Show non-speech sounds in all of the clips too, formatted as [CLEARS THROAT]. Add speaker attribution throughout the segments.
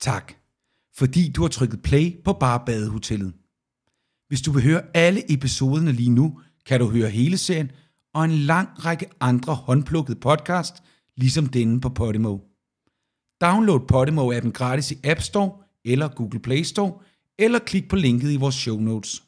Speaker 1: Tak, fordi du har trykket play på Barbadehotellet. Hvis du vil høre alle episoderne lige nu, kan du høre hele serien og en lang række andre håndplukkede podcast, ligesom denne på Podimo. Download Podimo-appen gratis i App Store eller Google Play Store, eller klik på linket i vores show notes.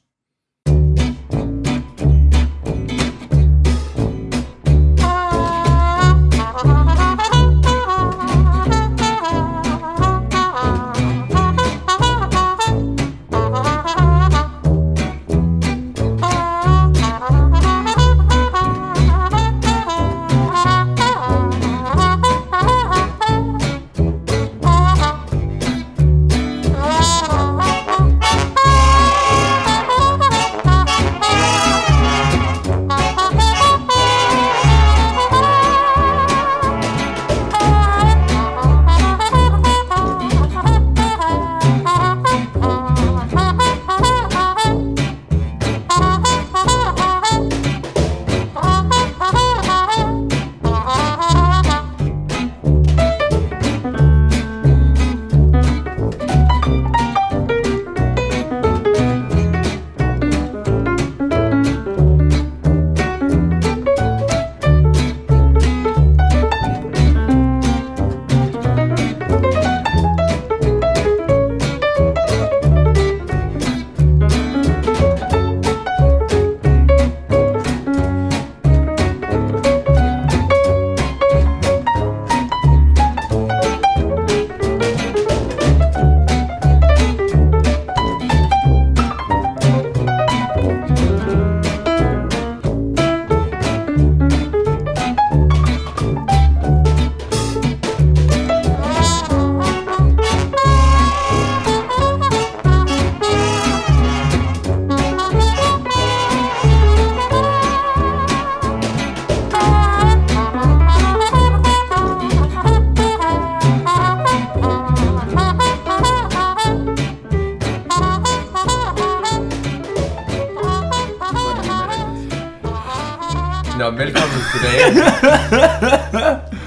Speaker 2: Nå, velkommen tilbage.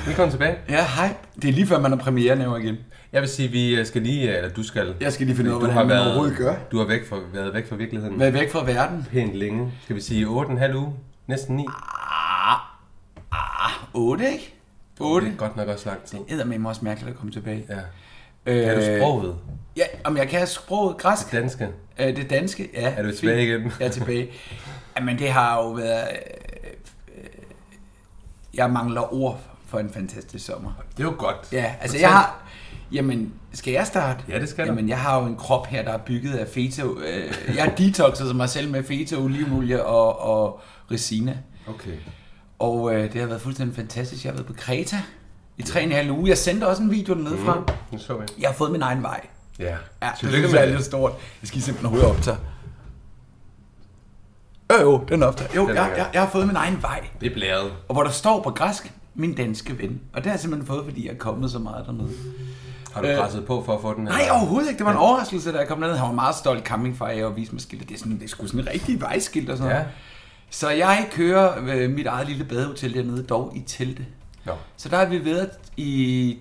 Speaker 2: velkommen tilbage.
Speaker 3: Ja, hej. Det er lige før, man har premiere nu igen.
Speaker 2: Jeg vil sige, vi øh, skal lige, eller du skal.
Speaker 3: Jeg skal lige finde ud
Speaker 2: Du
Speaker 3: af, hvordan
Speaker 2: har
Speaker 3: man
Speaker 2: været-
Speaker 3: overhovedet gør.
Speaker 2: Du har væk fra, været væk fra virkeligheden
Speaker 3: Vær væk fra verden.
Speaker 2: pænt længe. Skal vi sige 8,5 uge? Næsten 9.
Speaker 3: 8, ikke?
Speaker 2: Det
Speaker 3: 8.
Speaker 2: er godt nok også lang tid.
Speaker 3: Det er med mig også mærkeligt at komme tilbage.
Speaker 2: Ja.
Speaker 3: Øh,
Speaker 2: Er du sproget?
Speaker 3: Ja, om jeg kan sproget græsk.
Speaker 2: Danske?
Speaker 3: Øh, det danske, ja.
Speaker 2: Er du
Speaker 3: fint.
Speaker 2: tilbage igen?
Speaker 3: Jeg er tilbage. Jamen, det har jo været... Øh, øh, jeg mangler ord for en fantastisk sommer.
Speaker 2: Det er jo godt.
Speaker 3: Ja, altså
Speaker 2: Fortæl.
Speaker 3: jeg har... Jamen, skal jeg starte?
Speaker 2: Ja, det skal du.
Speaker 3: Jamen, jeg har jo en krop her, der er bygget af feta... Øh, jeg har detoxet mig selv med feta, olivenolie og, og resina.
Speaker 2: Okay.
Speaker 3: Og øh, det har været fuldstændig fantastisk. Jeg har været på Kreta i tre og en halv uge. Jeg sendte også en video dernede fra. Mm.
Speaker 2: Nu så jeg.
Speaker 3: Jeg har fået min egen vej.
Speaker 2: Ja.
Speaker 3: Ja, det
Speaker 2: Tillykke
Speaker 3: synes
Speaker 2: med
Speaker 3: jeg er
Speaker 2: det.
Speaker 3: lidt stort. Jeg skal simpelthen hurtigt optage. Øh, jo, den optager. Jo,
Speaker 2: Den
Speaker 3: jeg,
Speaker 2: er-
Speaker 3: jeg, jeg har fået min egen vej.
Speaker 2: Det er blæret.
Speaker 3: Og hvor der står på græsk, min danske ven. Og det har jeg simpelthen fået, fordi jeg er kommet så meget dernede.
Speaker 2: Har du
Speaker 3: Øh.
Speaker 2: presset på for at få den her?
Speaker 3: Nej, overhovedet ikke. Det var en overraskelse, da jeg kom derned. Han var meget stolt coming fra jer og viste mig skiltet. Det er, sådan, det er sgu sådan en rigtig vejskilt og sådan
Speaker 2: Ja.
Speaker 3: noget. Så jeg kører øh, mit eget lille badehotel dernede, dog i telte.
Speaker 2: Nå.
Speaker 3: Så der har vi været i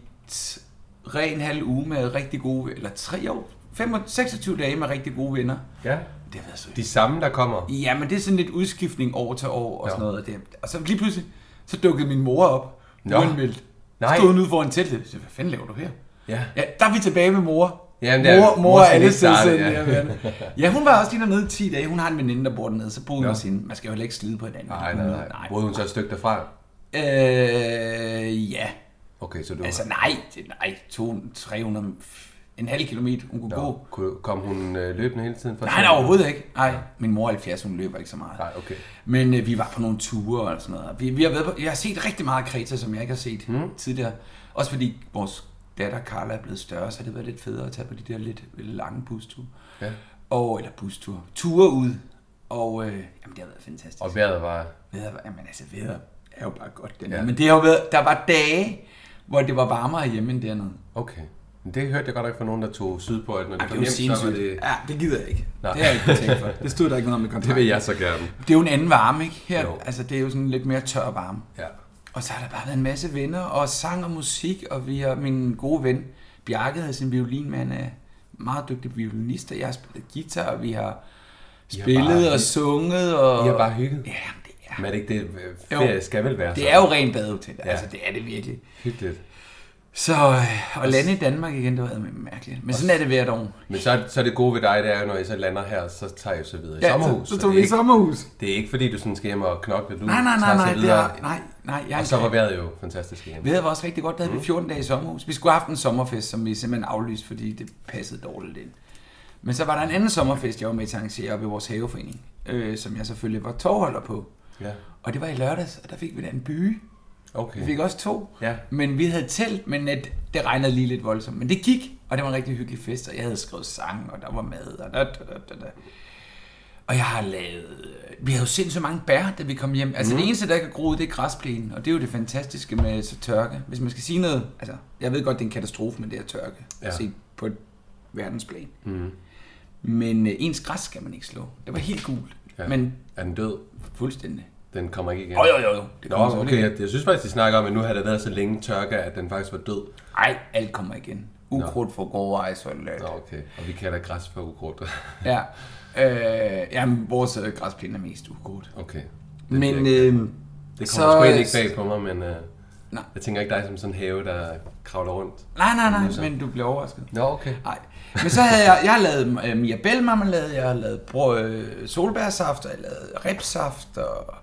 Speaker 3: tre en halv uge med rigtig gode, eller tre år, 25, 26 dage med rigtig gode venner.
Speaker 2: Ja.
Speaker 3: Det har været så
Speaker 2: De samme, der kommer.
Speaker 3: Ja, men det er sådan lidt udskiftning år til år og
Speaker 2: Nå.
Speaker 3: sådan noget. Og, det, og så lige pludselig, så dukkede min mor op.
Speaker 2: Nå.
Speaker 3: Uanmeldt.
Speaker 2: Nej.
Speaker 3: Stod hun ude foran teltet. Så, hvad fanden laver du her?
Speaker 2: Ja.
Speaker 3: Ja, der er vi tilbage med mor.
Speaker 2: Jamen, det er-
Speaker 3: mor,
Speaker 2: mor
Speaker 3: mor, er
Speaker 2: skal
Speaker 3: alle
Speaker 2: lige starte,
Speaker 3: stedsende.
Speaker 2: ja.
Speaker 3: Ja. ja, hun var også lige dernede i 10 dage. Hun har en veninde, der bor dernede, så boede hun
Speaker 2: Nå.
Speaker 3: hos hende. Man skal jo heller ikke slide på hinanden.
Speaker 2: Nej, nej, nej. Brød hun så et stykke derfra?
Speaker 3: Øh, ja.
Speaker 2: Okay, så du...
Speaker 3: Altså nej, det- nej, 200, 300, en halv kilometer, hun kunne gå.
Speaker 2: Nå, kunne- kom hun øh, løbende hele tiden? For
Speaker 3: Nej, nej, overhovedet ikke. Nej, min mor er 70, hun løber ikke så meget.
Speaker 2: Nej, okay.
Speaker 3: Men øh, vi var på nogle ture og sådan noget. Vi, vi har været på, jeg har set rigtig meget af Kreta, som jeg ikke har set mm.
Speaker 2: Hmm?
Speaker 3: tidligere. Også fordi vores datter Carla er blevet større, så har det været lidt federe at tage på de der lidt lange busture.
Speaker 2: Ja.
Speaker 3: Og, eller busture. Ture ud. Og øh, jamen, det har været fantastisk.
Speaker 2: Og vejret var...
Speaker 3: Veder, jamen altså, veder er jo bare godt. Den
Speaker 2: Ja.
Speaker 3: ja. Men det har jo været, der var dage, hvor det var varmere hjemme end dernede.
Speaker 2: Okay. Men det hørte jeg godt nok fra nogen, der tog sydpå, at når det
Speaker 3: Ej,
Speaker 2: kom
Speaker 3: det er jo
Speaker 2: hjem, så var
Speaker 3: sindssygt.
Speaker 2: det...
Speaker 3: Det... Ja, det gider jeg ikke.
Speaker 2: Nej.
Speaker 3: Nej. Det har jeg ikke tænkt for. Det stod der ikke noget om i kontrakten.
Speaker 2: Det vil jeg så gerne.
Speaker 3: Det er jo en anden varme, ikke? Her,
Speaker 2: Jo.
Speaker 3: altså, det er jo sådan lidt mere tør varme.
Speaker 2: Ja.
Speaker 3: Og så har der bare været en masse venner, og sang og musik, og vi har min gode ven, Bjarke havde sin violin, men er meget dygtig violinist, og jeg har spillet guitar, og vi har spillet
Speaker 2: bare-
Speaker 3: og sunget. Og...
Speaker 2: I har bare hygget.
Speaker 3: Ja, det er,
Speaker 2: Men er det ikke det, øh,
Speaker 3: Jo.
Speaker 2: ferie skal vel være
Speaker 3: det
Speaker 2: sådan.
Speaker 3: er jo ren badehotel. Ja.
Speaker 2: Ja.
Speaker 3: Altså, det er det virkelig.
Speaker 2: Hyggeligt.
Speaker 3: Så øh, at lande i Danmark igen, det var eddermame mærkeligt. Men sådan er det hvert år.
Speaker 2: Men så, er- så er det gode ved dig, det er jo, når I så lander her, så tager I så videre i
Speaker 3: Ja,
Speaker 2: sommerhus.
Speaker 3: Så, så
Speaker 2: det,
Speaker 3: tog
Speaker 2: er
Speaker 3: vi i
Speaker 2: ikke,
Speaker 3: sommerhus.
Speaker 2: det er ikke fordi, du sådan skal hjem og knokle. Du
Speaker 3: Nej, nej, nej,
Speaker 2: tager så
Speaker 3: nej, det
Speaker 2: videre.
Speaker 3: er, nej, nej. Jeg er
Speaker 2: Og så
Speaker 3: en-
Speaker 2: var Mm. vejret jo fantastisk igen.
Speaker 3: Vejret var også rigtig godt. Der havde vi 14 dage i sommerhus. Vi skulle have haft en sommerfest, som vi simpelthen aflyste, fordi det passede dårligt ind. Men så var der en anden sommerfest, jeg var med til at arrangere oppe i vores haveforening, øh, som jeg selvfølgelig var tårholder på.
Speaker 2: Ja,
Speaker 3: Og det var i lørdags, og der fik vi da en by. Vi fik
Speaker 2: okay.
Speaker 3: også to,
Speaker 2: Ja.
Speaker 3: men vi havde telt, men at det regnede lige lidt voldsomt. Men det gik, og det var en rigtig hyggelig fest, og jeg havde skrevet sang, og der var mad, og da, da, da, da, da. Og jeg har lavet... øh, Vi havde jo sindssygt mange bær, da vi kom hjem. Altså mm. det eneste, der ikke er groet, det er græsplænen. Og det er jo det fantastiske med så tørke. Hvis man skal sige noget... Altså, jeg ved godt, det er en katastrofe med det her tørke. Ja.
Speaker 2: Ja.
Speaker 3: Set på et verdensplan.
Speaker 2: Mm.
Speaker 3: Men øh, ens græs skal man ikke slå. Det var helt gult. Ja.
Speaker 2: Ja.
Speaker 3: Men
Speaker 2: Er den død?
Speaker 3: fuldstændig.
Speaker 2: Den kommer ikke igen.
Speaker 3: Jo, jo, jo, jo. Det
Speaker 2: Nå,
Speaker 3: kommer selvfølgelig
Speaker 2: okay, jeg, jeg synes faktisk, de snakker om, at nu har der været så længe tørke, at den faktisk var død.
Speaker 3: Ej, alt kommer igen. Ukrudt for grove ejsolat.
Speaker 2: Nå, okay. Og vi kalder græs for ukrudt. [LAUGHS]
Speaker 3: Ja. Øh, jamen, vores øh, græsplæne er mest ukrudt.
Speaker 2: Okay. Det,
Speaker 3: Men
Speaker 2: det,
Speaker 3: øh,
Speaker 2: det
Speaker 3: så-
Speaker 2: kommer sgu egentlig ikke bag på mig, men øh,
Speaker 3: Nej.
Speaker 2: jeg tænker ikke dig som sådan en have, der kravler rundt.
Speaker 3: nej, nej, nej, men du bliver overrasket.
Speaker 2: Nå, okay.
Speaker 3: Nej. Men så havde jeg, jeg har lavet øh, mirabelle marmelade, jeg har lavet brød, øh, solbærsaft, og jeg har lavet ribsaft, og,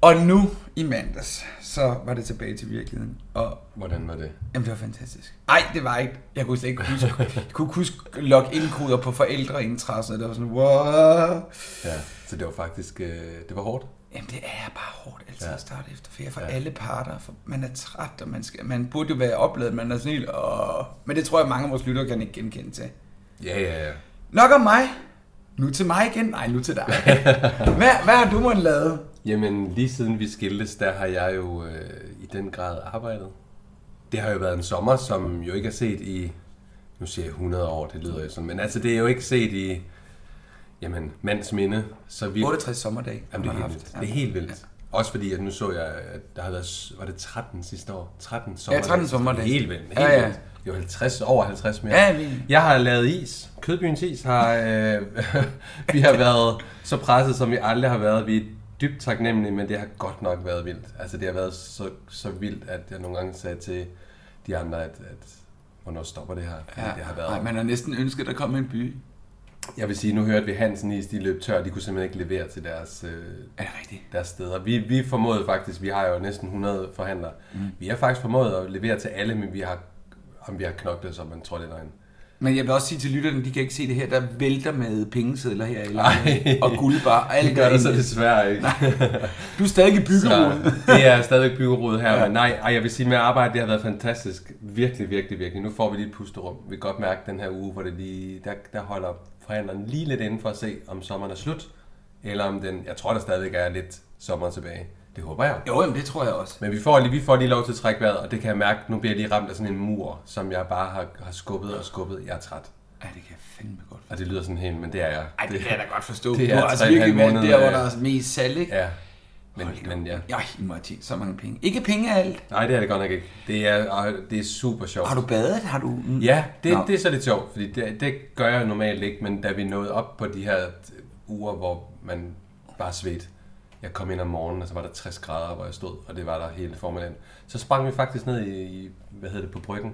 Speaker 3: og nu i mandags, så var det tilbage til virkeligheden. Og
Speaker 2: Hvordan var det?
Speaker 3: Jamen, det var fantastisk. Nej, det var ikke. Jeg kunne slet ikke huske. Jeg kunne ikke huske login-koder på forældreindtræsset. Det var sådan, wow.
Speaker 2: Ja, så det var faktisk, øh, det var hårdt.
Speaker 3: Jamen, det er bare hårdt altid ja.
Speaker 2: Ja.
Speaker 3: at starte efter ferie for ja. alle parter. For man er træt, og man, skal, man burde jo være opladet, man er snil. Og... Men det tror jeg, mange af vores lyttere kan ikke genkende til.
Speaker 2: Ja, ja, ja.
Speaker 3: Nok om mig. Nu til mig igen. Nej, nu
Speaker 2: [LAUGHS]
Speaker 3: til dig. hvad, hvad har du måttet lavet?
Speaker 2: Jamen, lige siden vi skiltes, der har jeg jo øh, i den grad arbejdet. Det har jo været en sommer, som jo ikke er set i, nu siger jeg 100 år, det lyder jo sådan, men altså det er jo ikke set i, jamen, mands minde. Så vi,
Speaker 3: 68 sommerdage.
Speaker 2: Jamen, det
Speaker 3: har
Speaker 2: er
Speaker 3: man
Speaker 2: helt vildt. Det er helt vildt. Også fordi, at nu så jeg, at der havde været, s- var det 13 sidste år? 13 sommerdage.
Speaker 3: 13
Speaker 2: sidste år.
Speaker 3: sommerdage.
Speaker 2: Helt vildt. Helt
Speaker 3: Ja, ja.
Speaker 2: vildt. Jo, 50, over 50 mere.
Speaker 3: Ja, vi-
Speaker 2: Jeg har lavet is. Kødbyens Is har... Øh, [LAUGHS] vi har været så presset, som vi aldrig har været. Vi er dybt taknemmelige, men det har godt nok været vildt. Altså, det har været så, så vildt, at jeg nogle gange sagde til de andre, at, at hvornår stopper det her? Fordi
Speaker 3: Ja.
Speaker 2: det har været...
Speaker 3: Ej, man har næsten ønsket, at der kom en by.
Speaker 2: Jeg vil sige, nu hørte vi Hansen Is, de løb tør. De kunne simpelthen ikke levere til deres... Øh,
Speaker 3: Er det rigtigt?
Speaker 2: deres steder. Vi, vi formåede faktisk, vi har jo næsten 100 forhandlere, mm. vi har faktisk formået at levere til alle, men vi har, om vi har knoklet, som man tror, det er løgn.
Speaker 3: Men jeg vil også sige til lytterne, de kan ikke se det her, der vælter med pengesedler her i landet, og guldbar, og
Speaker 2: [LAUGHS]
Speaker 3: alt
Speaker 2: Det gør der
Speaker 3: derinde.
Speaker 2: så desværre ikke.
Speaker 3: Du er stadig i
Speaker 2: Så
Speaker 3: byggerodet.
Speaker 2: det er stadigvæk byggerodet her, ja. men nej, ej, jeg vil sige med arbejde, det har været fantastisk. Virkelig, virkelig, virkelig. Nu får vi lige et pusterum. Vi kan godt mærke den her uge, hvor det lige, der, der holder forhandleren lige lidt inden for at se, om sommeren er slut, eller om den, jeg tror, der stadigvæk er lidt sommer tilbage. Det håber jeg.
Speaker 3: Jo, jamen, det tror jeg også.
Speaker 2: Men vi får, lige, vi får lige lov til at trække vejret, og det kan jeg mærke, nu bliver jeg lige ramt af sådan en mur, som jeg bare har, har skubbet og skubbet. Jeg er træt.
Speaker 3: Ja, det kan jeg fandme godt forstå.
Speaker 2: Og det lyder sådan helt, men det er jeg.
Speaker 3: Ej, det kan jeg da godt forstå.
Speaker 2: det
Speaker 3: Det
Speaker 2: er
Speaker 3: er altså
Speaker 2: tre en halv
Speaker 3: virkelig været
Speaker 2: måned,
Speaker 3: der, hvor
Speaker 2: øh,
Speaker 3: der er mest salg, ikke?
Speaker 2: Ja. Men,
Speaker 3: Hold da
Speaker 2: men
Speaker 3: op.
Speaker 2: ja.
Speaker 3: Ej, I må have tjent så mange penge. Ikke penge af alt.
Speaker 2: Nej, det er det godt nok ikke. Det er, og det er super sjovt.
Speaker 3: Har du badet? Har du... Mm.
Speaker 2: Ja, det,
Speaker 3: Nå.
Speaker 2: det er så lidt sjovt, fordi det, det gør jeg normalt ikke, men da vi nåede op på de her uger, hvor man bare svedte, jeg kom ind om morgenen, og så var der 60 grader, hvor jeg stod, og det var der hele formiddagen. Så sprang vi faktisk ned i, i hvad hedder det, på bryggen,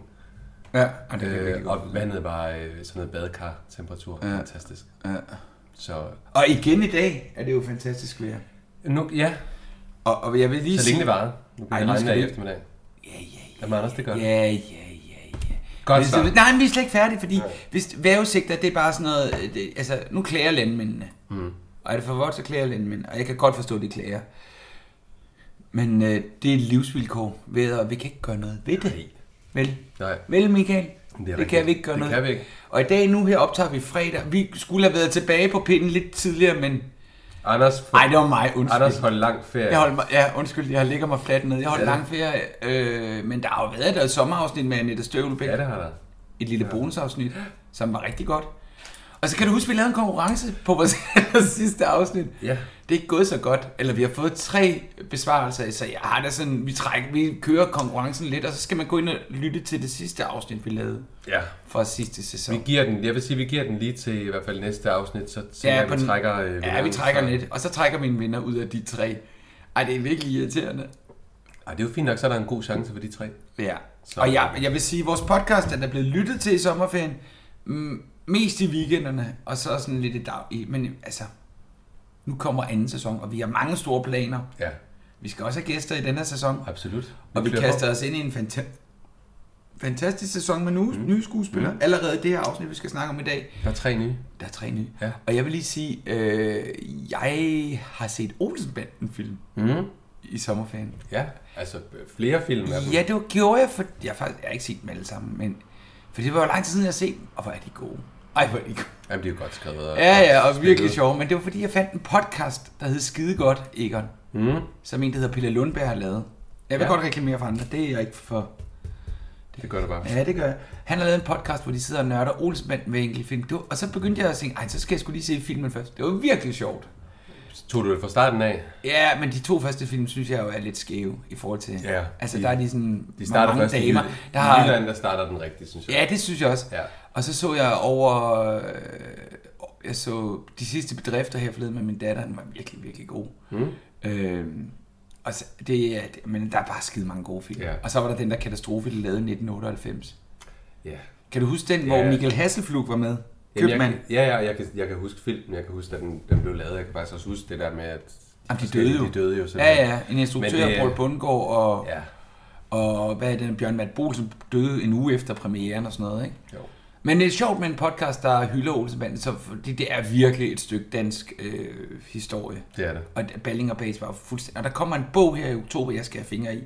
Speaker 3: Ja, og det kan jeg
Speaker 2: Øh,
Speaker 3: virkelig godt
Speaker 2: og vandet var øh, sådan noget badekar-temperatur. Ja. Fantastisk.
Speaker 3: Ja.
Speaker 2: Så øh,
Speaker 3: Og igen i dag er det jo fantastisk vejr.
Speaker 2: nu, ja,
Speaker 3: Og, og jeg vil lige
Speaker 2: så længe det varede. Nu
Speaker 3: Ej,
Speaker 2: bliver
Speaker 3: nu
Speaker 2: det
Speaker 3: skal
Speaker 2: regnet i
Speaker 3: vi-
Speaker 2: eftermiddag.
Speaker 3: Ja, ja, ja.
Speaker 2: Jamen Anders, det gør.
Speaker 3: Ja, ja, ja, ja.
Speaker 2: Godt
Speaker 3: Hvis-
Speaker 2: svar.
Speaker 3: Nej, men vi er slet ikke færdige, fordi hvis vejrudsigter, det er bare sådan noget... øh, Det, altså, nu klager landmændene. Mm. Og er det for vådt, så klager landmændene. Og jeg kan godt forstå, at de klager. Men øh, det er et livsvilkår. Vejret, og vi kan ikke gøre noget ved det.
Speaker 2: Nej.
Speaker 3: Vel?
Speaker 2: Nej.
Speaker 3: Vel, Michael? Det, det
Speaker 2: rigtigt.
Speaker 3: kan vi ikke gøre
Speaker 2: Det
Speaker 3: noget
Speaker 2: kan vi ikke.
Speaker 3: Og i dag nu her optager vi fredag. Vi skulle have været tilbage på pinden lidt tidligere, men...
Speaker 2: Anders, for,
Speaker 3: Nej, det var mig, undskyld.
Speaker 2: Anders holdt lang ferie.
Speaker 3: Jeg holdt mig, ja, undskyld, jeg ligger mig fladt ned. Jeg holdt
Speaker 2: Ja.
Speaker 3: lang ferie, øh, men der har jo været der et sommerafsnit med Annette Støvlebæk.
Speaker 2: Ja, det har der.
Speaker 3: Et lille bonusafsnit, som var rigtig godt. Og så kan du huske, vi lavede en konkurrence på vores [LAUGHS] sidste afsnit.
Speaker 2: Ja.
Speaker 3: Det er ikke gået så godt. Eller vi har fået tre besvarelser, så jeg har da sådan, vi, trækker, vi kører konkurrencen lidt, og så skal man gå ind og lytte til det sidste afsnit, vi lavede
Speaker 2: Ja.
Speaker 3: fra sidste sæson.
Speaker 2: Vi giver den, jeg vil sige, vi giver den lige til i hvert fald næste afsnit, så, så
Speaker 3: Ja,
Speaker 2: ja,
Speaker 3: på
Speaker 2: vi
Speaker 3: den-
Speaker 2: trækker... Øh,
Speaker 3: ja, vi
Speaker 2: vinderen.
Speaker 3: trækker lidt. Og så trækker vi en vinder ud af de tre. Ej, det er virkelig irriterende.
Speaker 2: Ej, det er jo fint nok, så er der en god chance for de tre.
Speaker 3: Ja. Og jeg, jeg vil sige, at vores podcast den er blevet lyttet til i sommerferien. Mm, mest i weekenderne, og så sådan lidt i dag. i- Men altså, nu kommer anden sæson, og vi har mange store planer.
Speaker 2: Ja,
Speaker 3: Vi skal også have gæster i denne her sæson.
Speaker 2: absolut.
Speaker 3: Og vi
Speaker 2: kører
Speaker 3: kaster os ind i en fanta- fantastisk sæson med nye, mm. nye skuespillere. Mm. Allerede i det her afsnit, vi skal snakke om i dag,
Speaker 2: på. Der er tre nye.
Speaker 3: der er tre nye.
Speaker 2: Ja.
Speaker 3: Og jeg vil lige sige, øh, jeg har set Olsenbanden-film
Speaker 2: Mm.
Speaker 3: i sommerferien.
Speaker 2: Ja, altså øh, flere film af dem.
Speaker 3: Ja, det gjorde jeg, for jeg har faktisk jeg har ikke set dem alle sammen, men for det var jo lang tid siden, jeg har set dem, og hvor er de gode. Ej, hvor er de gode.
Speaker 2: Jamen, det er jo godt skrevet. og
Speaker 3: Ja,
Speaker 2: godt
Speaker 3: ja, og
Speaker 2: spillet.
Speaker 3: virkelig sjove, men det var fordi, jeg fandt en podcast, der hed Skide Godt, Egon,
Speaker 2: Mm.
Speaker 3: som en, der hedder Pelle Lundberg har lavet. Jeg vil
Speaker 2: Ja.
Speaker 3: ja. godt reklamere for andre, det er jeg ikke for.
Speaker 2: Det gør det bare.
Speaker 3: Ja, det gør jeg. Han har lavet en podcast, hvor de sidder og nørder Olsenbanden med enkelte film. Det var, og så begyndte jeg at tænke, ej, så skal jeg skulle lige se filmen først. Det var virkelig sjovt.
Speaker 2: Så Tog du det fra starten af?
Speaker 3: Ja, men de to første film, synes jeg jo er lidt skæve i forhold til...
Speaker 2: Ja,
Speaker 3: altså,
Speaker 2: de-
Speaker 3: der er de sådan...
Speaker 2: De starter
Speaker 3: mange
Speaker 2: først i
Speaker 3: damer,
Speaker 2: Jylland.
Speaker 3: der
Speaker 2: I
Speaker 3: har,
Speaker 2: Jylland, der starter den rigtigt, synes jeg.
Speaker 3: Ja, det synes jeg også.
Speaker 2: Ja.
Speaker 3: Og så så jeg over... Øh, jeg så de sidste bedrifter her forleden med min datter. Den var virkelig, virkelig god. Mm. Øh, og så, det, er- det, men der er bare skide mange gode film.
Speaker 2: Ja.
Speaker 3: Og så var der den der katastrofe, de lavede i 1998.
Speaker 2: ja.
Speaker 3: Kan du huske den, hvor
Speaker 2: Ja.
Speaker 3: Michael Hasselflug var med?
Speaker 2: Jamen,
Speaker 3: Købmand.
Speaker 2: Jeg, ja, ja, jeg kan, jeg kan huske filmen, jeg kan huske, at den, den blev lavet. Jeg kan faktisk også huske det der med, at
Speaker 3: Jamen, de
Speaker 2: forskellige-
Speaker 3: døde jo.
Speaker 2: De døde jo
Speaker 3: Ja,
Speaker 2: simpelthen.
Speaker 3: ja. En instruktør,
Speaker 2: Men det-
Speaker 3: det, Paul Bundgaard, og, ja.
Speaker 2: Ja,
Speaker 3: og hvad er den, Bjørn Matt Bolsen døde en uge efter premieren og sådan noget, ikke?
Speaker 2: jo.
Speaker 3: Men det er sjovt med en podcast, der hylder Olsenbanden, så fordi det er virkelig et stykke dansk øh, historie.
Speaker 2: Det er det.
Speaker 3: Og Balling og Base var jo fuldstændig... Og der kommer en bog her i oktober, jeg skal have fingre i,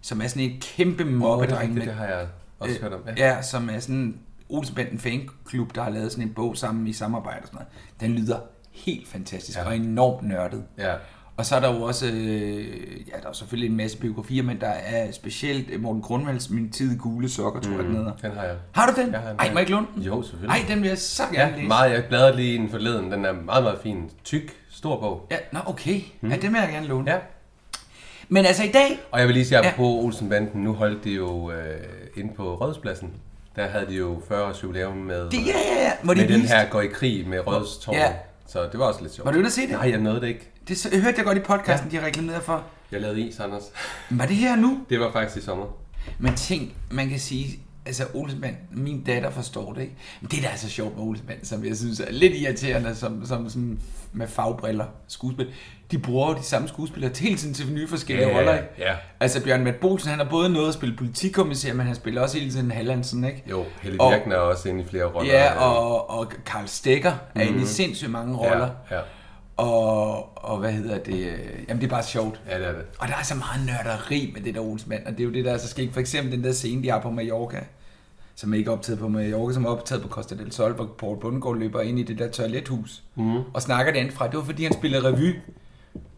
Speaker 3: som er sådan en kæmpe mobbedreng.
Speaker 2: det,
Speaker 3: med-
Speaker 2: det har jeg også hørt om. Ja.
Speaker 3: Øh, ja, som er sådan en Olsenbanden fanklub, der har lavet sådan en bog sammen i samarbejde og sådan noget. Den lyder helt fantastisk
Speaker 2: Ja.
Speaker 3: ja. og enormt nørdet.
Speaker 2: ja.
Speaker 3: Og så er der jo også, øh, ja, der er selvfølgelig en masse biografier, men der er specielt øh, Morten Grundvalds Min tid i gule sokker, tror jeg, den hedder.
Speaker 2: Mm, Den har jeg.
Speaker 3: Har du den?
Speaker 2: Jeg har den
Speaker 3: Ej,
Speaker 2: her.
Speaker 3: må jeg ikke låne den?
Speaker 2: Jo, selvfølgelig.
Speaker 3: Ej, den vil jeg så gerne
Speaker 2: ja,
Speaker 3: læse.
Speaker 2: meget. Jeg bladrede lige i den forleden. Den er meget, meget fin. Tyk, stor bog.
Speaker 3: Ja, nå, okay. Mm. Ja, den vil jeg gerne låne.
Speaker 2: Mhm. Ja.
Speaker 3: Men altså i dag,
Speaker 2: Og jeg vil lige sige, apropos ja. Olsenbanden, nu holdt de jo øh, inde på Rådhuspladsen. Der havde de jo 40 års jubilæum med,
Speaker 3: det, ja, ja, ja, må de
Speaker 2: med den
Speaker 3: vise
Speaker 2: her går i krig med Rådhustårnet.
Speaker 3: Ja.
Speaker 2: Ja. Så det var også lidt sjovt.
Speaker 3: Var du inde at se det?
Speaker 2: Nej, jeg nåede det ikke.
Speaker 3: Det så, hørte jeg godt i podcasten, ja. de reklamerede for.
Speaker 2: Jeg lavede is, Anders. [LAUGHS]
Speaker 3: Men Var det her nu?
Speaker 2: Det var faktisk i sommer.
Speaker 3: Men tænk, man kan sige, altså Olsenband, min datter forstår det ikke. Men det der er så sjovt med Olsenband, som jeg synes er lidt irriterende, som, som sådan med fagbriller, skuespil. De bruger jo de samme skuespillere til hele tiden til nye forskellige
Speaker 2: Ja,
Speaker 3: roller, ikke?
Speaker 2: ja.
Speaker 3: Altså Bjørn Matt Bolsen, han har både noget at spille politikommissær, men han spiller også hele tiden Hallandsen, ikke?
Speaker 2: Jo, Helle
Speaker 3: Og-
Speaker 2: Virkner er også inde i flere roller. Øh,
Speaker 3: Ja, og, og Karl Stegger er inde i sindssygt mange roller.
Speaker 2: Mhm. Ja, ja.
Speaker 3: Og, og hvad hedder det? øh, Jamen det er bare sjovt.
Speaker 2: ja, det er det.
Speaker 3: Og der er så meget nørderi med det der Olsenmand, og det er jo det, der er så skægt. For eksempel den der scene, de har på Mallorca, som er ikke er optaget på Mallorca, som er optaget på Costa del Sol, hvor Paul Bundgaard løber ind i det der toilethus
Speaker 2: Mhm.
Speaker 3: mm. og snakker det fra. Det var fordi, han spillede revy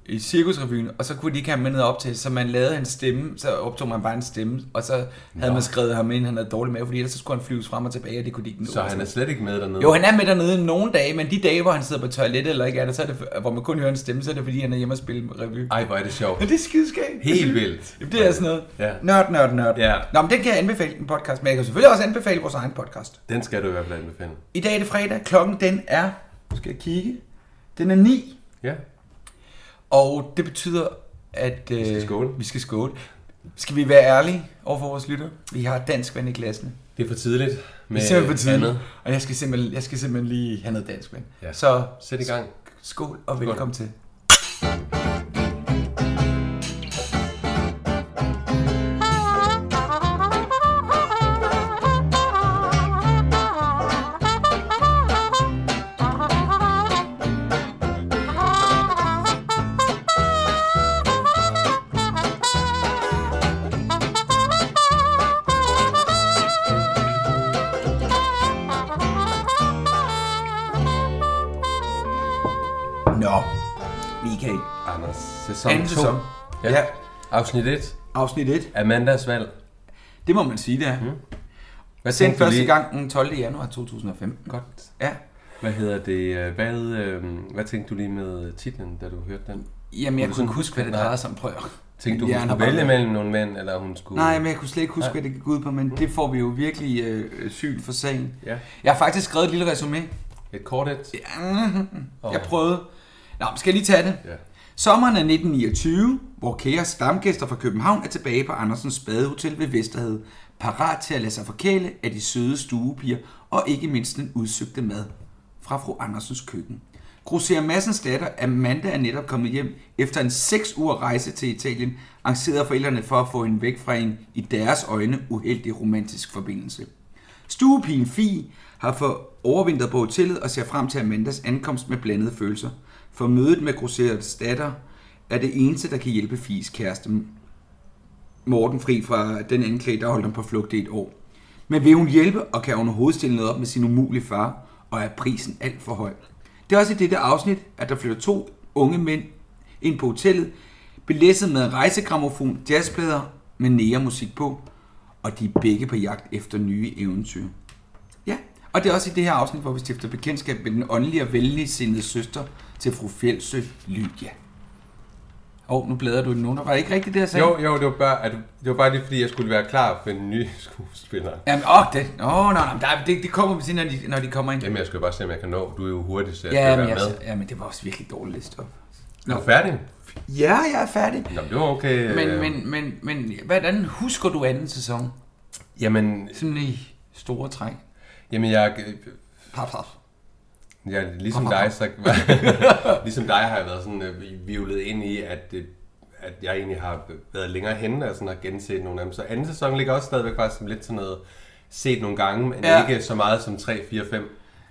Speaker 3: i cirkusrevyen, og så kunne de ikke have ham med ned op til, så man lavede hans stemme, så optog man bare en stemme, og så havde Nå. man skrevet ham ind, han havde dårlig mave, fordi ellers så skulle han flyves frem og tilbage, og det kunne de ikke nå.
Speaker 2: Så han er slet ikke med dernede?
Speaker 3: Jo, han er med dernede nogle dage, men de dage, hvor han sidder på toilettet eller ikke er der, så er det, hvor man kun hører en stemme, så er det fordi, han er hjemme og spiller revy.
Speaker 2: Ej, hvor er det sjovt.
Speaker 3: Men det er skideskægt. Altså,
Speaker 2: Helt vildt.
Speaker 3: Jamen, det er sådan noget.
Speaker 2: Ja.
Speaker 3: Nørd, nørd, nørd.
Speaker 2: Ja.
Speaker 3: Nå, men den kan jeg anbefale en podcast, men jeg kan selvfølgelig også anbefale vores egen podcast.
Speaker 2: Den skal du i hvert fald anbefale.
Speaker 3: I dag er det fredag. Klokken den er, nu skal jeg kigge, den er 9.
Speaker 2: Ja.
Speaker 3: Og det betyder, at øh, vi, skal
Speaker 2: skåle.
Speaker 3: vi skal skåle. Skal vi være ærlige over for vores lytter? Vi har dansk vand i glassene.
Speaker 2: Det er for tidligt.
Speaker 3: Det
Speaker 2: Med
Speaker 3: er simpelthen på tiden.
Speaker 2: andet.
Speaker 3: Og jeg skal simpelthen, jeg skal simpelthen lige have noget dansk vand.
Speaker 2: Ja.
Speaker 3: Så
Speaker 2: Sæt i gang.
Speaker 3: skål og velkommen til. Nå, Michael.
Speaker 2: Anders, sæson
Speaker 3: Anden
Speaker 2: 2.
Speaker 3: sæson.
Speaker 2: Ja.
Speaker 3: Ja.
Speaker 2: ja. Afsnit 1.
Speaker 3: Afsnit 1.
Speaker 2: Amandas valg.
Speaker 3: Det må man sige, det er. Mm.
Speaker 2: Hvad
Speaker 3: Sendt
Speaker 2: tænkte du
Speaker 3: første
Speaker 2: lige?
Speaker 3: gang den 12. januar 2015.
Speaker 2: Godt.
Speaker 3: Ja.
Speaker 2: Hvad hedder det? øh, Hvad, øh, hvad tænkte du lige med titlen, da du hørte den?
Speaker 3: Jamen, jeg
Speaker 2: du
Speaker 3: kunne ikke
Speaker 2: sådan-
Speaker 3: huske, hvad det
Speaker 2: Nej.
Speaker 3: drejede sig om. Prøv at-
Speaker 2: Tænkte du,
Speaker 3: Min
Speaker 2: hun
Speaker 3: hjerne
Speaker 2: skulle
Speaker 3: har bare
Speaker 2: vælge
Speaker 3: været-
Speaker 2: mellem nogle mænd, eller hun skulle...
Speaker 3: Nej, men jeg kunne slet ikke huske, hvad det gik ud på, men det får vi jo virkelig øh, syn for sagen.
Speaker 2: Ja,
Speaker 3: Jeg har faktisk skrevet et lille resume.
Speaker 2: et kort et.
Speaker 3: Ja, Jeg prøvede. Nå, men skal jeg lige tage det?
Speaker 2: Ja.
Speaker 3: Sommeren af 1929, hvor kære stamgæster fra København er tilbage på Andersens Spadehotel ved Vesterhed, parat til at lade sig forkæle af de søde stuepiger og ikke mindst den udsøgte mad fra fru Andersens køkken. Grosser Massens datter Amanda er netop kommet hjem efter en 6 uger rejse til Italien, arrangeret af forældrene for at få hende væk fra en i deres øjne uheldig romantisk forbindelse. Stuepigen Fi har for overvintret på hotellet og ser frem til Amandas ankomst med blandede følelser. For mødet med Groserets datter er det eneste, der kan hjælpe Fies kæreste Morten fri fra den anklage, der holdt ham på flugt i et år. Men vil hun hjælpe, og kan hun overhovedet stille noget op med sin umulige far, og er prisen alt for høj? Det er også i dette afsnit, at der flytter to unge mænd ind på hotellet, belæsset med en rejsegramofon, jazzplader med nære musik på, og de er begge på jagt efter nye eventyr. Ja, og det er også i det her afsnit, hvor vi stifter bekendtskab med den åndelige og venligsindede søster til fru Fjeldsø, Lydia. Åh, oh, nu bladrer du i den under. Var det ikke rigtigt det, jeg sagde?
Speaker 2: Jo, jo, det var, bare, at, det var bare lige, fordi jeg skulle være klar for en [LAUGHS] ny skuespiller.
Speaker 3: Jamen, åh, det, åh, nej, nej, der- det, det kommer vi til, når de, når de kommer ind.
Speaker 2: Jamen, jeg skal bare se, om jeg kan nå. Du er jo hurtig, så jeg
Speaker 3: Ja,
Speaker 2: skal
Speaker 3: men,
Speaker 2: være
Speaker 3: jeg,
Speaker 2: med.
Speaker 3: ja, men det var også virkelig dårligt liste op.
Speaker 2: Er du færdig?
Speaker 3: Ja, jeg er færdig.
Speaker 2: Nå, men det var okay.
Speaker 3: Men,
Speaker 2: øh,
Speaker 3: men, men, men, hvordan husker du anden sæson?
Speaker 2: Jamen,
Speaker 3: Sådan i store træk.
Speaker 2: jamen jeg,
Speaker 3: Pap, pap.
Speaker 2: Ja, ligesom
Speaker 3: Hvorfor?
Speaker 2: dig, så, [LAUGHS] ligesom dig har jeg været sådan øh, vivlet ind i, at, øh, at jeg egentlig har været længere henne og sådan har genset nogle af dem. Så anden sæson ligger også stadigvæk faktisk som lidt sådan noget set nogle gange, men
Speaker 3: Ja.
Speaker 2: ja. ikke så meget som 3, 4, 5.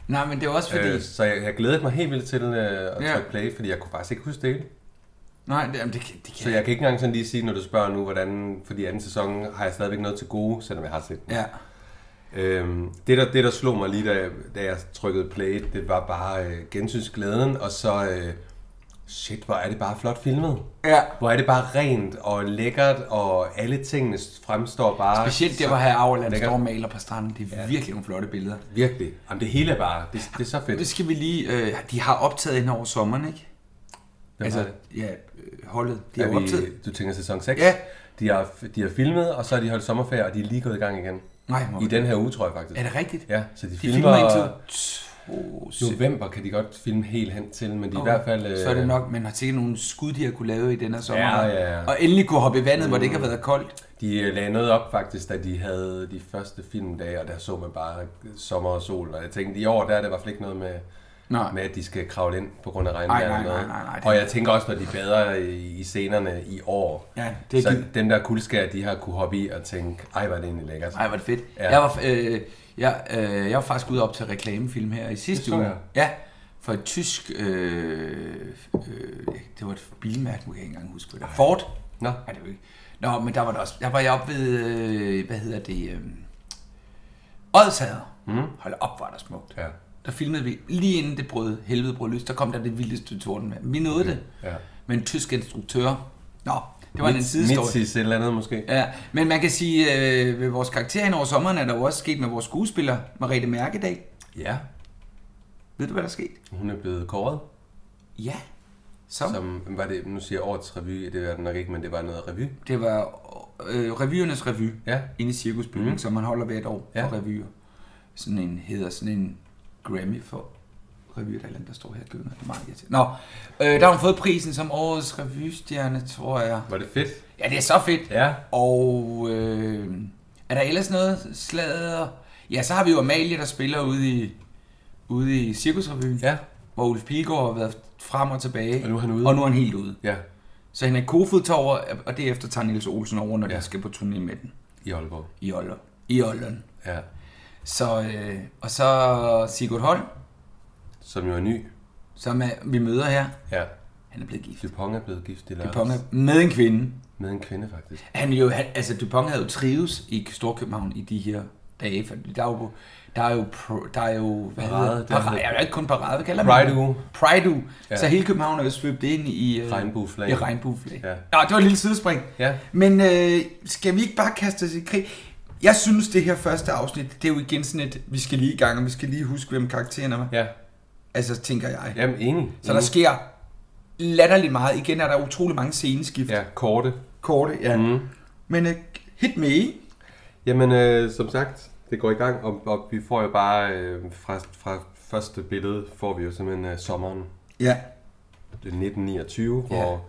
Speaker 3: Nej, men det var også fordi...
Speaker 2: Øh, så jeg, jeg glædede mig helt vildt til øh, at
Speaker 3: Ja.
Speaker 2: ja. trykke play, fordi jeg kunne faktisk ikke huske det. hele.
Speaker 3: Nej, det, jamen, det, kan- det kan
Speaker 2: Så jeg kan ikke engang sådan lige sige, når du spørger nu, hvordan, fordi anden sæson har jeg stadigvæk noget til gode, selvom jeg har set den.
Speaker 3: Ja.
Speaker 2: Øhm, det, der, det, der slog mig lige, da, jeg- da jeg trykkede play, det var bare øh, gensynsglæden, og så, øh, shit, hvor er det bare flot filmet.
Speaker 3: Ja.
Speaker 2: Hvor er det bare rent og lækkert, og alle tingene fremstår bare...
Speaker 3: Specielt det,
Speaker 2: så
Speaker 3: hvor her Auerland
Speaker 2: lækkert.
Speaker 3: står og maler på stranden. Det er ja. virkelig nogle flotte billeder.
Speaker 2: Virkelig. Jamen, det hele er bare... Det, det er så fedt.
Speaker 3: Det skal vi lige... Øh, de har optaget ind over sommeren, ikke?
Speaker 2: Hvem har
Speaker 3: altså,
Speaker 2: det?
Speaker 3: ja, øh, holdet. De
Speaker 2: er
Speaker 3: har optaget...
Speaker 2: vi, du tænker sæson 6?
Speaker 3: Ja.
Speaker 2: De har, de har filmet, og så har de holdt sommerferie, og de er lige gået i gang igen.
Speaker 3: Nej, må
Speaker 2: I den her uge, tror jeg faktisk.
Speaker 3: Er det rigtigt?
Speaker 2: Ja, så de,
Speaker 3: De filmer indtil to
Speaker 2: November kan de godt filme helt hen til, men de okay. i hvert fald... Øh,
Speaker 3: Så er det nok, man har sikkert nogle skud, de har kunne lave i denne sommer.
Speaker 2: Ja, ja, ja.
Speaker 3: Og endelig kunne hoppe i vandet, mm. hvor det ikke har været koldt.
Speaker 2: De øh, lagde noget op faktisk, da de havde de første filmdage, og der så man bare sommer og sol. Og jeg tænkte, i år der er det i hvert fald ikke noget med,
Speaker 3: Nej.
Speaker 2: med at de skal kravle ind på grund af regnvejr.
Speaker 3: Ej, nej,
Speaker 2: eller noget.
Speaker 3: nej, nej, nej, det-
Speaker 2: Og jeg tænker også, når de bader i, i scenerne i år,
Speaker 3: Ja, det er
Speaker 2: så
Speaker 3: givet.
Speaker 2: dem der kuldskær, de har kunne hoppe i og tænke, ej, hvor er det egentlig lækkert.
Speaker 3: Ej, hvor er det fedt. Ja.
Speaker 2: Ja.
Speaker 3: Jeg, var, øh, jeg, øh, jeg var faktisk ude op til reklamefilm her i sidste
Speaker 2: Det så
Speaker 3: uge.
Speaker 2: jeg.
Speaker 3: Ja, for et tysk... Øh, øh, det var et bilmærke, nu kan jeg ikke engang huske, hvad det var. Ford?
Speaker 2: Nå,
Speaker 3: Nej, det var ikke. Nå, men der var der også... Der var jeg oppe ved... Øh, hvad hedder det? Øh, Odshader. Mm. Hold op, var der smukt.
Speaker 2: ja,
Speaker 3: der filmede vi, lige inden det brød, helvede brød løs, der kom der det vildeste torden med. Vi nåede det
Speaker 2: ja.
Speaker 3: med en tysk instruktør. Nå, det var en
Speaker 2: Midt-
Speaker 3: sidestory.
Speaker 2: Midtsis et eller andet måske.
Speaker 3: Ja, men man kan sige, øh, ved vores karakter hen over sommeren er der jo også sket med vores skuespiller, Mariette Mærkedal.
Speaker 2: Ja,
Speaker 3: Ved du, hvad der er sket?
Speaker 2: hun er blevet kåret.
Speaker 3: Ja. Som, Som.
Speaker 2: Som, var det, nu siger jeg årets revy, det var det nok ikke, men det var noget revy.
Speaker 3: det var øh, revyernes revy
Speaker 2: Ja.
Speaker 3: inde i Cirkusbyen, mm. som man holder hvert år ja.
Speaker 2: Ja.
Speaker 3: for revyer. Sådan en hedder sådan en Grammy for revyer, der er land, der står her og gynger. Det er meget irriterende. Nå, øh, der har hun fået prisen som årets revystjerne, tror jeg.
Speaker 2: Var det fedt?
Speaker 3: Ja, det er så fedt.
Speaker 2: Ja.
Speaker 3: Og øh, er der ellers noget sladder? Ja, så har vi jo Amalie, der spiller ude i, ude i Cirkusrevyen,
Speaker 2: Ja.
Speaker 3: hvor Ulf Pilgaard har været frem og tilbage.
Speaker 2: Og nu er han ude.
Speaker 3: Og nu er han helt ude.
Speaker 2: Ja,
Speaker 3: Så Henrik Kofod tager over, og derefter tager Niels Olsen over, når ja.
Speaker 2: Ja.
Speaker 3: de skal på turné med den
Speaker 2: i Aalborg.
Speaker 3: i Ollon. I Ollon.
Speaker 2: Ja.
Speaker 3: Så, øh, og så Sigurd Holm,
Speaker 2: Som jo er ny.
Speaker 3: som er, vi møder her,
Speaker 2: Ja.
Speaker 3: han er blevet gift.
Speaker 2: Dupont er blevet gift eller
Speaker 3: Dupont er med en kvinde.
Speaker 2: med en kvinde, faktisk.
Speaker 3: Han jo, han, altså Dupont havde jo trives i Storkøbenhavn i de her dage, for der er jo, der er jo, pro, der er jo hvad
Speaker 2: Parade,
Speaker 3: hedder, det?
Speaker 2: det
Speaker 3: parade,
Speaker 2: hedder-
Speaker 3: ja, det er ikke kun parade, hvad kalder man
Speaker 2: Pride
Speaker 3: det?
Speaker 2: uge.
Speaker 3: Pride uge. Ja.
Speaker 2: Ja.
Speaker 3: Så hele København er jo svøbt ind i... Øh,
Speaker 2: Regnbueflag.
Speaker 3: I regnbueflag. Ja.
Speaker 2: Ja.
Speaker 3: Nå, det var et lille sidespring.
Speaker 2: Ja.
Speaker 3: Men øh, skal vi ikke bare kaste os i krig? Jeg synes, det her første afsnit, det er jo igen sådan et, vi skal lige i gang, og vi skal lige huske, hvem karakteren er.
Speaker 2: Ja. Mm.
Speaker 3: Altså, tænker jeg.
Speaker 2: Jamen, ingen.
Speaker 3: Så der sker latterligt meget. Igen er der utrolig mange sceneskift.
Speaker 2: Ja, korte. Mhm.
Speaker 3: Korte, ja. Mm. Men uh, hit me.
Speaker 2: Jamen, øh, som sagt, det går i gang, og, og vi får jo bare, øh, fra, fra første billede, får vi jo simpelthen øh, sommeren
Speaker 3: Ja.
Speaker 2: det er 1929,
Speaker 3: Ja.
Speaker 2: hvor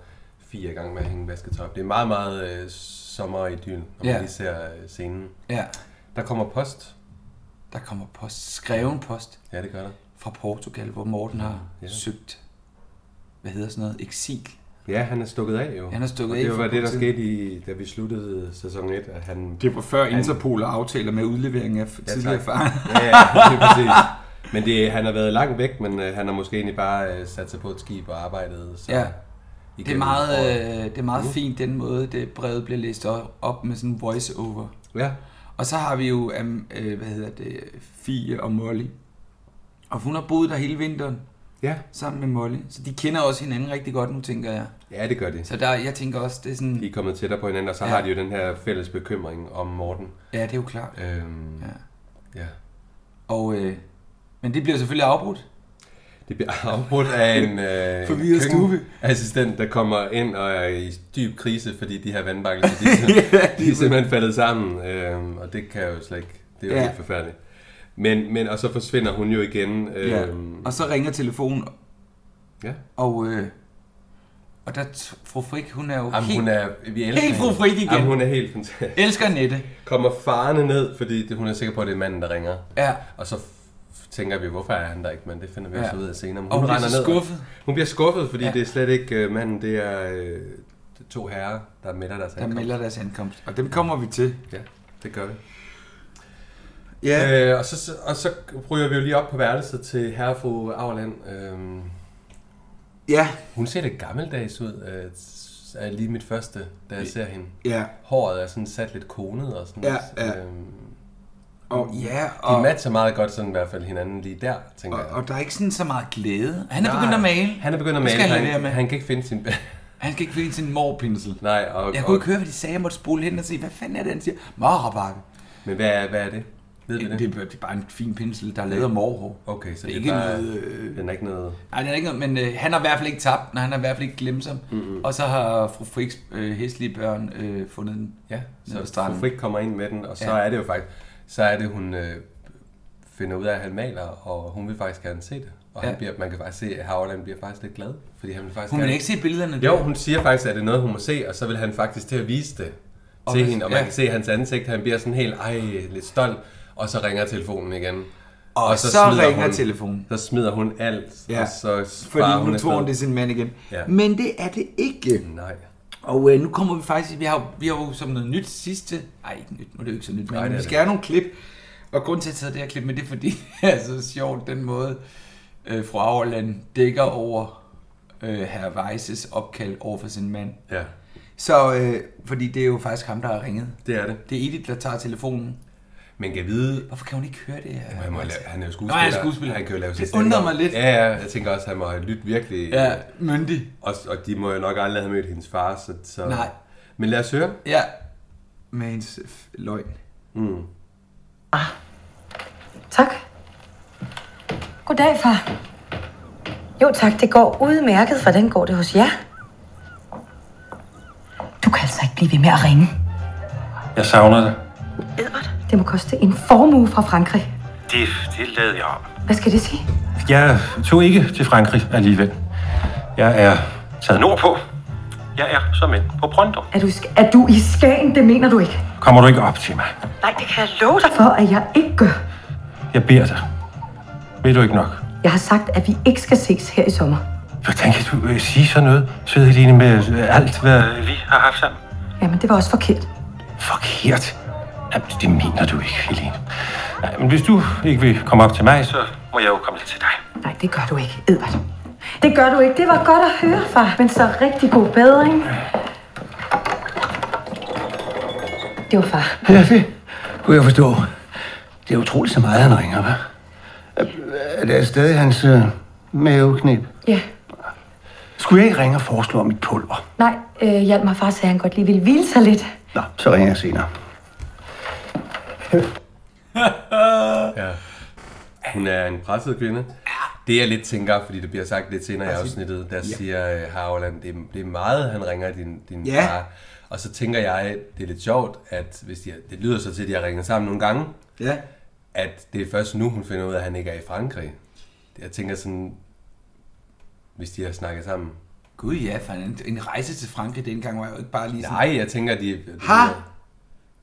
Speaker 2: fire er i gang med at hænge vasketøj op. Det er meget, meget øh, sommer i dyn, når
Speaker 3: Ja.
Speaker 2: man lige ser øh, scenen.
Speaker 3: Ja.
Speaker 2: Der kommer post.
Speaker 3: Der kommer post. Skreven post
Speaker 2: Ja, det gør der.
Speaker 3: fra Portugal, hvor Morten har
Speaker 2: Ja.
Speaker 3: ja. søgt, hvad hedder sådan noget, eksil.
Speaker 2: Ja, han er stukket af jo.
Speaker 3: Han er stukket
Speaker 2: og
Speaker 3: af
Speaker 2: det
Speaker 3: for
Speaker 2: var det, der
Speaker 3: politiet.
Speaker 2: skete, i, da vi sluttede sæson 1, at han...
Speaker 3: Det var før Interpol aftaler med udlevering af ja, tidligere fanger.
Speaker 2: Ja, ja, det er præcis. Men det, han har været langt væk, men øh, han har måske egentlig bare øh, sat sig på et skib og arbejdet. Så
Speaker 3: Ja.
Speaker 2: igennem
Speaker 3: Det er meget,
Speaker 2: året.
Speaker 3: øh, det er meget fint, den måde, det brevet bliver læst op- op med sådan en voice-over.
Speaker 2: Ja,
Speaker 3: Og så har vi jo, um, øh, hvad hedder det, Fie og Molly. Og hun har boet der hele vinteren
Speaker 2: ja.
Speaker 3: sammen med Molly. Så de kender også hinanden rigtig godt nu, tænker jeg.
Speaker 2: ja det gør det.
Speaker 3: Så der, jeg tænker også, det er sådan...
Speaker 2: De er kommet tættere på hinanden, og så
Speaker 3: Ja.
Speaker 2: har de jo den her fælles bekymring om Morten.
Speaker 3: Ja, det er jo klart.
Speaker 2: Øhm,
Speaker 3: Ja.
Speaker 2: ja.
Speaker 3: Og, øh, men det bliver selvfølgelig afbrudt.
Speaker 2: Det bliver afbrudt af en øh,
Speaker 3: [LAUGHS] Forvirret
Speaker 2: køkkenassistent, der kommer ind og er i dyb krise, fordi de her
Speaker 3: [LAUGHS]
Speaker 2: vandbakker, de, er sim- de er simpelthen faldet sammen, øh, og det kan jeg jo slet ikke. Det er jo
Speaker 3: Ja.
Speaker 2: ja. helt forfærdeligt. Men, men, og så forsvinder hun jo igen. Øh, ja.
Speaker 3: Og så ringer telefonen,
Speaker 2: ja.
Speaker 3: og, øh, og der t- fru Frik, hun er jo
Speaker 2: Jamen,
Speaker 3: helt,
Speaker 2: hun er, vi elsker
Speaker 3: helt fru
Speaker 2: hende.
Speaker 3: Frik igen.
Speaker 2: Jamen, hun er helt fantastisk.
Speaker 3: elsker Nette.
Speaker 2: [LAUGHS] Kommer farne ned, fordi det, hun er sikker på, at det er manden, der ringer.
Speaker 3: Ja.
Speaker 2: Og så f- tænker vi, hvorfor er han der ikke, men det finder vi
Speaker 3: Ja.
Speaker 2: også ud af senere. Men
Speaker 3: Og hun bliver
Speaker 2: render
Speaker 3: så
Speaker 2: og-
Speaker 3: skuffet.
Speaker 2: Hun bliver skuffet, fordi
Speaker 3: Ja.
Speaker 2: ja. det er slet ikke øh, manden, det er øh, to herrer, der melder deres
Speaker 3: Der
Speaker 2: ankomst.
Speaker 3: melder deres ankomst. Og dem kommer vi til.
Speaker 2: Ja, det gør vi. Øh, og, så, så- og så ryger vi jo lige op på værelset til herrefru Auerland. Øh,
Speaker 3: Ja.
Speaker 2: hun ser lidt gammeldags ud, øh, s- er lige mit første, da jeg ser hende.
Speaker 3: Ja.
Speaker 2: Håret er sådan sat lidt konet og sådan
Speaker 3: Ja, ja.
Speaker 2: Øh,
Speaker 3: Og, ja,
Speaker 2: de
Speaker 3: og,
Speaker 2: matcher meget godt sådan i hvert fald hinanden lige der, tænker
Speaker 3: og,
Speaker 2: jeg.
Speaker 3: og der er ikke sådan så meget glæde. Han er begyndt at male.
Speaker 2: Han er begyndt at
Speaker 3: Det
Speaker 2: male.
Speaker 3: skal han lade være
Speaker 2: Han,
Speaker 3: med.
Speaker 2: han kan ikke finde sin... [LAUGHS]
Speaker 3: Han skal ikke finde sin morpinsel.
Speaker 2: Nej, og,
Speaker 3: Jeg
Speaker 2: og,
Speaker 3: kunne ikke høre, hvad de sagde. Jeg måtte spole hen og se, hvad fanden er det, han siger? Marabakke.
Speaker 2: Men hvad er, hvad er det? Ved vi det?
Speaker 3: Det, det, er- det er bare en fin pinsel, der er lavet af morhår.
Speaker 2: Okay, så
Speaker 3: Det
Speaker 2: det
Speaker 3: er
Speaker 2: er
Speaker 3: ikke
Speaker 2: bare,
Speaker 3: noget, øh,
Speaker 2: den er ikke noget...
Speaker 3: Nej, det er ikke noget, men øh, han har i hvert fald ikke tabt, og han har i hvert fald ikke glemt sig. Mm-hmm. Og så har fru Friks øh, hæslige børn øh, fundet den.
Speaker 2: Ja,
Speaker 3: nede på
Speaker 2: så
Speaker 3: stranden.
Speaker 2: fru Frik kommer ind med den, og så
Speaker 3: Ja.
Speaker 2: ja. er det jo faktisk... Så er det, hun øh, finder ud af, at han maler, og hun vil faktisk gerne se det. Og ja.
Speaker 3: Ja.
Speaker 2: han bliver, man kan faktisk se, at Havland bliver faktisk lidt glad, fordi han vil faktisk
Speaker 3: Hun
Speaker 2: gerne...
Speaker 3: vil ikke se billederne.
Speaker 2: Jo, hun siger faktisk, at det er noget, hun må se, og så vil han faktisk til at vise det
Speaker 3: Og
Speaker 2: til
Speaker 3: hvis-
Speaker 2: hende, og man
Speaker 3: ja.
Speaker 2: kan se hans ansigt, han bliver sådan helt, ej, lidt stolt, og så ringer telefonen igen.
Speaker 3: Og, og så, så
Speaker 2: smider
Speaker 3: ringer hun.
Speaker 2: hun-
Speaker 3: telefonen.
Speaker 2: Så smider hun alt,
Speaker 3: Ja,
Speaker 2: og så sparer
Speaker 3: Fordi
Speaker 2: hun
Speaker 3: nu tror hun, det er
Speaker 2: afsted.
Speaker 3: sin mand igen.
Speaker 2: Ja.
Speaker 3: Men det er det ikke.
Speaker 2: Nej.
Speaker 3: Og øh, nu kommer vi faktisk, vi har, jo- vi har jo som noget nyt sidste, nej ikke nyt, nu er det jo ikke så nyt, men
Speaker 2: Nej, det
Speaker 3: vi
Speaker 2: er
Speaker 3: skal
Speaker 2: det.
Speaker 3: have nogle klip. Og grunden til, at jeg tager det her klip med, det er fordi, [LAUGHS] det er så sjovt, den måde, øh, fru Auerland dækker over øh, herr Weisses opkald over for sin mand.
Speaker 2: Ja,
Speaker 3: Så, øh, fordi det er jo faktisk ham, der har ringet.
Speaker 2: det er det.
Speaker 3: Det er Edith, der tager telefonen.
Speaker 2: Man kan vide,
Speaker 3: Hvorfor kan hun ikke høre det her?
Speaker 2: han, må lave, han er jo skuespiller.
Speaker 3: Nå, han er skuespiller.
Speaker 2: Han kan jo lave sin
Speaker 3: Det undrer mig
Speaker 2: stemme.
Speaker 3: lidt.
Speaker 2: Ja, ja, jeg tænker også, at han må have lyttet virkelig.
Speaker 3: Ja, myndig.
Speaker 2: Og, og de må jo nok aldrig have mødt hendes far, så... så.
Speaker 3: Nej.
Speaker 2: Men lad os høre.
Speaker 3: Ja, med hendes f- løgn.
Speaker 2: Mm.
Speaker 4: Tak.
Speaker 5: Goddag, far. Jo tak, det går udmærket. Hvordan går det hos jer? Du kan altså ikke blive ved med at ringe.
Speaker 6: Jeg savner dig.
Speaker 5: Det må koste en formue fra Frankrig.
Speaker 6: Det, det lavede jeg op.
Speaker 5: Hvad skal det sige?
Speaker 6: Jeg tog ikke til Frankrig alligevel. Jeg er taget nordpå. Jeg er som en på Pronto.
Speaker 5: Er du, i Sk- er du i Skagen? Det mener du ikke.
Speaker 6: Kommer du ikke op til mig?
Speaker 5: Nej, det kan jeg love dig for, at jeg ikke gør.
Speaker 6: Jeg beder dig. Ved du ikke nok?
Speaker 5: Jeg har sagt, at vi ikke skal ses her i sommer.
Speaker 6: Hvordan kan du øh, sige sådan noget, søde Helene, med øh, alt, hvad øh, vi har haft sammen?
Speaker 5: Jamen, det var også forkert.
Speaker 6: Forkert. Jamen, det mener du ikke, Helene. Nej, men hvis du ikke vil komme op til mig, så må jeg jo komme lidt til dig.
Speaker 5: Nej, det gør du ikke, Edvard. Det gør du ikke. Det var godt at høre, far. Men så rigtig god bedring. Det var far.
Speaker 6: Ja, det kunne jeg forstå. Det er utroligt så meget, han ringer, hva'? Er det stadig hans øh, maveknip?
Speaker 5: Ja.
Speaker 6: Skulle jeg ikke ringe og foreslå om mit pulver?
Speaker 5: Nej, øh, hjalp mig far, sagde han godt lige ville hvile sig lidt.
Speaker 6: Nå, så ringer jeg senere.
Speaker 2: Ja. Hun er en presset kvinde. Det jeg lidt tænker, fordi det bliver sagt lidt senere i
Speaker 3: Altså,
Speaker 2: afsnittet, der siger øh, Harland, det, er- det er meget, han ringer din, din
Speaker 3: Ja.
Speaker 2: far. Og så tænker jeg, det er lidt sjovt, at hvis de, har- det lyder så til, at de har ringet sammen nogle gange,
Speaker 3: Ja.
Speaker 2: at det er først nu, hun finder ud af, at han ikke er i Frankrig. Jeg tænker sådan, hvis de har snakket sammen.
Speaker 3: Gud ja, for en, en rejse til Frankrig dengang var jo ikke bare lige sådan...
Speaker 2: Nej, jeg tænker, at de...
Speaker 3: Ha?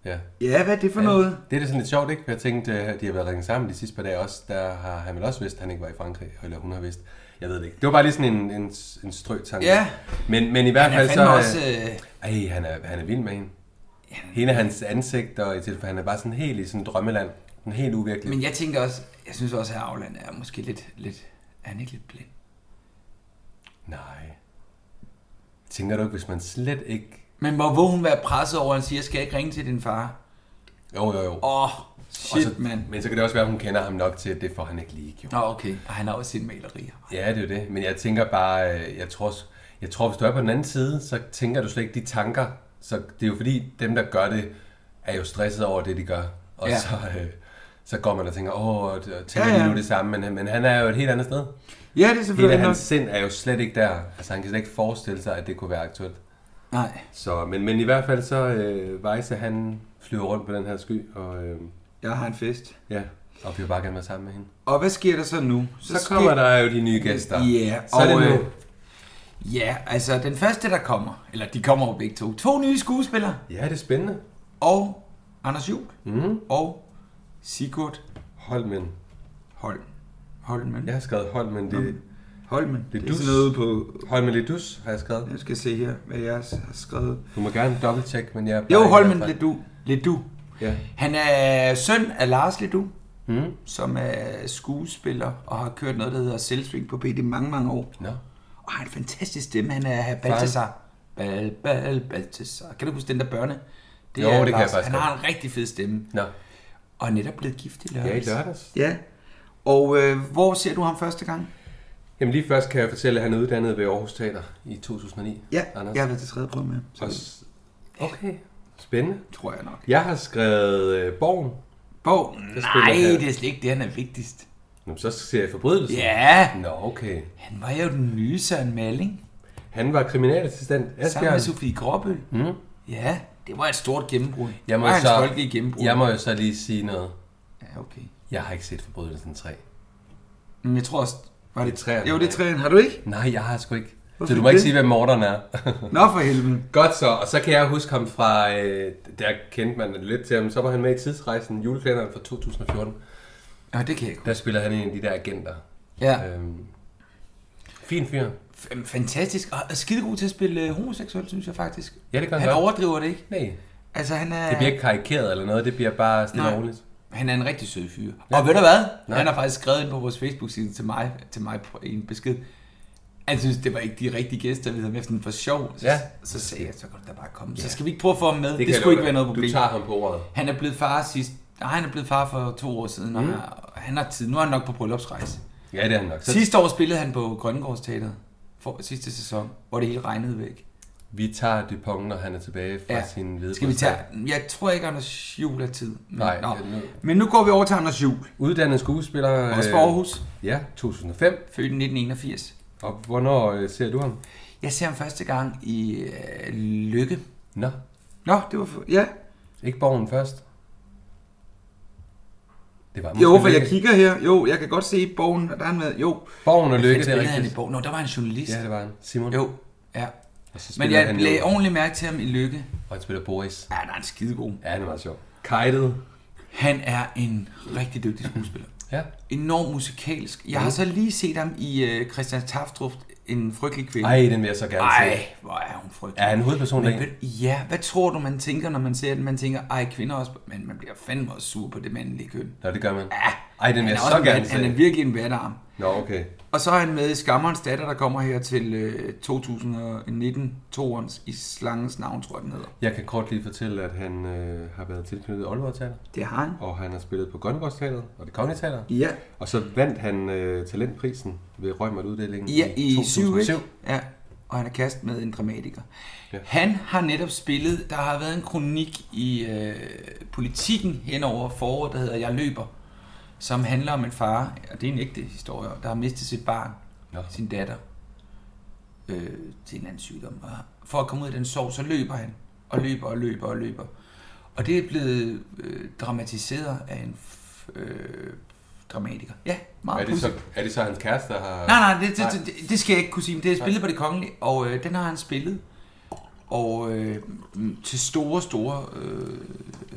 Speaker 2: Ja.
Speaker 3: Ja, hvad er det for ja. noget?
Speaker 2: Det er da sådan lidt sjovt, ikke? For Jeg tænkte, at de har været ringet sammen de sidste par dage også. Der har han vel også vidst, at han ikke var i Frankrig, eller hun har vidst. Jeg ved det ikke. Det var bare lige sådan en, en, en strø tanke.
Speaker 3: Ja.
Speaker 2: Men, men i hvert
Speaker 3: Han er
Speaker 2: fald så...
Speaker 3: fandme også...
Speaker 2: øh,
Speaker 3: Øh,
Speaker 2: Ej, han er, han er vild med hende. Hende er hans ansigt, og i tilfælde, han er bare sådan helt i sådan et drømmeland. Den helt uvirkelig.
Speaker 3: men jeg tænker også... Jeg synes også, at Havland er måske lidt... lidt er han ikke lidt blind?
Speaker 2: Nej. Tænker du ikke, hvis man slet ikke...
Speaker 3: Men hvor vil hun være presset over, at han siger, skal jeg ikke ringe til din far?
Speaker 2: Jo, jo, jo.
Speaker 3: Åh,
Speaker 2: Og
Speaker 3: oh, shit,
Speaker 2: så,
Speaker 3: mand.
Speaker 2: Men så kan det også være, at hun kender ham nok til, at det får han ikke lige gjort.
Speaker 3: Nå, okay. Og han har også sine malerier.
Speaker 2: Ja, det er jo det. Men jeg tænker bare, øh, jeg tror, s- jeg tror, hvis du er på den anden side, så tænker du slet ikke de tanker. Så det er jo fordi, dem der gør det, er jo stresset over det, de gør. Og
Speaker 3: Ja.
Speaker 2: ja. så, øh, så går man og tænker, åh, og og tænker
Speaker 3: Ja,
Speaker 2: ja,
Speaker 3: ja.
Speaker 2: ja. lige nu det samme, men, men han er jo et helt andet sted.
Speaker 3: Ja, det er
Speaker 2: Hele
Speaker 3: selvfølgelig
Speaker 2: hans sind er jo slet ikke der. Altså, han kan slet ikke forestille sig, at det kunne være aktuelt.
Speaker 3: Nej.
Speaker 2: Så, men, men i hvert fald så, øh, Weisse, han flyver rundt på den her sky, og øh,
Speaker 3: Jeg har en fest.
Speaker 2: ja, og vi vil bare gerne være sammen med hende.
Speaker 3: Og hvad sker der så nu?
Speaker 2: Så kommer der jo de nye gæster.
Speaker 3: Ja,
Speaker 2: så er det
Speaker 3: og,
Speaker 2: nu.
Speaker 3: øh, Ja, altså den første, der kommer, eller de kommer jo begge to, to nye skuespillere,
Speaker 2: Ja, det er spændende.
Speaker 3: og Anders Juhl
Speaker 2: Mhm.
Speaker 3: mm. og Sigurd
Speaker 2: Holmen.
Speaker 3: Holm. Holmen. Øh,
Speaker 2: Jeg har skrevet Holmen. Det,
Speaker 3: Holmen. Det, det er
Speaker 2: dus.
Speaker 3: sådan noget på...
Speaker 2: Holmen Ledus har jeg skrevet.
Speaker 3: Jeg skal se her, hvad jeg har skrevet.
Speaker 2: Du må gerne dobbelttjekke, men jeg...
Speaker 3: Jo, Holmen Ledu. Ledu.
Speaker 2: Ja.
Speaker 3: Han er søn af Lars Ledu, mm. som er skuespiller og har kørt noget, der hedder Selvsving på BT mange, mange år.
Speaker 2: Nå.
Speaker 3: Og har en fantastisk stemme. Han er herr Balthasar. Bal, bal, Balthasar. Kan du huske den der børne?
Speaker 2: Jo, det kan jeg
Speaker 3: Lars.
Speaker 2: faktisk
Speaker 3: Han har en rigtig fed stemme.
Speaker 2: Nå.
Speaker 3: Og er netop blevet gift i lørdags.
Speaker 2: Ja, i lørdags.
Speaker 3: Ja. Og øh, hvor ser du ham første gang?
Speaker 2: Jamen lige først kan jeg fortælle, at han er uddannet ved Aarhus Teater i 2009.
Speaker 3: Ja,
Speaker 2: Anders.
Speaker 3: jeg har været til tredje prøve med. ham. Så
Speaker 2: Og s- Okay. Spændende.
Speaker 3: tror jeg nok.
Speaker 2: Jeg har skrevet øh, Borgen.
Speaker 3: Bo, nej,
Speaker 2: spiller her.
Speaker 3: det er slet ikke det, han er vigtigst.
Speaker 2: Nå, så ser jeg forbrydelsen.
Speaker 3: Ja,
Speaker 2: Nå, okay.
Speaker 3: han var jo den nye Søren Malling.
Speaker 2: Han var kriminalassistent.
Speaker 3: Sammen med
Speaker 2: Asbjørn.
Speaker 3: Sofie Gråbøl. Mm. Ja, det var et stort gennembrud.
Speaker 2: Jeg må,
Speaker 3: det var
Speaker 2: jo
Speaker 3: hans
Speaker 2: så,
Speaker 3: folkelige gennembrud.
Speaker 2: jeg må jo så lige sige noget.
Speaker 3: Ja, okay.
Speaker 2: Jeg har ikke set Forbrydelsen 3.
Speaker 3: Men jeg tror også... Var det,
Speaker 2: Det er træerne.
Speaker 3: Jo, det er træerne. Har du ikke?
Speaker 2: Nej, jeg har sgu ikke.
Speaker 3: Hvorfor
Speaker 2: Så du
Speaker 3: ikke
Speaker 2: må ikke
Speaker 3: det?
Speaker 2: sige, hvem morderen er.
Speaker 3: Nå for helvede.
Speaker 2: Godt så, og så kan jeg huske ham fra, øh, der kendte man lidt til ham, så var han med i Tidsrejsen, julekalenderen fra 2014.
Speaker 3: Nå, det kan jeg godt.
Speaker 2: Der spiller han en af de der agenter.
Speaker 3: Ja.
Speaker 2: Øhm, fin fyr.
Speaker 3: F- fantastisk. Og er skidegod til at spille øh, homoseksuel, synes jeg faktisk.
Speaker 2: Ja, det kan han
Speaker 3: Han
Speaker 2: godt.
Speaker 3: overdriver det ikke.
Speaker 2: Nej,
Speaker 3: Altså, han er...
Speaker 2: det bliver ikke karikeret eller noget, det bliver bare stille
Speaker 3: Nej.
Speaker 2: og roligt.
Speaker 3: Han er en rigtig sød fyr. Ja. Og ved du hvad? Nej.
Speaker 2: Nej.
Speaker 3: Han har faktisk skrevet ind på vores Facebook-side til mig, til mig på en besked. Han synes, det var ikke de rigtige gæster, vi havde med sådan for sjov. Så,
Speaker 2: Ja.
Speaker 3: så sagde jeg, så kan du da bare komme. Ja. Så skal vi ikke prøve at få ham med. Det,
Speaker 2: kan
Speaker 3: det
Speaker 2: jeg
Speaker 3: skulle ikke
Speaker 2: love dig.
Speaker 3: være noget problem.
Speaker 2: Du tager Mm. ham på ordet.
Speaker 3: Han er blevet far sidst. Nej, han er blevet far for to år siden, og har- han har tid. Nu er han nok på bryllupsrejse.
Speaker 2: Ja, det er han nok. Så
Speaker 3: Sidste år spillede han på Grøngårdsteateret for sidste sæson, hvor det hele regnede væk.
Speaker 2: vi tager Dupont, når han er tilbage fra
Speaker 3: Ja.
Speaker 2: sin hvide
Speaker 3: Skal vi tage... Jeg tror ikke, Anders Jul er tid. Men,
Speaker 2: Nej,
Speaker 3: nå.
Speaker 2: det er nu.
Speaker 3: Men nu går vi over til Anders Jul.
Speaker 2: Uddannet skuespiller.
Speaker 3: Også fra
Speaker 2: øh,
Speaker 3: Aarhus.
Speaker 2: Ja, 2005.
Speaker 3: Født i 1981.
Speaker 2: Og hvornår øh, ser du ham?
Speaker 3: Jeg ser ham første gang i øh, Lykke.
Speaker 2: Nå,
Speaker 3: Nå, det var... For, ja.
Speaker 2: ikke Borgen først. Det var
Speaker 3: Jo,
Speaker 2: måske
Speaker 3: for jeg
Speaker 2: Lykke.
Speaker 3: kigger her. Jo, jeg kan godt se bogen, og der er han med. Jo.
Speaker 2: Borgen og Lykke,
Speaker 3: Han
Speaker 2: det er
Speaker 3: spillede han i
Speaker 2: rigtigt.
Speaker 3: bogen. Nå, der var en journalist.
Speaker 2: Ja, det var han. Simon.
Speaker 3: Jo,
Speaker 2: Og
Speaker 3: ja.
Speaker 2: så
Speaker 3: Men
Speaker 2: spiller
Speaker 3: jeg
Speaker 2: han
Speaker 3: lagde
Speaker 2: jo-
Speaker 3: ordentligt mærke til ham i Lykke.
Speaker 2: Og han spiller Boris.
Speaker 3: Ja, han er en skidegod.
Speaker 2: Ja, han er meget sjov. Kajtet.
Speaker 3: Han er en rigtig dygtig skuespiller.
Speaker 2: Ja.
Speaker 3: Enormt musikalsk. Jeg har så lige set ham i øh, Christian Taftrup, En frygtelig kvinde.
Speaker 2: Ej, den vil jeg så gerne se.
Speaker 3: Ej, hvor er hun frygtelig.
Speaker 2: Er han hovedpersonen
Speaker 3: Men
Speaker 2: i den?
Speaker 3: ved- Ja, hvad tror du, man tænker, når man ser den? Man tænker, ej, kvinder er også... Men man bliver fandme også sur på det mandlige køn.
Speaker 2: Nå, det gør man.
Speaker 3: Ja,
Speaker 2: Ej, den vil
Speaker 3: han
Speaker 2: jeg
Speaker 3: er
Speaker 2: så
Speaker 3: også en
Speaker 2: gerne
Speaker 3: vat- Han er
Speaker 2: se.
Speaker 3: virkelig en vatarm.
Speaker 2: Nå, okay.
Speaker 3: Og så er han med i Skammerens datter, der kommer her til øh, 2019, toerens i Slangens navn, tror jeg, den hedder.
Speaker 2: Jeg kan kort lige fortælle, at han øh, har været tilknyttet Aalborg Teater,
Speaker 3: Det har han.
Speaker 2: og han har spillet på Grønnegårdsteateret og det Kongelige Teater.
Speaker 3: Ja.
Speaker 2: Og så vandt han øh, talentprisen ved Røgmert-uddelingen
Speaker 3: Ja, i 7,
Speaker 2: 2007.
Speaker 3: Ja, og han er kast med en dramatiker. Ja.
Speaker 2: Ja.
Speaker 3: Han har netop spillet, der har været en kronik i øh, politikken hen over foråret, der hedder Jeg løber, som handler om en far, og det er en ægte historie, der har mistet sit barn,
Speaker 2: Nå.
Speaker 3: ja. sin datter, øh, til en eller anden sygdom. Og for at komme ud af den sorg, så løber han, og løber, og løber, og løber. Og det er blevet øh, dramatiseret af en f- øh, dramatiker. Ja, meget
Speaker 2: Er det, så, er det så hans kæreste, der har...
Speaker 3: Nej, nej, det, det, det, det skal jeg ikke kunne sige, men det er spillet på det kongelige, og øh, den har han spillet. Og øh, mm, til store, store, øh,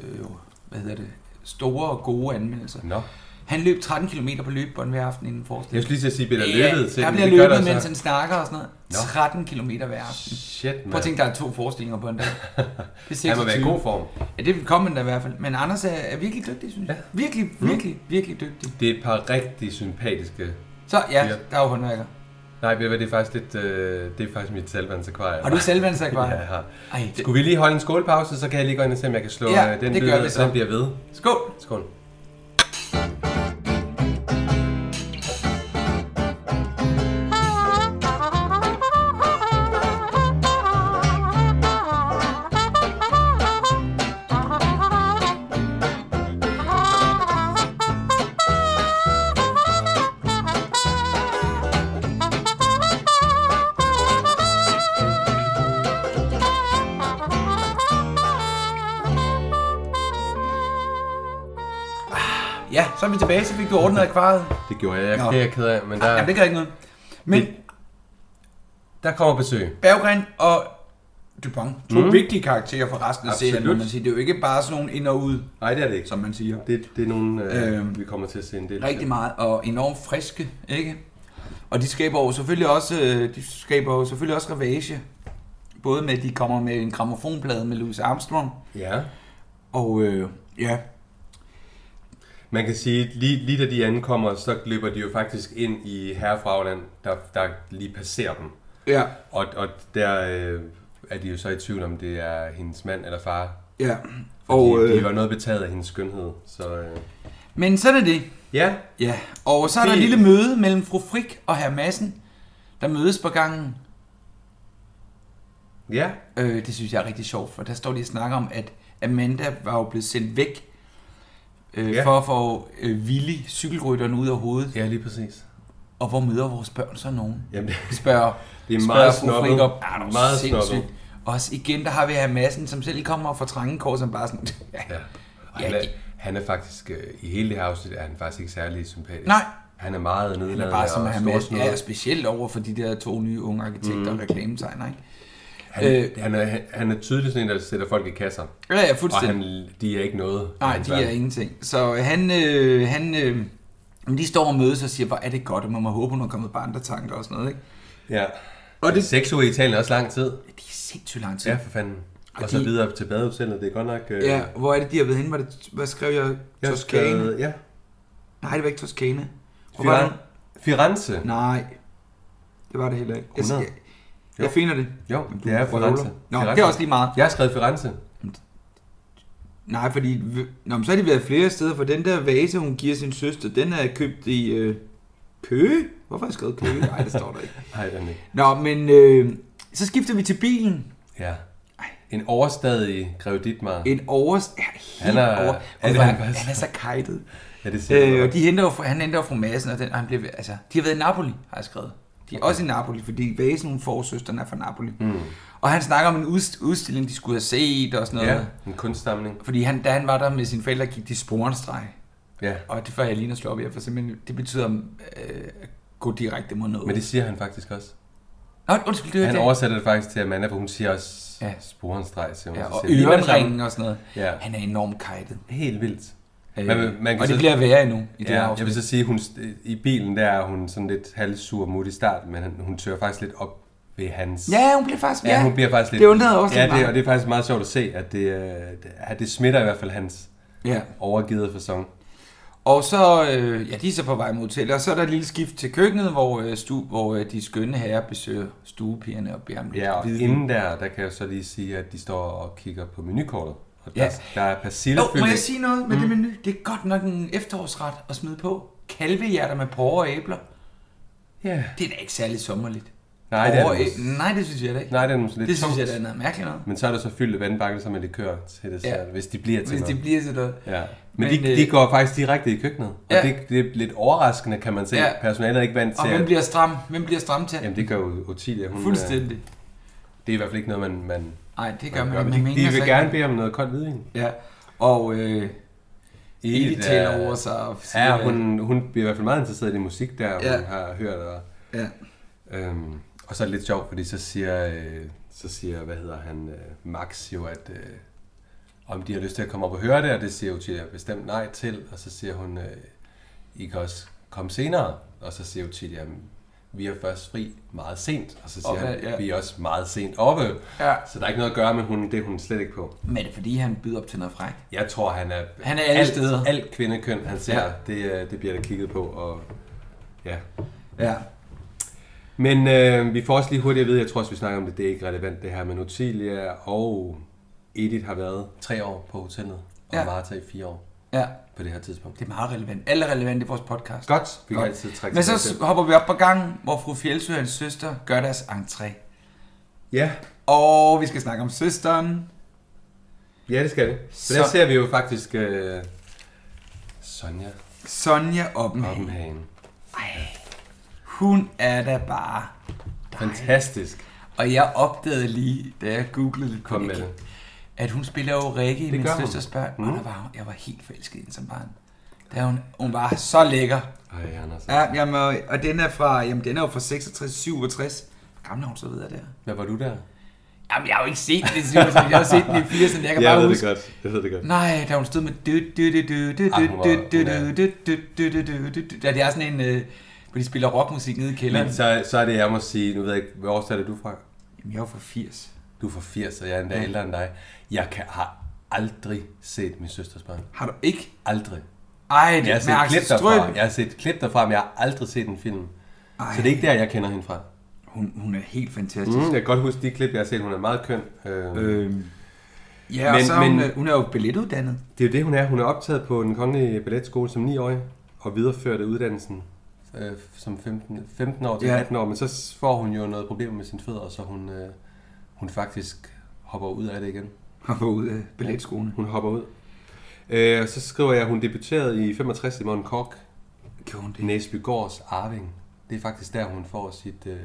Speaker 3: øh, hvad hedder det, store og gode anmeldelser.
Speaker 2: Nå.
Speaker 3: Han løb 13 km på løbebånd hver aften inden
Speaker 2: Jeg
Speaker 3: forestillingen.
Speaker 2: skulle lige til at sige, at Peter løbet til
Speaker 3: der
Speaker 2: den,
Speaker 3: bliver
Speaker 2: men det gør
Speaker 3: løbet,
Speaker 2: der
Speaker 3: mens
Speaker 2: så.
Speaker 3: han snakker og sådan noget.
Speaker 2: Nå.
Speaker 3: 13 km hver aften.
Speaker 2: Shit,
Speaker 3: Prøv at
Speaker 2: mand.
Speaker 3: tænke, der er to forestillinger på
Speaker 2: [LAUGHS]
Speaker 3: en dag. Det er
Speaker 2: Han må være i
Speaker 3: 26.
Speaker 2: god form.
Speaker 3: Ja, det kommer han da i hvert fald. Men Anders er, er virkelig dygtig, synes jeg. Virkelig,
Speaker 2: Mm.
Speaker 3: virkelig, virkelig dygtig.
Speaker 2: Det er et par rigtig sympatiske...
Speaker 3: Så ja,
Speaker 2: Ja.
Speaker 3: der er jo håndværker.
Speaker 2: Nej, ved du hvad, det er faktisk lidt... Øh, det er faktisk mit selvvandsakvarie.
Speaker 3: Har du selvvandsakvarie?
Speaker 2: Ja, jeg har.
Speaker 3: Ej, det-
Speaker 2: Skulle vi lige holde en skålpause, så kan jeg lige gå ind og se, om jeg kan slå
Speaker 3: Ja,
Speaker 2: øh, den
Speaker 3: det
Speaker 2: lyd,
Speaker 3: gør
Speaker 2: ned,
Speaker 3: vi
Speaker 2: så
Speaker 3: så.
Speaker 2: den bliver ved.
Speaker 3: Skål!
Speaker 2: Skål.
Speaker 3: Ja, så er vi tilbage, så fik du ordnet akvariet.
Speaker 2: Det gjorde jeg. Jeg
Speaker 3: Nå.
Speaker 2: det er jeg ked af, men der,
Speaker 3: Jamen, det gør ikke noget. Men
Speaker 2: der kommer besøg.
Speaker 3: Berggren og Dupont, to mm. vigtige karakterer for resten af serien, må
Speaker 2: Absolut.
Speaker 3: man sige. Det er jo ikke bare sådan nogle ind og ud,
Speaker 2: Nej, det er det ikke.
Speaker 3: som man siger.
Speaker 2: Det, det er nogen, øh,
Speaker 3: Øhm,
Speaker 2: vi kommer til at se en del.
Speaker 3: Rigtig meget, og enormt friske, ikke? Og de skaber jo selvfølgelig også, øh, de skaber jo selvfølgelig også ravage. Både med, at de kommer med en gramofonplade med Louis Armstrong,
Speaker 2: Ja.
Speaker 3: og øh, ja,
Speaker 2: Man kan sige, at lige, lige da de ankommer, så løber de jo faktisk ind i herrefragland, der, der lige passerer dem.
Speaker 3: ja,
Speaker 2: Og, og der øh, er de jo så i tvivl, om det er hendes mand eller far.
Speaker 3: ja.
Speaker 2: Fordi
Speaker 3: Og,
Speaker 2: de
Speaker 3: øh,
Speaker 2: var noget betaget af hendes skønhed. Så, øh.
Speaker 3: men sådan er det.
Speaker 2: Ja,
Speaker 3: Ja, og så er der et
Speaker 2: Det-
Speaker 3: lille møde mellem fru Frik og herr Madsen, der mødes på gangen.
Speaker 2: ja.
Speaker 3: Øh, det synes jeg er rigtig sjovt, for der står de og snakker om, at Amanda var jo blevet sendt væk øh,
Speaker 2: Ja.
Speaker 3: ja. for at få øh, Willy, cykelrytteren, ud af hovedet. Ja.
Speaker 2: Ja, lige præcis.
Speaker 3: Og hvor møder vores børn så nogen?
Speaker 2: Jamen, det,
Speaker 3: [LAUGHS] Spørger,
Speaker 2: Det er
Speaker 3: spørger
Speaker 2: meget
Speaker 3: fru
Speaker 2: snobbet.
Speaker 3: Frick op. Ja,
Speaker 2: Meget
Speaker 3: meget sindssygt. Også igen, der har vi herr Madsen, som selv kommer og får trangekår, som bare sådan... [LAUGHS] ja.
Speaker 2: ja. Og
Speaker 3: Ja,
Speaker 2: han, er,
Speaker 3: det-
Speaker 2: han er faktisk, øh, i hele det her afsnit, er han faktisk ikke særlig sympatisk.
Speaker 3: Nej.
Speaker 2: Han er meget nedladende
Speaker 3: Det er bare som
Speaker 2: og
Speaker 3: herr Madsen.
Speaker 2: storsnudet.
Speaker 3: Ja, altså, specielt over for de der to nye unge arkitekter mm. og reklametegner, ikke?
Speaker 2: Han, øh,
Speaker 3: Øh.
Speaker 2: han, er, han- han er tydeligt sådan en, der sætter folk i kasser.
Speaker 3: Ja, ja,
Speaker 2: Og
Speaker 3: fuldstændig.
Speaker 2: han, de er ikke noget.
Speaker 3: Nej,
Speaker 2: Hans
Speaker 3: de
Speaker 2: verden.
Speaker 3: er ingenting. Så han, øh, han øh, men de står og mødes og siger, hvor er det godt, og man må håbe, hun er kommet på andre tanker og sådan noget, ikke?
Speaker 2: Ja.
Speaker 3: Og det-
Speaker 2: Seks uger i Italien er også lang tid.
Speaker 3: Det er sindssygt lang tid.
Speaker 2: Ja,
Speaker 3: Ja.
Speaker 2: for fanden. Og,
Speaker 3: Og
Speaker 2: så
Speaker 3: de-
Speaker 2: videre til badehotellet. Det er godt nok... Øh,
Speaker 3: ja. hvor er det, de har været henne? Var det, hvad skrev jeg?
Speaker 2: jeg har
Speaker 3: Toskane?
Speaker 2: skrevet- Ja.
Speaker 3: Nej, det var ikke Toskane. Hvor var
Speaker 2: Firen,
Speaker 3: det?
Speaker 2: Firenze.
Speaker 3: Nej, det var det heller ikke. Jeg,
Speaker 2: 100.
Speaker 3: jeg, jeg finder det.
Speaker 2: Jo,
Speaker 3: Jamen, du
Speaker 2: det er
Speaker 3: vrøvler.
Speaker 2: Firenze.
Speaker 3: Nå,
Speaker 2: Firenze.
Speaker 3: det er også lige meget.
Speaker 2: Jeg har skrevet Firenze.
Speaker 3: Nej, fordi... Nå, men så har de været flere steder, for den der vase, hun giver sin søster, den er købt i øh, Køge. Hvorfor har jeg skrevet Køge? Nej, det står der ikke.
Speaker 2: Nej, den er ikke.
Speaker 3: Nå, men øh, så skifter vi til bilen.
Speaker 2: Ja. En overstadig Grev Dittmar.
Speaker 3: En over... Ja, helt
Speaker 2: Han er-
Speaker 3: over...
Speaker 2: han
Speaker 3: Han,
Speaker 2: er
Speaker 3: er,
Speaker 2: faktisk-
Speaker 3: han er så kajtet.
Speaker 2: Ja, det siger
Speaker 3: Øh,
Speaker 2: øh,
Speaker 3: og de henter jo fra, han henter jo fra Madsen, og den, og han bliver, ved- altså, de har været i Napoli, har jeg skrevet. De er også i Napoli, fordi Vasen, hun får søsteren, er fra Napoli. Mm. Og han snakker om en udst- udstilling, de skulle have set og sådan noget.
Speaker 2: Ja,
Speaker 3: Ja.
Speaker 2: en kunststamling.
Speaker 3: Fordi han, da han var der med sine forældre, gik de sporenstreg.
Speaker 2: Ja.
Speaker 3: Og det får jeg lige at slå op i, for simpelthen, det betyder øh, at gå direkte mod noget.
Speaker 2: Men det siger han faktisk også.
Speaker 3: Nå, undskyld, det var
Speaker 2: Han
Speaker 3: det.
Speaker 2: oversætter det faktisk til Amanda, for hun siger også ja.
Speaker 3: Ja.
Speaker 2: sporenstreg til hun.
Speaker 3: Ja,
Speaker 2: Så
Speaker 3: og
Speaker 2: siger hun, "Lige med det samme."
Speaker 3: ørenringen og sådan noget.
Speaker 2: Ja.
Speaker 3: Ja. Han er enormt kajtet.
Speaker 2: Helt vildt.
Speaker 3: Øh,
Speaker 2: Man- man kan
Speaker 3: og det
Speaker 2: så-
Speaker 3: bliver værre endnu i det her
Speaker 2: Ja, jeg
Speaker 3: afsnit.
Speaker 2: vil så sige, hun, i bilen der er hun sådan lidt halvsur mod i starten, men han- hun tør faktisk lidt op ved hans...
Speaker 3: Ja, hun bliver faktisk...
Speaker 2: ja hun bliver faktisk lidt...
Speaker 3: Det undrede også
Speaker 2: Ja,
Speaker 3: lidt
Speaker 2: det,
Speaker 3: mig.
Speaker 2: og det er faktisk meget sjovt at se, at det, øh, det, at det smitter i hvert fald hans
Speaker 3: Ja.
Speaker 2: overgivet fasong.
Speaker 3: Og så, øh, ja, de er så på vej mod hotellet, og så er der et lille skift til køkkenet, hvor, øh, stu, hvor øh, de skønne herrer besøger stuepigerne og beder om lidt
Speaker 2: Ja, og
Speaker 3: viden.
Speaker 2: inden der, der kan jeg så lige sige, at de står og kigger på menukortet. Og der,
Speaker 3: Ja.
Speaker 2: der er persille
Speaker 3: Jo, må jeg sige noget med mm. det menu? Det er godt nok en efterårsret at smide på. Kalvehjerter med porre og æbler.
Speaker 2: Ja,
Speaker 3: Det er da ikke særlig sommerligt.
Speaker 2: Nej, det er
Speaker 3: Over
Speaker 2: det
Speaker 3: i- Nej, det synes jeg da ikke.
Speaker 2: Nej, det er måske lidt
Speaker 3: det synes
Speaker 2: tungt.
Speaker 3: jeg da er noget mærkeligt noget.
Speaker 2: Men så er der så fyldte vandbakkelser med likør til det ja. hvis de bliver til
Speaker 3: Hvis
Speaker 2: noget.
Speaker 3: det bliver sådan noget.
Speaker 2: Ja. Men,
Speaker 3: Men,
Speaker 2: Men de,
Speaker 3: øh,
Speaker 2: de går faktisk direkte i køkkenet. Og
Speaker 3: ja.
Speaker 2: ja. det, det er lidt overraskende, kan man se.
Speaker 3: Ja.
Speaker 2: Ja. Personalet er ikke vant
Speaker 3: Og
Speaker 2: til...
Speaker 3: hvem
Speaker 2: at-
Speaker 3: bliver stram? Hvem bliver stram til?
Speaker 2: Jamen det gør jo Otilia. Hun, øh,
Speaker 3: Fuldstændig.
Speaker 2: Det er i hvert fald ikke noget, man, man,
Speaker 3: Nej, det gør
Speaker 2: man
Speaker 3: man,
Speaker 2: Men
Speaker 3: ikke.
Speaker 2: de,
Speaker 3: Man
Speaker 2: de
Speaker 3: mener
Speaker 2: vil
Speaker 3: sig
Speaker 2: gerne
Speaker 3: ikke.
Speaker 2: bede om noget koldt hvidvin.
Speaker 3: Ja, og øh, Edith taler over sig. Og siger,
Speaker 2: Ja, hun, hun bliver i hvert fald meget interesseret i det musik, der
Speaker 3: Ja.
Speaker 2: ja. hun har hørt. Og,
Speaker 3: Ja.
Speaker 2: øhm, og så er det lidt sjovt, fordi så siger, øh, så siger hvad hedder han, øh, Max jo, at øh, om de har lyst til at komme op og høre det, og det siger Otilia bestemt nej til. Og så siger hun, øh, I kan også komme senere. Og så siger Otilia, "Men vi er først fri meget sent. Og så siger
Speaker 3: Og hvad-
Speaker 2: okay, han,
Speaker 3: ja.
Speaker 2: ja. vi er også meget sent oppe.
Speaker 3: Ja.
Speaker 2: Så der er ikke noget at gøre med hun, det er hun slet ikke på.
Speaker 3: Men er det fordi, han byder op til noget fræk?
Speaker 2: Jeg tror, han er,
Speaker 3: Han er alle
Speaker 2: alt,
Speaker 3: steder.
Speaker 2: alt kvindekøn, han ser,
Speaker 3: Ja.
Speaker 2: ja. det, øh, det bliver der kigget på. Og, ja.
Speaker 3: Ja.
Speaker 2: Men øh, vi får også lige hurtigt at vide, jeg tror også, vi snakker om det, det er ikke relevant det her, men Otilia og Edith har været tre år på hotellet, og
Speaker 3: Ja.
Speaker 2: ja. Martha i fire år
Speaker 3: Ja,
Speaker 2: på det her tidspunkt.
Speaker 3: det er meget relevant. Alle er relevant i vores podcast.
Speaker 2: Godt, vi kan altid trække
Speaker 3: Men
Speaker 2: tilbage
Speaker 3: så
Speaker 2: til.
Speaker 3: hopper vi op på gangen, hvor fru Fjeldsø og hendes søster gør deres entré.
Speaker 2: Ja,
Speaker 3: Og vi skal snakke om søsteren.
Speaker 2: ja, det skal vi. Så
Speaker 3: Så-
Speaker 2: der ser vi jo faktisk øh, Sonja
Speaker 3: Sonja Oppenhagen.
Speaker 2: Oppenhagen.
Speaker 3: Hun er da bare...
Speaker 2: Fantastisk.
Speaker 3: Og jeg opdagede lige, da jeg googlede lidt på
Speaker 2: Kom med
Speaker 3: det,
Speaker 2: det.
Speaker 3: at hun spiller jo Rikke i min
Speaker 2: gør hun.
Speaker 3: søsters børn. Mm. Og der var, hun- jeg var helt forelsket i hende som barn. Der hun, hun var så lækker.
Speaker 2: Ej, Anders.
Speaker 3: Ja, jamen, og- og den er fra, jamen, den er jo fra 66, 67. Hvor gammel er hun så videre der?
Speaker 2: Hvad var du [LAUGHS] der?
Speaker 3: Jamen, jeg har jo ikke set den i 67, jeg har set den i 80'erne, jeg kan bare huske.
Speaker 2: godt. Jeg ved det godt.
Speaker 3: Nej, da hun stod med du du du du du
Speaker 2: Ah, hun var-
Speaker 3: du du
Speaker 2: hun er-
Speaker 3: du du du du du du du Da det er sådan en, øh, hvor de spiller rockmusik nede i kælderen.
Speaker 2: Men så, så er det, jeg må sige, nu ved jeg ikke, hvor årstal er du fra?
Speaker 3: Jamen, jeg var fra 80.
Speaker 2: Du er fra 80, og jeg er endda ældre end dig. Jeg kan, har aldrig set min søsters børn.
Speaker 3: Har du ikke?
Speaker 2: Aldrig.
Speaker 3: Ej, det
Speaker 2: Jeg har
Speaker 3: er med
Speaker 2: set
Speaker 3: Axel
Speaker 2: klip derfra.
Speaker 3: Strøm.
Speaker 2: Jeg har set klip derfra, men jeg har aldrig set en film.
Speaker 3: Ej.
Speaker 2: Ej. Så det er ikke der, jeg kender hende fra.
Speaker 3: Hun, hun er helt fantastisk.
Speaker 2: Mm, jeg kan godt huske de klip, jeg har set. Hun er meget køn. Øh, øh.
Speaker 3: Øhm, ja, men, og
Speaker 2: Men-
Speaker 3: så er hun,
Speaker 2: men-
Speaker 3: øh, hun er jo billetuddannet.
Speaker 2: Det er jo det, hun er. Hun er optaget på den kongelige balletskole som 9-årig og videreførte uddannelsen øh, som 15, 15 år til
Speaker 3: Ja.
Speaker 2: ja. 18 år. Men så s- får hun jo noget problem med sine fødder, så hun, øh, hun faktisk hopper ud af det igen.
Speaker 3: Og var ude af balletskolen.
Speaker 2: Hun hopper ud. Øh, og så skriver jeg, at hun debuterede i 65 i Morten Kork,
Speaker 3: Gjorde hun det?
Speaker 2: Næsby Gårds Arving. Det er faktisk der, hun får sit... Øh...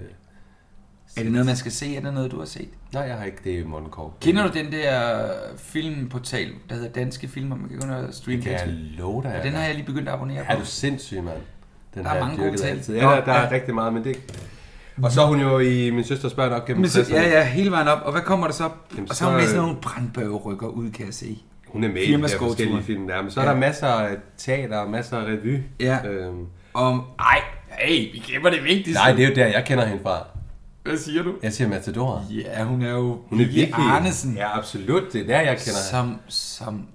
Speaker 3: Er det noget, man skal se? Er det noget, du har set?
Speaker 2: Nej, jeg har ikke det i Morten Kork.
Speaker 3: Kender du den der filmportal, der hedder Danske Filmer? Man kan gå ind og streame
Speaker 2: Det kan jeg
Speaker 3: danske.
Speaker 2: love dig.
Speaker 3: Og den har jeg lige begyndt at abonnere på.
Speaker 2: Er du sindssyg, mand? Den
Speaker 3: Der er
Speaker 2: har jeg
Speaker 3: mange gode
Speaker 2: dyrket
Speaker 3: ting.
Speaker 2: Altid.
Speaker 3: Nå,
Speaker 2: Ja, der, der
Speaker 3: ja.
Speaker 2: er rigtig meget, men det... Og så er hun jo i Min Søsters Børn op gennem
Speaker 3: Men så,
Speaker 2: 60'erne.
Speaker 3: ja, ja, hele vejen op. Og hvad kommer der så? Jamen,
Speaker 2: Jamen,
Speaker 3: og så har hun
Speaker 2: så,
Speaker 3: med sådan
Speaker 2: øh,
Speaker 3: nogle brandbøgerykker ud, kan jeg se.
Speaker 2: Hun er med i de her
Speaker 3: Firmaskovturen.
Speaker 2: forskellige film. Der. Men så er
Speaker 3: Ja.
Speaker 2: der masser af teater og masser af revy.
Speaker 3: Ja.
Speaker 2: Øhm,
Speaker 3: Om, ej, hey, vi gemmer det vigtigste.
Speaker 2: nej, det er jo der, jeg kender hende fra.
Speaker 3: Hvad siger du?
Speaker 2: Jeg siger Matador.
Speaker 3: Ja, hun er jo
Speaker 2: Hun er
Speaker 3: Vicky
Speaker 2: virkelig...
Speaker 3: Arnesen.
Speaker 2: Ja, absolut. Det er der, jeg kender hende.
Speaker 3: Som, som...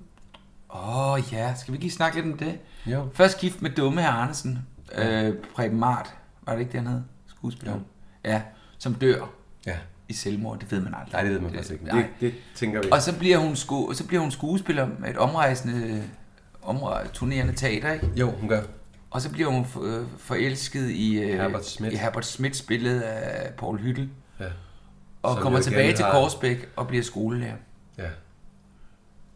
Speaker 3: Åh oh, ja, skal vi ikke lige snakke lidt om det?
Speaker 2: Jo.
Speaker 3: Først gift med dumme herr Andersen. Øh, Preben Mart, var det ikke det, han hed? Skuespilleren. Ja, som dør
Speaker 2: Ja.
Speaker 3: i selvmord, det ved man aldrig.
Speaker 2: Nej, det ved man faktisk ikke.
Speaker 3: nej.
Speaker 2: Det, det tænker vi
Speaker 3: Og
Speaker 2: ikke.
Speaker 3: så bliver hun, sku, så bliver hun skuespiller med et omrejsende, omre, turnerende teater, ikke?
Speaker 2: Jo, hun gør.
Speaker 3: Og så bliver hun f- øh, forelsket i, øh,
Speaker 2: Herbert Schmidt.
Speaker 3: i Herbert Smits billede af Paul Hyttel.
Speaker 2: Ja.
Speaker 3: Og
Speaker 2: Som
Speaker 3: kommer
Speaker 2: jo igen
Speaker 3: tilbage til
Speaker 2: har-
Speaker 3: Korsbæk og bliver skolelærer.
Speaker 2: ja.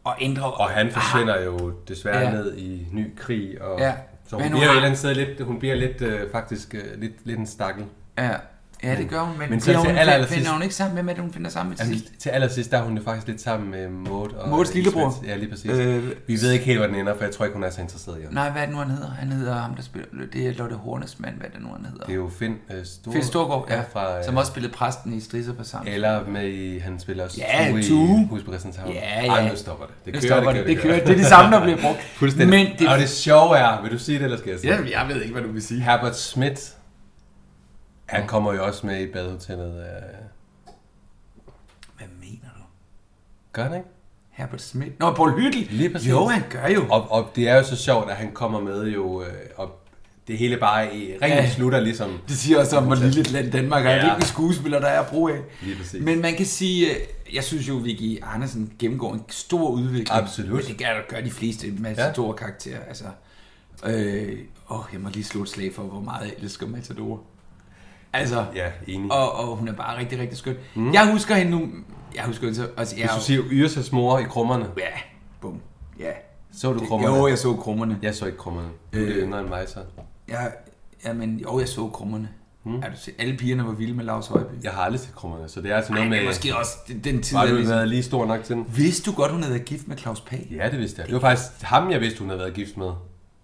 Speaker 3: Og ændrer...
Speaker 2: Og han forsvinder jo desværre
Speaker 3: Ja.
Speaker 2: ja. ned i ny krig. Og,
Speaker 3: Ja.
Speaker 2: ja. Så hun
Speaker 3: Men hun
Speaker 2: bliver jo et
Speaker 3: har-
Speaker 2: eller andet sted lidt, hun bliver lidt, øh, faktisk øh, lidt, lidt en stakkel.
Speaker 3: Ja, ja det gør hun, men, men
Speaker 2: Men så
Speaker 3: bliver
Speaker 2: til
Speaker 3: hun,
Speaker 2: aller- aller
Speaker 3: finder
Speaker 2: sidst-
Speaker 3: hun ikke sammen med, at hun finder sammen til
Speaker 2: Jamen,
Speaker 3: sidst?
Speaker 2: til allersidst, der er hun jo faktisk lidt sammen med Maud og
Speaker 3: Mauds
Speaker 2: øh,
Speaker 3: lillebror.
Speaker 2: Lisbeth. Ja, lige præcis.
Speaker 3: Øh,
Speaker 2: Øh, Vi ved ikke helt, hvor den ender, for jeg tror ikke, hun er så interesseret i ham.
Speaker 3: Nej, hvad er det nu, han hedder? Han hedder ham, der spiller... Det er Lotte Hornes mand, hvad er det nu, han hedder?
Speaker 2: Det er jo Finn øh, Stor...
Speaker 3: Finn Storgård, ja,
Speaker 2: Fra, øh,
Speaker 3: som også spillede præsten i Strisser på sammen.
Speaker 2: Eller med i, han spiller også
Speaker 3: Ja,
Speaker 2: Tue
Speaker 3: Tue.
Speaker 2: i Hus på Christianshavn.
Speaker 3: Ja, ja.
Speaker 2: Ej, nu stopper det. Det
Speaker 3: Nu
Speaker 2: kører,
Speaker 3: stopper
Speaker 2: det,
Speaker 3: det, det kører. Det er det samme, der bliver brugt.
Speaker 2: Fuldstændig.
Speaker 3: Men det-
Speaker 2: Og det sjove er, vil du sige det, eller skal jeg sige det?
Speaker 3: jeg ved ikke, hvad du vil sige.
Speaker 2: Herbert Schmidt, han kommer jo også med i badehotellet. øh.
Speaker 3: Hvad mener du?
Speaker 2: Gør han ikke?
Speaker 3: Herbert Schmidt? Nå, Paul Hyttel!
Speaker 2: Lige præcis.
Speaker 3: Jo, han gør jo.
Speaker 2: Og, og det er jo så sjovt, at han kommer med jo, øh, og det hele bare i rent
Speaker 3: Ja.
Speaker 2: ja. slutter ligesom.
Speaker 3: Det siger også om, hvor lille et land Danmark er.
Speaker 2: Ja.
Speaker 3: Hvilke skuespiller der er at bruge af.
Speaker 2: Lige præcis.
Speaker 3: Men man kan sige, øh, jeg synes jo, Vicky Andersen gennemgår en stor udvikling.
Speaker 2: Absolut.
Speaker 3: Men det gør, gør de fleste med ja.
Speaker 2: Ja.
Speaker 3: store karakterer. Altså, øh, åh, jeg må lige slå et slag for, hvor meget jeg elsker Matador. Altså,
Speaker 2: Ja, enig. Og
Speaker 3: og, og hun er bare rigtig, rigtig skøn. Mm. Jeg husker hende nu... Jeg husker hende så... Altså, jeg,
Speaker 2: Hvis du siger Yrsas mor i krummerne,
Speaker 3: Ja, bum. Ja.
Speaker 2: så du krummerne?
Speaker 3: Jo, jeg så krummerne.
Speaker 2: Jeg så ikke krummerne. Du er lidt yngre end mig, så.
Speaker 3: Jeg, jamen, jo, jeg så krummerne. Mm. Er du se, alle pigerne var vilde med Lars Højby.
Speaker 2: Jeg har aldrig set krummerne, så det er altså noget
Speaker 3: Ej,
Speaker 2: med...
Speaker 3: det er måske også den, den tid,
Speaker 2: Var
Speaker 3: jeg
Speaker 2: du
Speaker 3: ligesom...
Speaker 2: været lige stor nok til den?
Speaker 3: Vidste du godt, hun havde været gift med Claus Pag?
Speaker 2: Ja, det vidste jeg. Det var faktisk ham, jeg vidste, hun havde været gift med.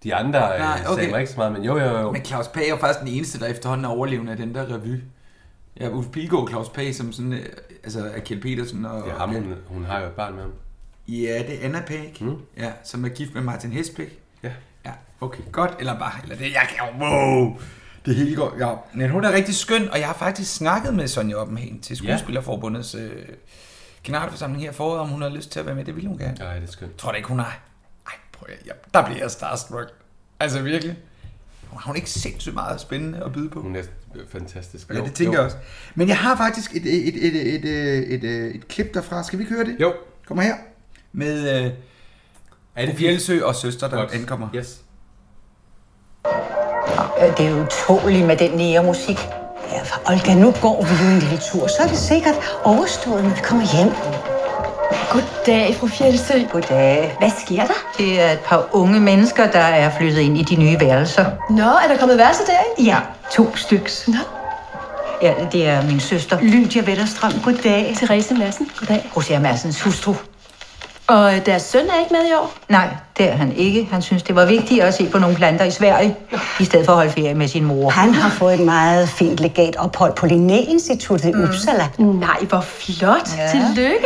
Speaker 2: De andre Nej,
Speaker 3: Nej,
Speaker 2: Ah, okay.
Speaker 3: okay.
Speaker 2: sagde mig ikke så meget, men jo, jo, jo.
Speaker 3: Men Claus Pag er jo faktisk den eneste, der efterhånden er overlevende af den der revy. Ja, Uffe Pilgaard og Claus Pag, som sådan... øh, Altså, er Kjeld Petersen og...
Speaker 2: Ja, ham, hun, hun har jo et barn med ham.
Speaker 3: Ja, det er Anna Pag, mm. ja, som er gift med Martin Hesbæk.
Speaker 2: Ja.
Speaker 3: Ja, okay, godt, eller bare, eller det, jeg kan jo, wow, det hele går, ja. Men hun er rigtig skøn, og jeg har faktisk snakket med Sonja Oppenhagen til Skuespillerforbundets øh, generalforsamling her foråret, om hun har lyst til at være med, det ville hun gerne. Ja.
Speaker 2: Nej, det er skønt.
Speaker 3: Tror du ikke, hun har? Ej, prøv at, ja, der bliver jeg starstruck. Altså virkelig. Har hun ikke sindssygt meget spændende at byde på?
Speaker 2: Hun er øh, fantastisk.
Speaker 3: Ja,
Speaker 2: Jo,
Speaker 3: det tænker
Speaker 2: jo.
Speaker 3: jeg også. Men jeg har faktisk et, et, et, et, et, et, et, et, et klip derfra. Skal vi køre det?
Speaker 2: Jo.
Speaker 3: Kommer her. Med
Speaker 2: Er
Speaker 3: øh,
Speaker 2: det fint?
Speaker 3: Fjeldsø og søster, der
Speaker 2: Godt.
Speaker 3: ankommer.
Speaker 2: Yes.
Speaker 4: Øh, Det er utåligt med den nære musik. Ja, Olga, nu går vi jo en lille tur, så er det sikkert overstået, når vi kommer hjem.
Speaker 7: Goddag, fru Fjeldsø.
Speaker 4: Goddag. Hvad sker der? Det er et par unge mennesker, der er flyttet ind i de nye værelser.
Speaker 7: Nå, er der kommet værelse der, ikke?
Speaker 4: Ja, to styks.
Speaker 7: Nå.
Speaker 4: Ja, det er min søster, Lydia Vetterstrøm. Goddag.
Speaker 7: Therese Madsen, goddag.
Speaker 4: Roser Madsens hustru.
Speaker 7: Og øh, deres søn er ikke med i år?
Speaker 4: Nej, det er han ikke. Han synes, det var vigtigt at se på nogle planter i Sverige, i stedet for at holde ferie med sin mor.
Speaker 8: Han har fået et meget fint legat ophold på Linné-instituttet i Uppsala.
Speaker 5: Mm.
Speaker 7: Nej, hvor flot. Ja. Tillykke.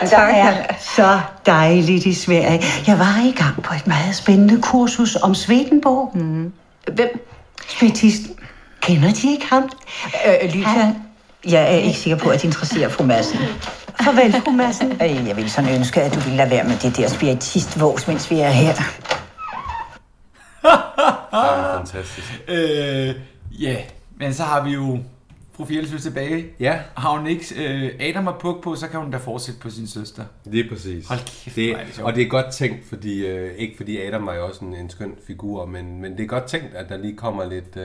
Speaker 8: Og der er så dejligt i Sverige. Jeg var i gang på et meget spændende kursus om Svedenborg. Mm.
Speaker 7: Hvem?
Speaker 8: Spiritisten. Kender de ikke ham?
Speaker 4: Øh, Lydia, jeg er ikke sikker på, at det interesserer fru Madsen.
Speaker 8: Farvel, fru Madsen.
Speaker 4: Øh, Jeg vil sådan ønske, at du ville lade være med det der spiritistvås, mens vi er her.
Speaker 2: Ah. Det er fantastisk.
Speaker 3: Øh, ja, men så har vi jo fru Fjeldsø tilbage.
Speaker 2: Ja,
Speaker 3: Har hun ikke øh, Adam og Puk på, så kan hun da fortsætte på sin søster.
Speaker 2: lige præcis.
Speaker 3: Hold kæft,
Speaker 2: det,
Speaker 3: hvor er det sjovt.
Speaker 2: og det er godt tænkt, fordi, øh, ikke fordi Adam var jo også en, en skøn figur, men, men det er godt tænkt, at der lige kommer lidt... Øh,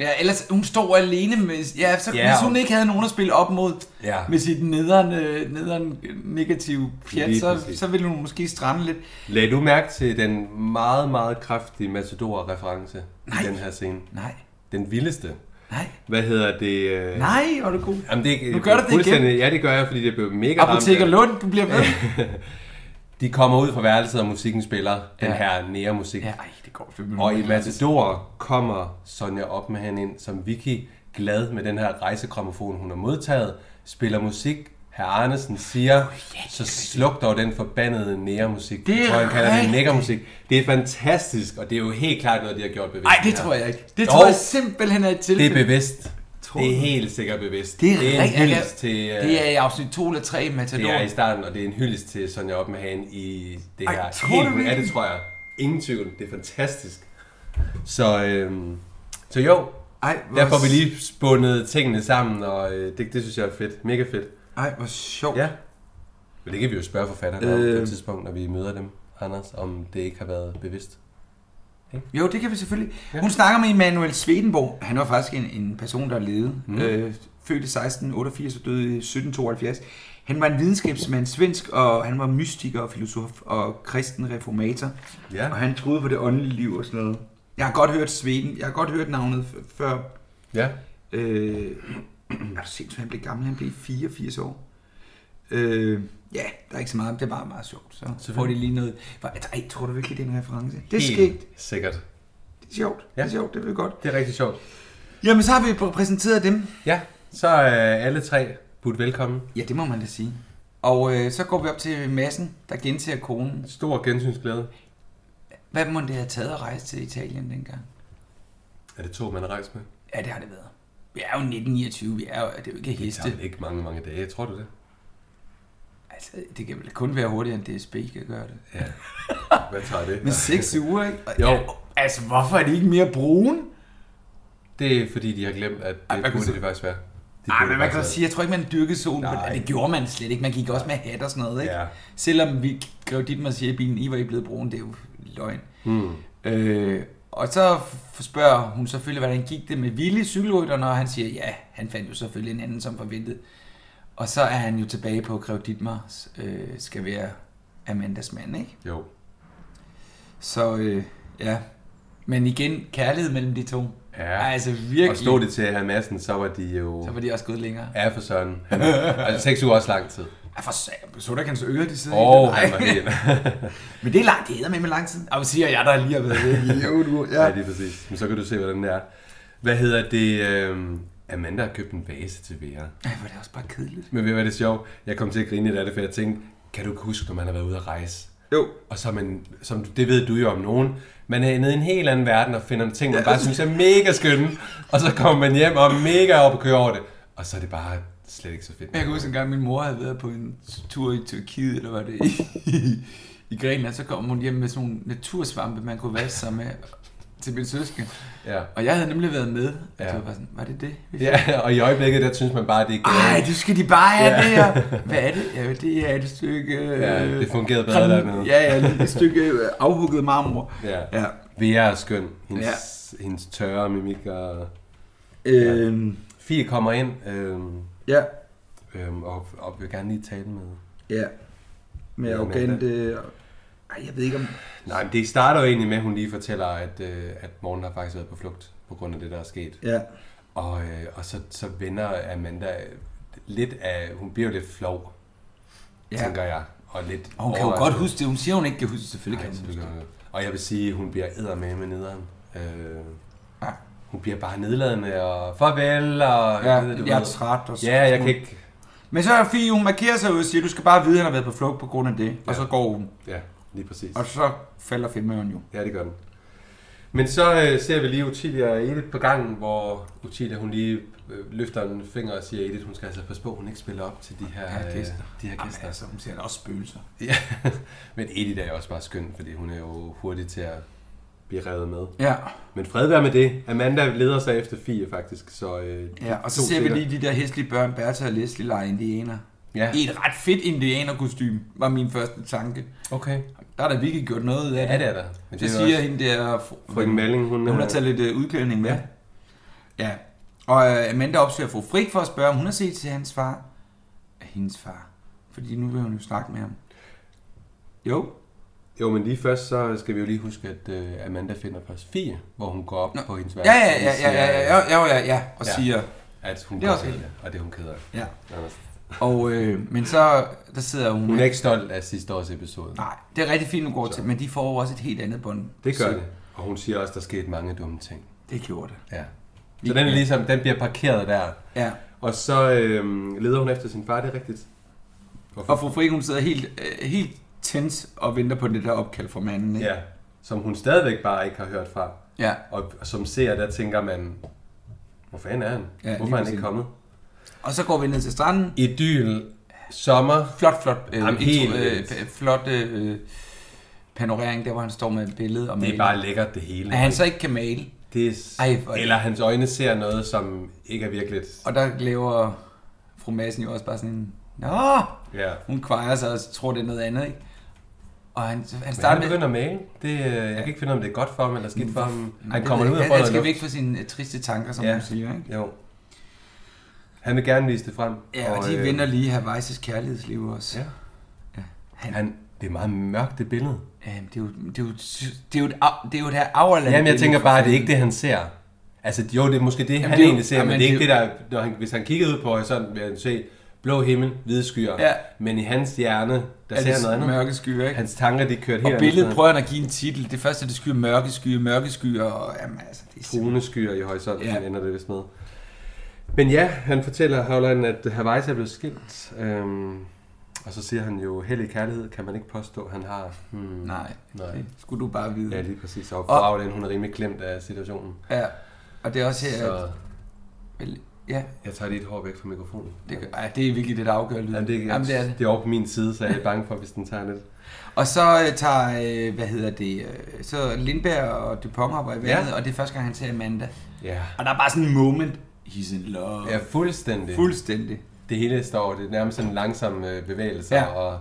Speaker 3: Ja, ellers hun står alene med... Ja, så,
Speaker 2: Ja,
Speaker 3: ja, hvis hun
Speaker 2: og-
Speaker 3: ikke havde nogen at spille op mod
Speaker 2: Ja.
Speaker 3: med sit nederen, øh, nederen negative pjat,
Speaker 2: Lige
Speaker 3: så,
Speaker 2: præcis.
Speaker 3: så ville hun måske strande lidt.
Speaker 2: lagde du mærke til den meget, meget kraftige Matador-reference
Speaker 3: Nej.
Speaker 2: i den her scene?
Speaker 3: Nej,
Speaker 2: Den vildeste.
Speaker 3: nej,
Speaker 2: Hvad hedder det? Øh,
Speaker 3: nej, var du god.
Speaker 2: Jamen, det, er-
Speaker 3: Nu gør du det
Speaker 2: fuldstændig- Ja, det gør jeg, fordi det blev mega ramt.
Speaker 3: Apoteker Lund, du bliver ved.
Speaker 2: [LAUGHS] De kommer ud fra værelset, og musikken spiller den
Speaker 3: Ja.
Speaker 2: her nære musik.
Speaker 3: ja, ej, det går fem minutter.
Speaker 2: Og i Matador kommer Sonja op med hende ind som Vicky, glad med den her rejsegrammofon, hun har modtaget, spiller musik, Herr Arnesen siger, så sluk dog den forbandede nære musik.
Speaker 3: Det er
Speaker 2: jeg tror, han kalder det
Speaker 3: rigtigt.
Speaker 2: nækkermusik. Det er fantastisk, og det er jo helt klart noget, de har gjort bevidst.
Speaker 3: Nej, det
Speaker 2: her.
Speaker 3: tror jeg ikke. Det
Speaker 2: Jo,
Speaker 3: tror jeg simpelthen er et
Speaker 2: Det er
Speaker 3: tilfælde.
Speaker 2: bevidst.
Speaker 3: Tror
Speaker 2: Det er
Speaker 3: du?
Speaker 2: helt sikkert bevidst.
Speaker 3: det er,
Speaker 2: det er en
Speaker 3: rigtig- jeg kan-
Speaker 2: hyldest til... øh,
Speaker 3: Det er i afsnit 2 eller 3 i Matador.
Speaker 2: Det er i starten, og det er en hyldest til Sonja Oppenhagen i det her.
Speaker 3: Ej, tror du
Speaker 2: ja, det
Speaker 3: virkelig?
Speaker 2: tror jeg. Ingen tvivl. Det er fantastisk. Så, øhm, så jo,
Speaker 3: Ej, hvor,
Speaker 2: der får vi lige spundet tingene sammen, og øh, det, det synes jeg er fedt. Mega fedt.
Speaker 3: Ej, hvor sjovt.
Speaker 2: Ja. Men det kan vi jo spørge forfatterne øh. om på
Speaker 3: Øh.
Speaker 2: et tidspunkt, når vi møder dem, Anders, om det ikke har været bevidst.
Speaker 3: Jo, det kan vi selvfølgelig. Ja. Hun snakker med Emanuel Swedenborg. Han var faktisk en, en person, der levede. Mm. Øh, født i 1688 og døde i 1772. Han var en videnskabsmand svensk, og han var mystiker og filosof og kristen reformator.
Speaker 2: Ja.
Speaker 3: Og han troede på det åndelige liv og sådan noget. Jeg har godt hørt Sveden. Jeg har godt hørt navnet f- før.
Speaker 2: Ja.
Speaker 3: Øh, [CLEARS THROAT] er du sindssygt, han blev gammel? Han blev 84 år. Øh, ja, der er ikke så meget. Det er bare meget sjovt. Så får de lige noget. altså, Ej, tror du virkelig, det er en reference? Det er skægt.
Speaker 2: Helt sikkert.
Speaker 3: Det er sjovt. Ja. Det er sjovt, det er godt.
Speaker 2: Det er rigtig sjovt.
Speaker 3: Jamen, så har vi pr- præsenteret dem.
Speaker 2: Ja, så er øh, alle tre budt velkommen.
Speaker 3: Ja, det må man da sige. Og øh, så går vi op til massen, der genser konen.
Speaker 2: Stor gensynsglæde.
Speaker 3: Hvad må det have taget at rejse til Italien dengang?
Speaker 2: Er det to, man har rejst med?
Speaker 3: Ja, det har det været. Vi er jo 1929, vi er jo, det er jo ikke
Speaker 2: Det
Speaker 3: heste.
Speaker 2: tager ikke mange, mange dage. Tror du det?
Speaker 3: Altså, det kan vel kun være hurtigere, end DSB kan gøre det.
Speaker 2: Ja. Hvad tager det?
Speaker 3: Men seks uger, ikke? Og-
Speaker 2: Jo.
Speaker 3: Ja, altså, hvorfor er de ikke mere brune?
Speaker 2: [LAUGHS] Det er fordi, de har glemt, at det
Speaker 3: Ej, hvad
Speaker 2: Ej,
Speaker 3: kan
Speaker 2: burde
Speaker 3: du-
Speaker 2: det faktisk være. De
Speaker 3: Nej,
Speaker 2: burde
Speaker 3: men man kan
Speaker 2: faktisk
Speaker 3: jo sige, jeg tror ikke, man dyrkede solen.
Speaker 2: Nej.
Speaker 3: Nej. Det gjorde man slet ikke. Man gik også med hat og sådan noget, ikke?
Speaker 2: Ja. Hmm.
Speaker 3: Selvom vi grev dit man siger i bilen, I var I blevet brune, det er jo løgn. Mm. Øh, Og så f- spørger hun selvfølgelig, hvordan gik det med Willy, cykelrytteren, og han siger, ja, han fandt jo selvfølgelig en anden som forventet. Og så er han jo tilbage på Grev Dietmars, øh, skal være Amandas mand, ikke?
Speaker 2: Jo.
Speaker 3: Så øh, ja, men igen, kærlighed mellem de to.
Speaker 2: Ja.
Speaker 3: altså
Speaker 2: Og
Speaker 3: virkelig.
Speaker 2: stod det til at have massen, så var de jo...
Speaker 3: Så var de også gået længere.
Speaker 2: Ja, for
Speaker 3: [LAUGHS]
Speaker 2: søren. Han, altså, seks uger er også lang tid.
Speaker 3: Ja, for satan, så der kan så øre, de sidder
Speaker 2: Åh, oh,
Speaker 3: i.
Speaker 2: han var
Speaker 3: Nej. [LAUGHS]
Speaker 2: helt...
Speaker 3: Men det er langt, det hedder med med lang tid. Og siger jeg, der lige har været [LAUGHS] ved i otte uger.
Speaker 2: ja, lige præcis. Men så kan du se, hvordan det er. Hvad hedder det? øhm, Amanda har købt en vase til Vera.
Speaker 3: Ej, hvor er det også bare kedeligt.
Speaker 2: Men ved du hvad, det er sjovt? Jeg kom til at grine lidt af det, for jeg tænkte, kan du ikke huske, når man har været ude at rejse?
Speaker 3: Jo.
Speaker 2: Og så er man, som det ved du jo om nogen, man er nede i en helt anden verden og finder nogle ting, man bare synes er mega skønne. Og så kommer man hjem og er mega op og kører over det. Og så er det bare slet ikke så fedt.
Speaker 3: Jeg kan huske en gang, min mor havde været på en tur i Tyrkiet, eller var det i, [LAUGHS] i Grækenland, så kom hun hjem med sådan nogle natursvampe, man kunne vaske sig med til min søske.
Speaker 2: Ja.
Speaker 3: Og jeg havde nemlig været med. Ja.
Speaker 2: Ja.
Speaker 3: Så jeg var, sådan, var det det? vi
Speaker 2: Ja, og i øjeblikket, der synes man bare, at det ikke
Speaker 3: Ej, det skal de bare have ja. det her. Hvad er det? Ja, det er et stykke... øh,
Speaker 2: Ja, det fungerede bedre dernede.
Speaker 3: Ja, ja, et stykke øh, afhugget marmor.
Speaker 2: Ja.
Speaker 3: ja.
Speaker 2: Vera er skøn. Hendes, ja. hendes tørre mimik og...
Speaker 3: Øhm,
Speaker 2: Fie kommer ind øhm,
Speaker 3: ja.
Speaker 2: øhm, og, og vil gerne lige tale med...
Speaker 3: ja, Med
Speaker 2: Ja,
Speaker 3: arrogant...
Speaker 2: men,
Speaker 3: Øh, ej, jeg ved ikke om...
Speaker 2: Nej, men det starter jo egentlig med, at hun lige fortæller, at, øh, at Morten har faktisk været på flugt på grund af det, der er sket.
Speaker 3: Ja,
Speaker 2: Og, øh, og så, så vender Amanda øh, lidt af... Hun bliver jo lidt flov, ja. tænker jeg. Og lidt
Speaker 3: Og hun kan jo godt huske det. Hun siger, hun ikke kan huske det. Selvfølgelig kan
Speaker 2: det.
Speaker 3: hun huske det.
Speaker 2: Og jeg vil sige, hun bliver eddermame med nederen. Øh,
Speaker 3: Ja.
Speaker 2: hun bliver bare nedladende og farvel og...
Speaker 3: Ja,
Speaker 2: jeg ved det, du
Speaker 3: jeg er
Speaker 2: ved.
Speaker 3: træt og så-
Speaker 2: Ja, jeg kan ikke...
Speaker 3: Men så er Fie, hun markerer sig ud og siger, du skal bare vide, at han har været på flugt på grund af det. Og så går hun.
Speaker 2: Ja, lige præcis.
Speaker 3: Og så falder filmen jo.
Speaker 2: Ja, det gør den. Men så øh, ser vi lige Utilia og Edith på gangen, hvor Utilia hun lige øh, løfter en finger og siger, Edith, hun skal altså passe på, hun ikke spiller op til de her,
Speaker 3: Ja,
Speaker 2: øh,
Speaker 3: gæster.
Speaker 2: De her
Speaker 3: Jamen,
Speaker 2: gæster.
Speaker 3: altså, hun siger, der er også spøgelser.
Speaker 2: Ja. [LAUGHS] Men Edith er jo også bare skøn, fordi hun er jo hurtig til at blive revet med.
Speaker 3: Ja,
Speaker 2: Men fred være med det. Amanda leder sig efter Fie faktisk, så... Øh,
Speaker 3: ja. og så
Speaker 2: to
Speaker 3: ser vi
Speaker 2: sitter.
Speaker 3: lige de der hæslige børn, Bertha og Leslie, lege indianer.
Speaker 2: Ja.
Speaker 3: I et ret fedt indianerkostyme, var min første tanke.
Speaker 2: Okay.
Speaker 3: Der er der virkelig gjort noget ud af
Speaker 2: Ja, det er der. Men
Speaker 3: Det,
Speaker 2: det er jo
Speaker 3: siger
Speaker 2: også-
Speaker 3: hende der... fr-
Speaker 2: Frøken Malling, hun...
Speaker 3: Hun har
Speaker 2: øh,
Speaker 3: taget lidt øh, udklædning med. Ja. ja. Og øh, Amanda opsøger fru Frik for at spørge, om hun har set til hans far. Af hendes far. Fordi nu vil hun jo snakke med ham. Jo.
Speaker 2: Jo, men lige først, så skal vi jo lige huske, at øh, Amanda finder først Fie, hvor hun går op Nå. på hendes værelse.
Speaker 3: Ja, ja,
Speaker 2: og
Speaker 3: ja, ja,
Speaker 2: siger,
Speaker 3: ja, ja, ja, ja, ja, ja og
Speaker 2: Ja.
Speaker 3: ja. siger...
Speaker 2: At hun
Speaker 3: Det
Speaker 2: det
Speaker 3: er
Speaker 2: er
Speaker 3: også helt-
Speaker 2: og det er hun keder af.
Speaker 3: Ja.
Speaker 2: Anders.
Speaker 3: Og, øh, men så der sidder hun...
Speaker 2: Hun er ikke stolt af sidste års episode.
Speaker 3: Nej, det er rigtig fint, hun går til, men de får jo også et helt andet bånd.
Speaker 2: Det gør
Speaker 3: Så
Speaker 2: det. Og hun siger også, at der skete mange dumme ting.
Speaker 3: Det gjorde det.
Speaker 2: Ja. Så den, er ligesom, den bliver parkeret der.
Speaker 3: Ja.
Speaker 2: Og så øhm, leder hun efter sin far, det er rigtigt.
Speaker 3: Og fru Frik, hun sidder helt, øh, helt tens og venter på det der opkald fra manden. Ikke?
Speaker 2: Ja. Som hun stadigvæk bare ikke har hørt fra.
Speaker 3: ja.
Speaker 2: Og som ser, der tænker man, hvor fanden er han?
Speaker 3: lige
Speaker 2: Hvorfor er han
Speaker 3: præcis.
Speaker 2: ikke kommet?
Speaker 3: Og så går vi ned til stranden.
Speaker 2: Idyl, sommer,
Speaker 3: Flot, flot. Øh,
Speaker 2: Jamen,
Speaker 3: Jamen,
Speaker 2: helt
Speaker 3: helt, øh,
Speaker 2: vildt.
Speaker 3: p- flot øh, panorering, der hvor han står med et billede og
Speaker 2: det
Speaker 3: maler.
Speaker 2: er bare lækkert det hele.
Speaker 3: At han så ikke kan male.
Speaker 2: Det er...
Speaker 3: Ej, hvor-
Speaker 2: Eller hans øjne ser noget, som ikke er virkeligt.
Speaker 3: Og der laver fru Madsen jo også bare sådan en... Nå!
Speaker 2: Ja.
Speaker 3: Hun kvejer sig og tror, det er noget andet, ikke? Og han, han
Speaker 2: Men han
Speaker 3: starter med...
Speaker 2: begynder at male. Det, øh, jeg kan ikke finde ud af, om det er godt for ham eller skidt for ham.
Speaker 3: Nej,
Speaker 2: Han
Speaker 3: det
Speaker 2: kommer
Speaker 3: ved
Speaker 2: ud og
Speaker 3: jeg
Speaker 2: får
Speaker 3: ikke. Han
Speaker 2: noget
Speaker 3: skal
Speaker 2: luft.
Speaker 3: væk fra sine øh, triste tanker, som ja.
Speaker 2: Ja.
Speaker 3: hun siger, ikke?
Speaker 2: Jo. Han vil gerne vise det frem.
Speaker 3: Ja, og de vender lige Havajs' kærlighedsliv også.
Speaker 2: øh, Ja.
Speaker 3: Ja.
Speaker 2: Han, det er meget mørkt, det billede.
Speaker 3: Jamen, Øhm, det er jo, det er jo, det er jo, et, au- det er jo det her auerland.
Speaker 2: Jamen, jeg tænker bare, at det er ikke det, han ser. Altså, jo, det er måske det, Jamen, han
Speaker 3: det
Speaker 2: det
Speaker 3: er jo-
Speaker 2: egentlig ser,
Speaker 3: Jamen,
Speaker 2: men det er ikke det,
Speaker 3: det
Speaker 2: der... Når han, hvis han kiggede ud på horisonten, ville han se blå himmel, hvide skyer.
Speaker 3: Ja.
Speaker 2: Men i hans hjerne, der ser han noget andet.
Speaker 3: mørke skyer, ikke?
Speaker 2: Hans tanker, de kørte
Speaker 3: Og
Speaker 2: helt
Speaker 3: billedet
Speaker 2: andet
Speaker 3: prøver han at give en titel. Det første, det skyer mørke skyer, mørke skyer, og jamen, altså, det er
Speaker 2: sted. Brune skyer i horisonten,
Speaker 3: Ja.
Speaker 2: ja. ender det vist med. Men ja, han fortæller Havland, at Hawaii er blevet skilt. Øhm, og så siger han jo, hellig kærlighed kan man ikke påstå, han har. Hmm.
Speaker 3: Nej,
Speaker 2: Nej.
Speaker 3: Nej, det skulle du bare vide.
Speaker 2: Ja, lige præcis. Og fru Aulen, hun er rimelig klemt af situationen.
Speaker 3: ja. Og det er også her,
Speaker 2: Så
Speaker 3: at, vel, ja,
Speaker 2: jeg tager lige et hår væk fra mikrofonen.
Speaker 3: det, gør, ej, det er virkelig det, der afgør lyden.
Speaker 2: Jamen, det, er,
Speaker 3: Jamen, det er det.
Speaker 2: det er over på min side, så jeg er bange for, hvis den tager lidt.
Speaker 3: Og så øh, tager, øh, hvad hedder det, øh, så Lindberg og Dupont hopper i vandet,
Speaker 2: Ja.
Speaker 3: ja. og det er første gang, han ser Amanda.
Speaker 2: Ja.
Speaker 3: Og der er bare sådan en moment. He's in love.
Speaker 2: Ja, fuldstændig.
Speaker 3: Fuldstændig.
Speaker 2: Det hele står, det er nærmest sådan langsomme øh, bevægelser,
Speaker 3: Ja.
Speaker 2: og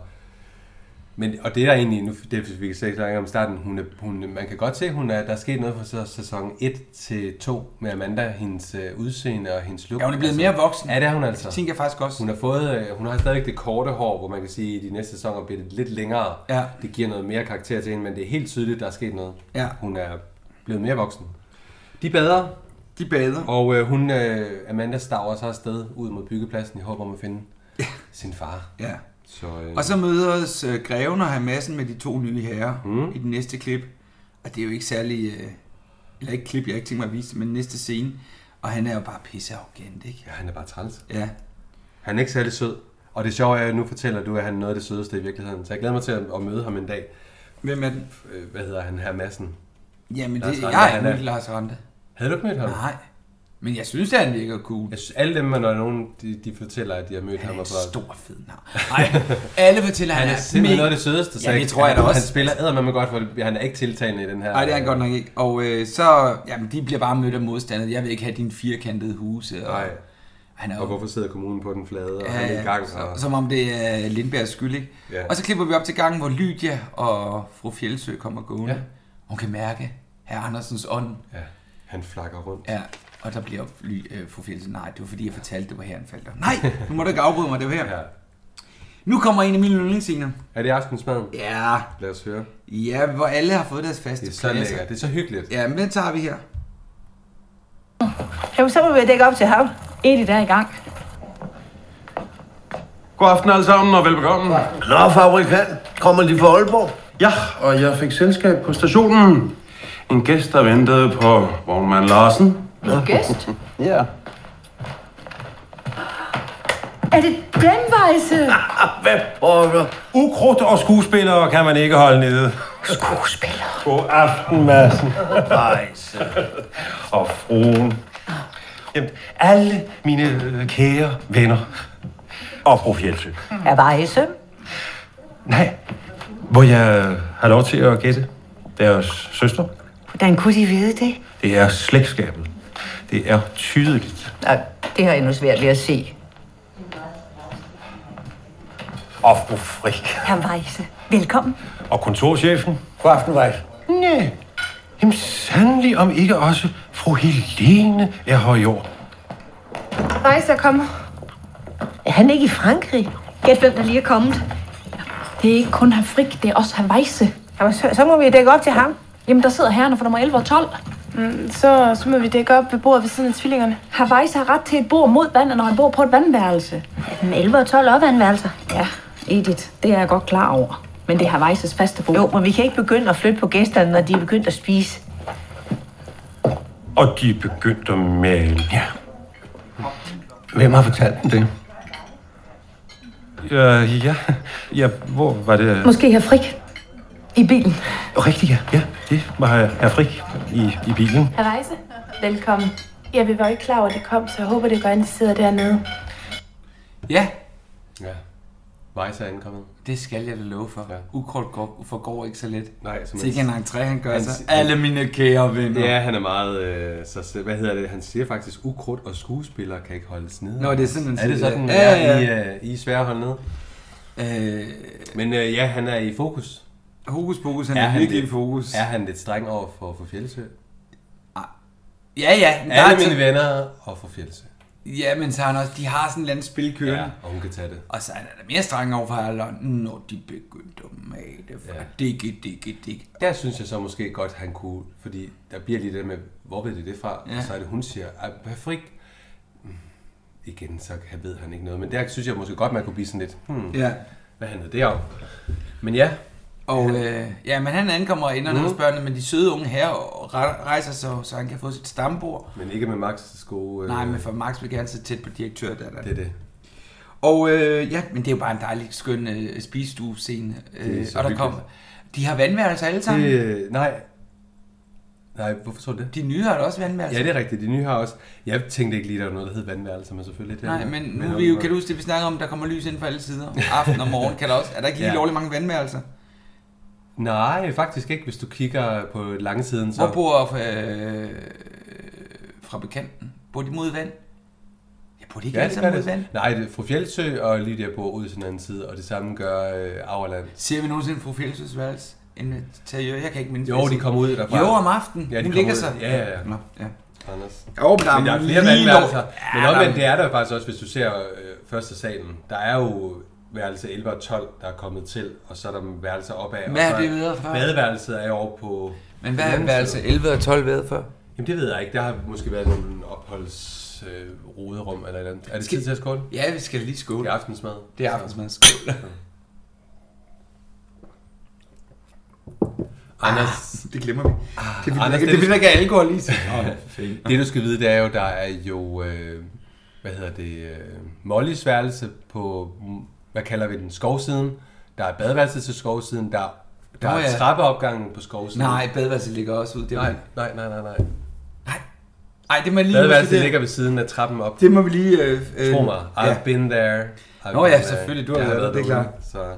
Speaker 2: Men, og det er egentlig, nu, det er, vi kan slet ikke snakke om starten, hun er, hun, man kan godt se, hun er, der er sket noget fra så- sæson 1 til 2 med Amanda, hendes øh, udseende og hendes look.
Speaker 3: Ja, hun er blevet mere voksen.
Speaker 2: Ja, det er hun altså.
Speaker 3: Det tænker jeg faktisk også.
Speaker 2: Hun har, fået, øh, hun har stadigvæk det korte hår, hvor man kan sige, at de næste sæsoner bliver det lidt længere.
Speaker 3: Ja.
Speaker 2: Det giver noget mere karakter til hende, men det er helt tydeligt, der er sket noget.
Speaker 3: Ja.
Speaker 2: Hun er blevet mere voksen. De bader,
Speaker 3: De bader.
Speaker 2: og øh, hun, øh, Amanda stager sig afsted ud mod byggepladsen i håb om at finde sin far.
Speaker 3: Ja.
Speaker 2: Så, øh,
Speaker 3: Og så mødes øh, Greven og Hamassen med de to nye herrer mm. i den næste klip. Og det er jo ikke særlig... Øh, eller ikke klip, jeg har ikke tænkt mig at vise det, men næste scene. Og han er jo bare pissearrogant, ikke?
Speaker 2: ja, han er bare træls.
Speaker 3: Ja.
Speaker 2: Han er ikke særlig sød. Og det sjove er, at nu fortæller du, at han er noget af det sødeste i virkeligheden. Så jeg glæder mig til at, at møde ham en dag.
Speaker 3: Hvem er den?
Speaker 2: Øh, hvad hedder han her, Madsen?
Speaker 3: Jamen,
Speaker 2: Lars
Speaker 3: det,
Speaker 2: Ranthe,
Speaker 3: jeg er
Speaker 2: han er-
Speaker 3: ikke mødt Lars Rante.
Speaker 2: Havde du ikke mødt ham?
Speaker 3: Nej. Men jeg synes, at han virker cool.
Speaker 2: Jeg synes, alle dem, man er nogen, de, de fortæller, at de har mødt
Speaker 3: Han
Speaker 2: ham.
Speaker 3: er en
Speaker 2: og bare-
Speaker 3: stor fed nar. Nej, alle fortæller, at
Speaker 2: Han
Speaker 3: han,
Speaker 2: er simpelthen
Speaker 3: mega-
Speaker 2: noget af det sødeste. så
Speaker 3: Ja, det tror jeg da
Speaker 2: han,
Speaker 3: også.
Speaker 2: Han spiller eddermame godt, for det- han er ikke tiltalende i den her.
Speaker 3: Nej, det er han godt nok ikke. Og øh, så, jamen, de bliver bare mødt af modstandere. Jeg vil ikke have dine firkantede huse. Og,
Speaker 2: Nej.
Speaker 3: Han er
Speaker 2: Og
Speaker 3: jo,
Speaker 2: hvorfor sidder kommunen på den flade, og
Speaker 3: ja,
Speaker 2: han er i gang?
Speaker 3: så,
Speaker 2: Og...
Speaker 3: som om det er Lindbergs skyld, ikke?
Speaker 2: Ja.
Speaker 3: Og så klipper vi op til gangen, hvor Lydia og fru Fjeldsø kommer gående.
Speaker 2: Ja.
Speaker 3: Ja. Hun kan mærke herr Andersens ånd.
Speaker 2: Ja, han flakker rundt.
Speaker 3: Ja, og der bliver ly, øh, fru Fjeldsø, nej, det var fordi, jeg fortalte, det var her, han faldt. om." Nej, nu må du ikke afbryde mig, det var her.
Speaker 2: Ja.
Speaker 3: Nu kommer en af mine yndlingsscener.
Speaker 2: Er det aftensmaden?
Speaker 3: Ja,
Speaker 2: Lad os høre.
Speaker 3: ja, hvor alle har fået deres faste
Speaker 2: Det er så lækkert. Det er så hyggeligt.
Speaker 3: Ja, men den tager vi her.
Speaker 9: Jamen, så må vi dække op til hav. Edith er i gang.
Speaker 10: God aften alle sammen og velbekomme.
Speaker 6: Nå, fabrikant. Kommer de fra Aalborg?
Speaker 10: Ja, og jeg fik selskab på stationen. En gæst, der ventede på vognmand Larsen.
Speaker 7: Gæst?
Speaker 6: Ja.
Speaker 5: Er det den vejse?
Speaker 6: Hvad pokker?
Speaker 10: Ukrudt og skuespillere kan man ikke holde nede.
Speaker 9: Skuespiller.
Speaker 10: God aften, Madsen.
Speaker 6: Nice.
Speaker 10: Og fruen. Jamen, alle mine øh, kære venner. Og fru Fjeldsø.
Speaker 9: Er vejse.
Speaker 10: Nej, hvor jeg har lov til at gætte deres søster.
Speaker 9: Hvordan kunne de vide det?
Speaker 10: Det er slægtskabet. Det er tydeligt.
Speaker 9: Nej, det har jeg nu svært ved at se.
Speaker 10: Og fru Frik.
Speaker 9: Herr Vejse, velkommen.
Speaker 10: Og kontorchefen.
Speaker 6: God aften, Vejs.
Speaker 10: Næh, jamen sandelig om ikke også fru Helene er her i år.
Speaker 7: Rejser kommer.
Speaker 9: Er han ikke i Frankrig?
Speaker 7: Gæt hvem, der lige er kommet.
Speaker 5: Det er ikke kun herr Frik, det er også herr Vejse.
Speaker 9: Jamen, så, så må vi dække op til ham.
Speaker 5: Jamen, der sidder herrerne for nummer 11 og 12.
Speaker 7: Mm, Så, så må vi dække op ved bordet ved siden af tvillingerne.
Speaker 5: Herr Vejse har ret til et bord mod vandet, når han bor på et vandværelse.
Speaker 9: Den 11 og 12 opvandværelser.
Speaker 5: Ja, Edith, det er jeg godt klar over. Men det er herr Vejses faste bord.
Speaker 9: Jo, men vi kan ikke begynde at flytte på gæsterne, når de er begyndt at spise.
Speaker 10: Og de er begyndt at male.
Speaker 6: Ja. Hvem har fortalt dem det?
Speaker 10: Øh, ja, ja, hvor var det?
Speaker 5: Måske herr Frik. I bilen.
Speaker 10: Rigtigt, ja. ja. Det var herr herr Frik i, i bilen.
Speaker 7: Herr Rejse, velkommen. Ja, vi var jo ikke klar over, at det kom, så jeg håber, det gør, at de sidder dernede.
Speaker 3: Ja,
Speaker 2: ja. Vejse er ankommet.
Speaker 3: det skal jeg da love for.
Speaker 2: Ja.
Speaker 3: Ja. Ukrudt går, forgår ikke så let.
Speaker 2: Nej, som
Speaker 3: Så ikke en entré, han gør
Speaker 2: Han-
Speaker 3: sig. Alle mine kære venner.
Speaker 2: Ja, han er meget... Øh, så, hvad hedder det? Han siger faktisk, ukrudt og skuespillere kan ikke holdes nede.
Speaker 3: Nå, det er sådan, han
Speaker 2: Er det
Speaker 3: siger.
Speaker 2: sådan,
Speaker 3: Ja,
Speaker 2: ja, ja,
Speaker 3: ja,
Speaker 2: ja. I, øh, I er svære at holde nede?
Speaker 3: Øh,
Speaker 2: Men øh, ja, han er i fokus.
Speaker 3: hokus pokus, han er, er virkelig i fokus.
Speaker 2: Er han lidt streng over for, for Fjeldsø?
Speaker 3: Ja, ja. Der
Speaker 2: Alle
Speaker 3: er
Speaker 2: mine
Speaker 3: så,
Speaker 2: venner og for Fjeldsø.
Speaker 3: ja, men så har han også, de har sådan en eller anden spil kørende.
Speaker 2: Ja,
Speaker 3: Ja.
Speaker 2: og hun kan tage det.
Speaker 3: Og så er han da mere streng over for Erlund, når de begyndte at male for
Speaker 2: Ja.
Speaker 3: ja. digge, digge, digge.
Speaker 2: Der synes jeg så måske godt, han kunne, fordi der bliver lige det med, hvor ved det det fra? Ja.
Speaker 3: Ja.
Speaker 2: Og så er det, hun siger, "Ej, perfekt. Mm, Igen, så kan- ved han ikke noget. Men der synes jeg måske godt, man kunne blive sådan lidt, hmm, ja.
Speaker 3: Ja.
Speaker 2: hvad handlede det om? Men ja,
Speaker 3: Og øh, ja, men han ankommer ind
Speaker 2: Mm-hmm.
Speaker 3: og hos børnene, men de søde unge her og re- rejser sig, så han kan få sit stambord.
Speaker 2: men ikke med Max' gode... Øh,
Speaker 3: Nej, men for Max vil gerne sidde tæt på direktørdatteren.
Speaker 2: Det er det.
Speaker 3: Og øh, ja, men det er jo bare en dejlig, skøn øh, spisestue-scene.
Speaker 2: Det er
Speaker 3: Øh,
Speaker 2: så
Speaker 3: og der
Speaker 2: hyggeligt.
Speaker 3: kommer... De har vandværelser alle sammen. Det...
Speaker 2: det øh, nej. Nej, hvorfor tror du det?
Speaker 3: De nye har da også vandværelser.
Speaker 2: Ja, det er rigtigt. De nye har også... Jeg tænkte ikke lige, der var noget, der hed vandværelser, men selvfølgelig... Det er
Speaker 3: Nej,
Speaker 2: der.
Speaker 3: men nu er vi jo, kan du huske det, vi snakker om, der kommer lys ind fra alle sider. Aften og morgen kan der også. Er der ikke lige
Speaker 2: Ja.
Speaker 3: ja. lovlig mange vandværelser?
Speaker 2: Nej, faktisk ikke, hvis du kigger på langsiden. Så...
Speaker 3: Hvor bor øh, fra bekanten? Bor de mod vand? Ja, Bor de ikke alle sammen ude i vandet?
Speaker 2: Nej, det, fru Fjeldsø og Lydia bor ude til den anden side, og det samme gør øh, Auerland.
Speaker 3: Ser vi nogensinde fru Fjeldsøs værelse? Interiør, jeg kan ikke mindre.
Speaker 2: Jo, de kommer ud derfra.
Speaker 3: Jo, om aftenen.
Speaker 2: Ja, de
Speaker 3: Hun
Speaker 2: kommer
Speaker 3: ligger
Speaker 2: ud.
Speaker 3: sig.
Speaker 2: Ja, ja, ja.
Speaker 3: Nå, ja.
Speaker 2: Anders.
Speaker 3: Jo, men der er
Speaker 2: der er flere
Speaker 3: lige
Speaker 2: vandværelser.
Speaker 3: lort. Ja,
Speaker 2: Men
Speaker 3: der er-
Speaker 2: omvendt, det er der jo faktisk også, hvis du ser øh, første salen. Der er jo værelse 11 og 12, der er kommet til, og så er der værelser opad.
Speaker 3: Hvad
Speaker 2: og
Speaker 3: er
Speaker 2: så
Speaker 3: det videre fra?
Speaker 2: Badeværelset er jo over på...
Speaker 3: Men hvad
Speaker 2: den
Speaker 3: er
Speaker 2: anden
Speaker 3: værelse
Speaker 2: side.
Speaker 3: 11 og 12 været før?
Speaker 2: Jamen det ved jeg ikke. Der har måske været nogle opholds... Øh, roderum eller et eller andet. Er det
Speaker 3: Skal-
Speaker 2: tid til at skåle?
Speaker 3: Ja, vi skal lige skåle.
Speaker 2: Det er aftensmad.
Speaker 3: Det er aftensmad. Skål.
Speaker 2: Anders,
Speaker 3: Ah,
Speaker 2: Ah,
Speaker 3: Det glemmer vi. Det er fordi,
Speaker 2: Anders,
Speaker 3: der- det
Speaker 2: det- ligesom-
Speaker 3: er fordi, der ikke er alkohol i sig.
Speaker 2: Det du skal vide, det er jo, der er jo, øh, hvad hedder det, øh, Mollys værelse på, mm, hvad kalder vi den, skovsiden. Der er badeværelset til skovsiden, der, der
Speaker 3: Nå
Speaker 2: er
Speaker 3: ja.
Speaker 2: trappeopgangen på skovsiden.
Speaker 3: Nej, badeværelset ligger også ud. Det
Speaker 2: nej, nej, nej, nej, nej.
Speaker 3: Nej, det må jeg lige...
Speaker 2: Badeværelset
Speaker 3: det-
Speaker 2: ligger ved siden af trappen op.
Speaker 3: Det må vi lige... Øh, øh,
Speaker 2: Tro mig, I've
Speaker 3: ja.
Speaker 2: been there. I've
Speaker 3: Nå
Speaker 2: been
Speaker 3: ja,
Speaker 2: there.
Speaker 3: selvfølgelig, du har
Speaker 2: Jeg
Speaker 3: været der, det er
Speaker 2: derude,
Speaker 3: klart.
Speaker 2: Så